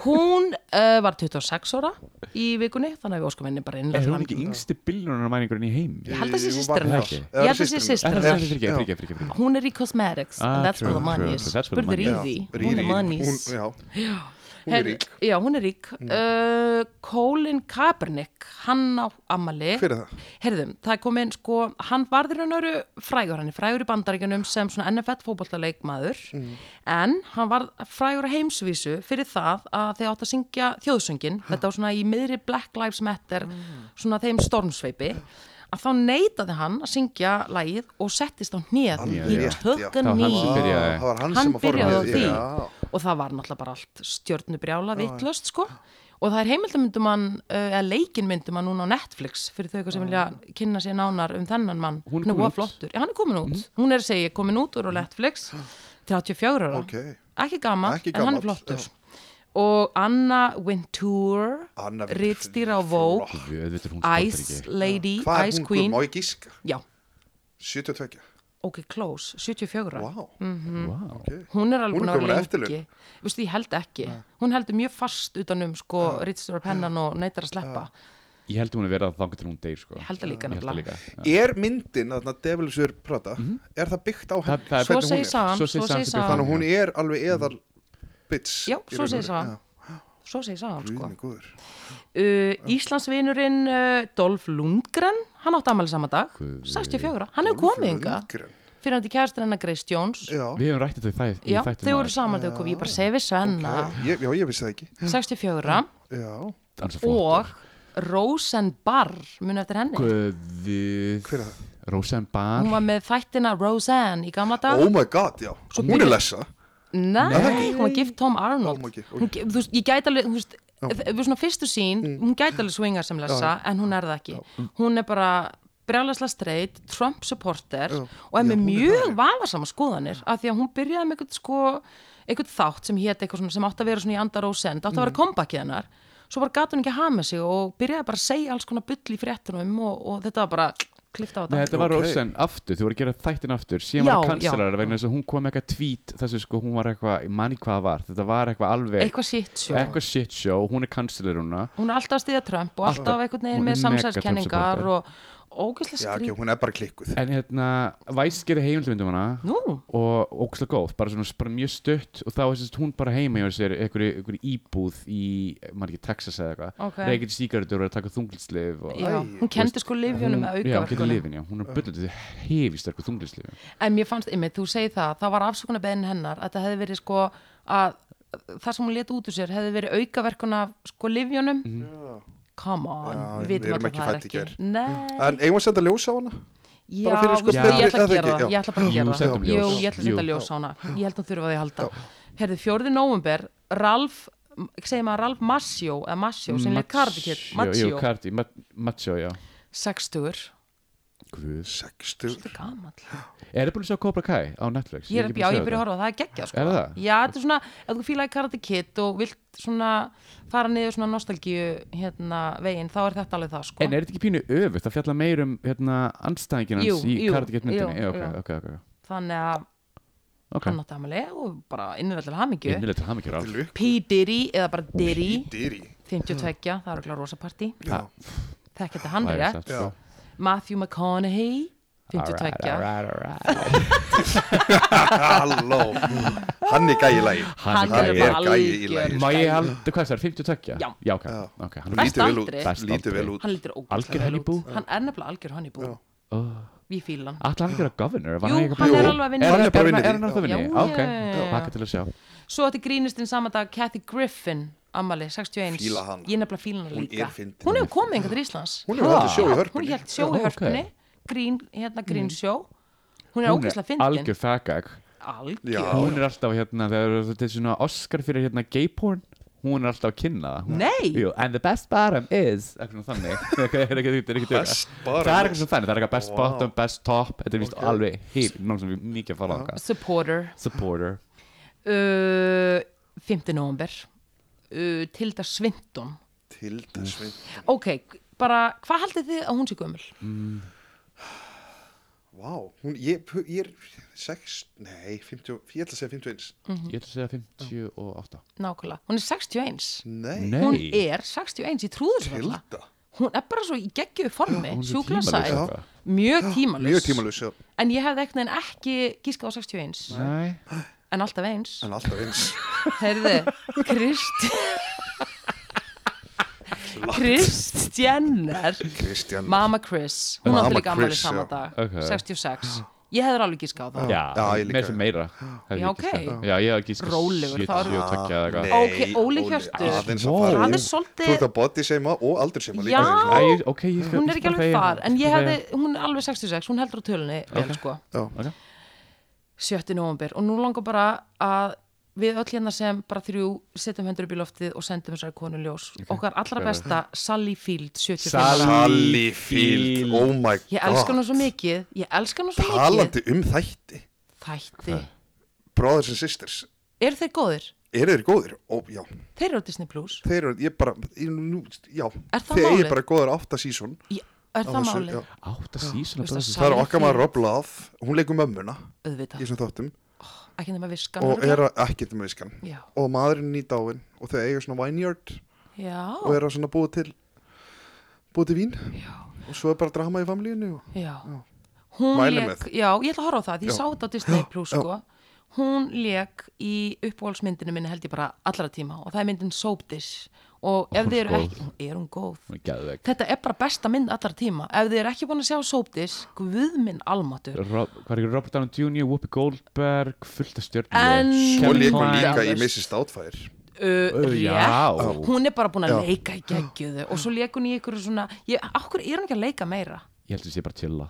hún uh, var 26 ára í vikunni, þannig að við óskum henni bara innlega Er hún ekki yngsti billunarmæningurinn í heim? Ég held að sé Jú, systir var það hennar. ekki? Ég held að sé Eða systir Er hennar. það fyrir ekki, fyrir ekki, fyrir ekki hún er í cosmetics Ah, and that's where true, the money true, is true. That's where the spurði Ríði, hún money Já, er money Hún, is já, hún er Her- rík já, hún er rík uh, Colin Kaepernick hann á Amali Hver er það? Herðum, það kom inn sko, hann varður hann öru frægur, hann er frægur í bandaríkjunum sem svona NFL fótballaleikmaður Mm. en hann var frægur á heimsvísu fyrir það að þeir átt að syngja þjóðsöngin, þetta var svona í miðri Black Lives Matter, Mm. svona þeim stormsveipi, að þá neytaði hann að syngja lægið og settist á hnið Alveg í rétt, já. tökkan Það var hann ný sem byrjaði. Það var hann, hann sem að fór byrjaði á með- því Já, og það var náttúrulega bara allt stjörnubrjála vittlöst sko og það er heimildamundum hann eða leikinn hann núna á Netflix fyrir þau eitthvað sem vilja kynna sér nánar um þennan mann hann Hún er er komin voða út. flottur, já hann er komin út Mm. hún er að segja komin út úr á Netflix 34 ára, ok ekki gammal Ekki en hann gamall, er flottur og Anna Wintour Anna Wintour, rittstýra á Vogue Við veitum hún Ice spottar ekki Lady, Hvað er Ice hún guð? Queen Má ég gíska? já, 72 ok, close, 74 Vá, wow. mm. Vá hún er alveg Hún búin að er komin á vera lengi eftirlaun. Vistu, ég held ekki, hún heldur mjög fast utanum sko Ritstjóra pennan og neytar að sleppa Ég held hún að vera þangur til hún deyr sko Ég held það líka Ég held það nefnilega. líka Er myndin, þarna Devilsur Prata Er það byggt á Mhm. Það- henni? það er Svo hvernig hún segir er. sagan, Svo svo segir segir sagan sem byrjar. sagan. Þannig að hún er alveg eðal bitch Já, í svo raun og segir veru. sagan. Já, Svo segi sagan sko guð minn góður. uh, Íslandsvinurinn uh, Dolf Lundgren, hann átti ammæli sama dag 64, hann hefur komið ynga Lundgren. fyrir hann til kæðastur hennar Grace Jones Já, Við hefum rættið þau það Já, þau voru saman þegar þau komið, ég bara segi við Svenna ég, já, ég vissi það ekki 64 Já, og Rosenbarr, muni eftir henni Guðið Hver er það? Rósan Bar Hún var með þættina Roseanne í gamla dag oh my god, já Hún er lessa Nei, hún var gift Tom Arnold Tom var gift, ok. Mm. hún, ge- þú veist, ég gæti alveg, þú veist eh, við svona fyrstu sín, hún gæti alveg swingar sem lesa, en hún er það ekki hún er bara brjálæsla streit Trump supporter og er með mjög vafasama skoðanir, af því að hún byrjaði með eitthvað sko, eitthvað þátt sem hétt eitthvað svona sem átti að vera svona í andar og send átti að Mm. vera kompakið hennar, svo bara gat hún ekki að hafa með sig og byrjaði bara að segja alls konar bull í fréttunum og, og þetta var bara klift á Nei, þetta þetta var Ok. Rósan aftur, þú voru að gera þættin aftur síðan Já, var kanslera vegna þess að hún kom með eitthvað tweet þessu sko, hún var eitthvað, ég manni hvað það var þetta var eitthvað alveg, eitthvað sitt sjó eitthvað shit show hún er kansleruna, hún er alltaf að stiðja Trump og alltaf einhvern veginn Hún er með mega samsæðiskenningar og Já, ógeðslega ekki, skrýt hún er bara klikkuð en hérna Væs gerði heimildmyndum um hana Nú, og ógslag góð, bara svona bara mjög stutt og þá er sérst hún bara heima hjá sér einhverju einhverju íbúð í, maður ekki Texas eða eitthvað, Ok. reykir sígaretur og er að taka þunglitslif og já, hún kendi sko hún, livjunum með já, hún getur aukaverkunum lifin, já, hún er byrjandi hefistarku þunglitslif En mér fannst, einmitt, þú segir það, það var afsökunarbeðin hennar að það hefði verið sko að það sem hún let út úr sér hefði verið aukaverkun af sko livjunum Come on, Mhm. Já, við við vitum erum alltaf ekki það er fædd í ekki gær. Nei, En eigum við að setja ljós á hana? já, bara fyrir sko veistu, ég betri- ætla að eða gera ekki, það, já. ég ætla bara Jú, að gera sendum það ljós. Jú, ég ætla að senda Jú. ljós á hana, ég held hún þurfa á því að halda Herðu, 4. november, Ralf segir maður Ralf Masjó eða Masjó, sem leik Kardikitt, Jú, Masjó Cardi, Ma- Macho, já sextugur Guð. Sextu Þetta er gamall Er það búin að sjá Cobra Kai á Netflix? Ég er, ekki já, búin ég byrja að sjá þetta. horfa á það, það er geggjað sko. Er það? Já, þetta er svona, ef þú fílaði Karate Kid og vilt svona fara niður svona nostalgíu hérna veginn, þá er þetta alveg það sko. En er þetta ekki pínu öfugt að fjalla meir um hérna, anstæðingin hans Jú, í jú, Cardi Get myndinni? jú, Jú, ok, jú. ok, ok, ok. Þannig að Ok. hann átti amalið og bara innlega til hamingju. Innilega til hamingju Ralf. Lukk P. Diddy eða bara Diddy, Dýri 52, það er okkur rosa partí. Já, þekkja þetta hann Væri satt, rétt sko. Matthew McConaughey 52 Alright, alright, alright. Halló Hann er gæi í lagi Hann Hann er er gæi. bara gæi í algjör lagi. Má ég halda, hvað það er, 52? Já. Já, ok, Já. ok hann Best lítur- Lítur vel út, aldrei. Best lítur vel aldrei. út. hann lítur ógeðslega Algjör Oh. vel honeybú. út. hann er nefnilega algjör honeybú Já. við fílan Ætla hann ekki að vera governor? Var Jú, ekki hann bara- er Jú. alveg að vinna Er Hann er bara er- að vinna Er hann því. að það vinni? Já, Ok, já, já, já. pakka til að sjá svo átti grínistinn saman dag Kathy Griffin ammali 61 Fíla hana. ég nefnilega fíla hana Hún líka er fyndin. hún hefur komið einhvern til Íslands Hún hefur haldið sjó í hún hörpunni held sjó Ó, í ok. Mm. hörpunni grín, hérna grín sjó hún er ógeðslega fyndin algjör fagag Já. algjör Hún er alltaf hérna, þegar þetta er svona Oscar fyrir hérna gay porn Hún er alltaf að kynna það Hún- Nei. Jú, and the best bottom is Eitthvað svona þannig Ok, Það er ekki þetta er ekki þetta Best Það bottom er is. eitthvað svona þannig, það er eitthvað best Wow. bottom, best top Þetta er vist alveg heil, náttúrulega mikið að fara þangað supporter Supporter uh, 5. november uh, Tilda Svindon Tilda Sveit ok, bara hvað haldið þið að hún sé gömul? Vá, hún, ég, ég er 6, nei, 50, ég ætla að segja 51 Ég ætla að segja 58 nákvæmlega, hún er 61 Nei, Nei. hún er 61 í trúðusvölda Tilda hún er bara svo í geggjöðu formi hún er svo sjúklasæ, tímalaus eitthvað. mjög tímalus Mjög tímalus, já, en ég hefði ekkert en ekki gískað á 61 Nei en alltaf eins en alltaf eins Herði, Krist Krist Jenner Kristján Mama Chris, hún Mama átti líka ammali Chris, sama já. dag Ok. 66, ég hefði alveg gískað á það Já, Já, ég líka. með sem meira hefði Já, ég giskað. ok. Já, ég hef gíska Rólegur, þá er- 72 tveggja eða eitthvað Ok, Óli Hjörtur. aðeins að Wow. fara Það er í- svolítið- Þú ert að body seima og aldur seima líka Já. aðeins. Æ, ok, ég skal hún er ekki bara alveg þegja. þar en ég Bara hefði, þegja. hún er alveg 66 hún heldur á tölunni vel sko Já. Ok. 7. november og nú langar bara að við öll hérna sem bara þrjú setjum hendur upp í loftið og sendum þessari konu ljós okkar allra besta Sally Field 75 ára. Sally Field, oh my god ég elska hana svo mikið ég elska hana svo mikið Talandi um þætti þætti, Brothers and Sisters, eru þeir góðir? eru þeir góðir? Ó, já, þeir eru á Disney Plus þeir eru, ég bara, ég, nú, já Er það Þeir málið? eru bara góðar átta sísón Ég- er það málið? Átta Veistu að sísona bróðir. Sally Það er okkar maður Field- Rob Love, hún leikur mömmuna í auðvitað, svona þáttum ekki nema viskan og er að, ekki þetta með viskan Já. og maðurinn í dáin og þau eiga svona vineyard já, og er að svona búa til búa til vín já. og svo er bara drama í famlíinu og... Já. Hún Mælum lék, með. já, ég ætla að horfa á það, því ég Já. sá þetta á Disney Plus sko. Hún lék í uppbólsmyndinu minni held ég bara allra tíma og það er myndin Soap Dish og ef hún þið er eru góð. ekki, Hún- er hún góð? Hún er geðveik. Þetta er bara besta mynd allra tíma. Ef þið eru ekki búin að sjá Soap Dish, guð minn almatur. Rob- Hvað er ekki Robert Downey Jr., Whoopi Goldberg fullt af stjörnum En- svo Kevin leikur hún Klein. líka í Dallas. Mrs. Doubtfire Uh, Ö, já. rétt. Hún er bara búin að Já. leika í geggjöðu og svo leik hún í ykkur svona, ég, okkur er hún ekki að leika meira? Ég held að það sé bara að chilla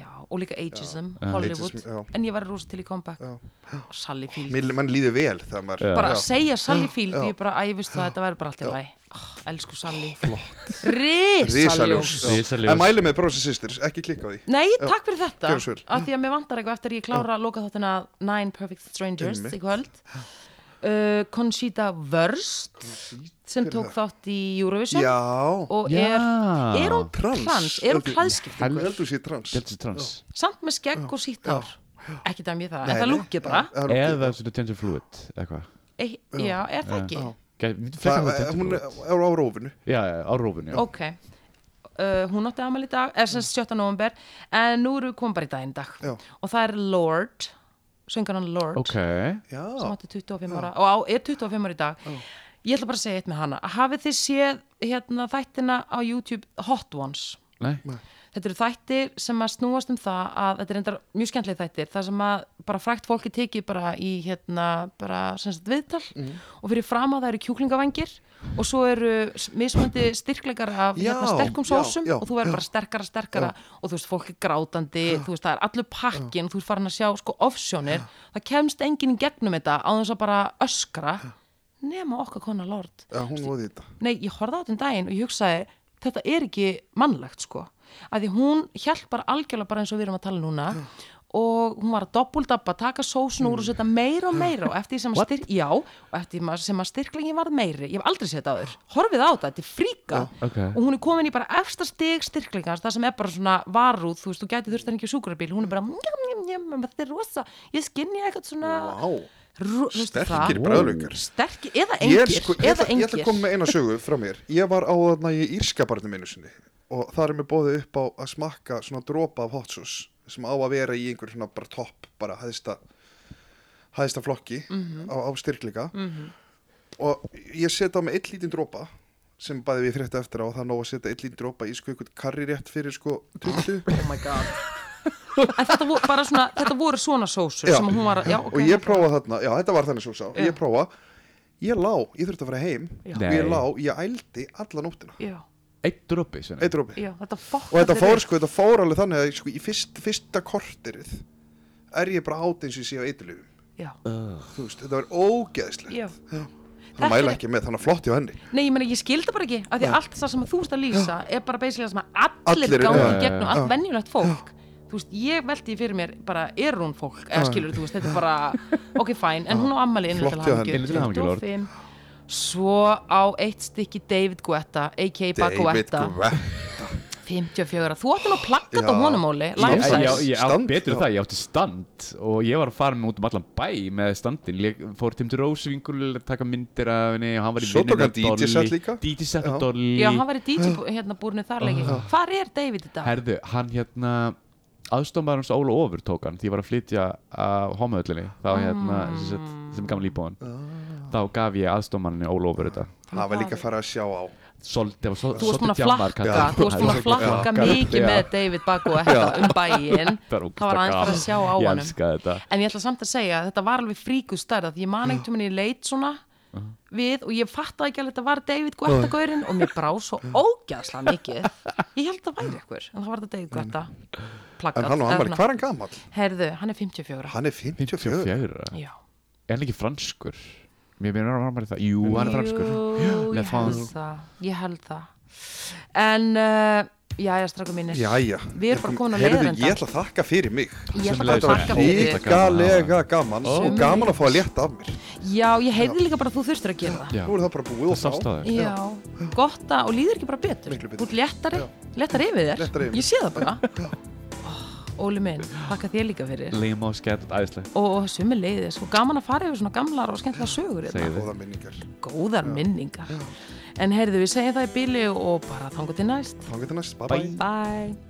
Já, og líka ageism, Hollywood, Ageism, já. en ég var rosa til í comeback. Og Sally Field. Mér, mann líður vel þegar maður bara Já. að segja Sally Field ég bara, að ég veist það, þetta verður bara allt í læ oh, elsku Sally Risaljós risaljós Risaljós. En mælu með Brothers and Sisters, ekki klikka á því nei, takk fyrir þetta Gjörðu svo vel. af því að mér vantar eitthvað eftir að ég klára að loka þáttina Nine Perfect Strangers Einmitt. í kvöld uh, Conchita Wurst sem tók þátt í Eurovision Já, og Já. er, er hún Trans. trans er hún Ég klæðskipt ég held þú sé trans Ég held að það sé trans samt með skegg og sítt hár ekki dæmi ég það, Nei, en það nei. lúkja bara Já, það er lúkið. Eða svona gender fluid eitthvað e, já, er það ekki Gæ- myndi frekar Það, hafa gender eh, hún fluid. er er á rófinu Já, já, á rófun, já ok uh, hún átti amal í dag, eða sem sagt 17. november en nú eru við komin bara í daginn dag Já. og það er Lord sönganan Lord Ok Já, sem átti 25 ára og á, er 25 ára í dag ég ætla bara að segja eitt með hana hafið þið séð hérna, þættina á YouTube Hot Ones Nei Þetta eru þættir sem að snúast um það að þetta er endar mjög skemmtileg þættir þar sem að bara frækt fólki tekið bara í hérna bara sem sagt viðtal Mhm. og fyrir fram að það eru kjúklingavangir og svo eru s- mismunandi styrkleikar af Já, hérna, sterkum já, sósum já, og þú verður bara sterkara sterkara og þú veist fólk er grátandi þú veist það er allur pakkin og þú ert farin að sjá sko ofsjónir það kemst enginn í gegnum þetta á þess að bara öskra nema okkar konar lord Já, hún voði þetta nei, ég horfði á þetta um daginn og ég hugsaði þetta er ekki mannlegt sko að því hún hjálpar algjörlega bara eins og við erum að tala núna og hún var að dobbuldabba, taka sósun Mm. úr og setja meira og meira og eftir því sem að, styrk, já, og eftir því ma- sem að styrklingin varð meiri, ég hef aldrei sett áður horfið á þetta, þetta er fríka ok. og hún er komin í bara efsta stig styrklingans það sem er bara svona varúð, þú veist, þú gæti þurft henni ekki á sjúkrabíl, hún er bara njam, njam, njam, þetta er rosa, ég skinni eitthvað svona Vá. rú, þú veist Sterkir það? bræðlökar sterkir, eða Ég, er engir, sko, ég, eða ætla, ég ætla engir. að koma með eina sögu frá mér Ég var á þarna í Írskabarnum einu sinni Og þar er mér bóðið upp á að smakka svona dropa af hot sauce Sem á að vera í einhver svona bara topp Bara hæðista, hæðista flokki Mhm. á, á styrkleika Og ég seti á mig eitt lítinn dropa Sem bæði við frétta eftir á og Það er nóg að setja eitt lítinn dropa í sko einhvern karri rétt fyrir sko tuttu oh my god en þetta voru, bara svona, þetta voru svona sósur Já. sem hún var, að- já, ok og ég prófa þarna, já þetta var þannig svo sá Já. ég prófa, ég lá, ég þurfti að fara heim Já. og ég Nei. lá, ég ældi alla nóttina, já, Eitt dropi, svona eitt rópi já, þetta fokk og þetta fór sko, þetta fór alveg þannig að sko, í fyrst, fyrsta korterið er ég bara át eins og ég sé á eitilöfum já, þú veist, þetta var ógeðslegt já það Þetta mæla er- ekki með, þannig að flott hjá henni Nei, ég meina, ég skildi bara ekki, af því allt það sem þú ert að lýsa er bara basically það sem að allir, Allir- gangi já, í já, gegnum, já. allt venjulegt fólk. Þú veist, ég veldi fyrir mér bara, er hún fólk, eða skilur, þú veist, þetta er bara, ok, fine, en hún á ammali innlega Flott til hjá hamingju. henni. Innilega til hamingju, Lord. 25. Svo á eitt stykki David Guetta, a.k.a. Baguetta, Guetta 54. Þú átti nú plakkat á Já. honum, Óli, Já, Ég, life ég, size. ég, ég átti Stand, betur já. það, ég átti stand og ég var að fara með út um allan bæ með standin, ég fór Tim Rose vingul að taka myndir af henni og hann var í Svo tók vinnunni hann með Dolly, DJ-set líka. DJ set Já. og Dolly Já, hann var í DJ bú- hérna búrinu þar leiki. Hvar er David í dag? Herðu, hann hérna aðstofnbæður hans Óla Ofur tók hann því ég var að flytja á homaðullinni þá Ah. hérna, sem, sagt, sem gamla íbúan Ah. þá gaf ég aðstofnbæðinni Óla Ofur þetta það var líka að fara að sjá á Sold, var svo, þú varst búin að djammar, flakka, kallar. þú varst búin að Já. flakka Já. mikið með David Baku um bæinn Það var það var aðeins bara að sjá á Ég honum elska þetta en ég ætla samt að segja að þetta var alveg fríku stærð því ég man einhvern veginn í leit svona við og ég fattaði ekki alveg að þetta var David Guetta gaurinn og mér brá svo ógæðslega mikið ég held að það væri ykkur en það var þetta David Guetta plakkat en hann eða og hann var, svona. hvað er hann gamall? herðu, hann er 54 hann er 54 54 já Er hann ekki franskur? Mér finnir að hann var það Jú, hann er franskur Jú, ég Le held France. það ég held það en uh, já, já, strákum mínir Jæja, Við erum bara komin á Heyrðu, leiðarenda. ég ætla að þakka fyrir mig Ég ætla bara að Þetta var þakka fyrir þig. ríkalega gaman og gaman að fá að létta af mér já, ég heyrði líka bara að þú þurftur að gera það Já, Nú er það bara búið og það sást það Já, gott að, og líður ekki bara betur Miklu betur. Þú ert léttari, léttari yfir þér Léttari yfir mér. Ég sé það bara Ó, Óli minn, þakka þér líka fyrir Lima og skætt, æðislega Og, og sumi leiðis og gaman að fara yfir svona gamlar og skemmtilega sögur hérna. Segðu þið Góða minningar Góðar minningar En heyrðu, við segjum það í bíli og bara þangu til næst Þá getur næst, bye Bye. bye Bye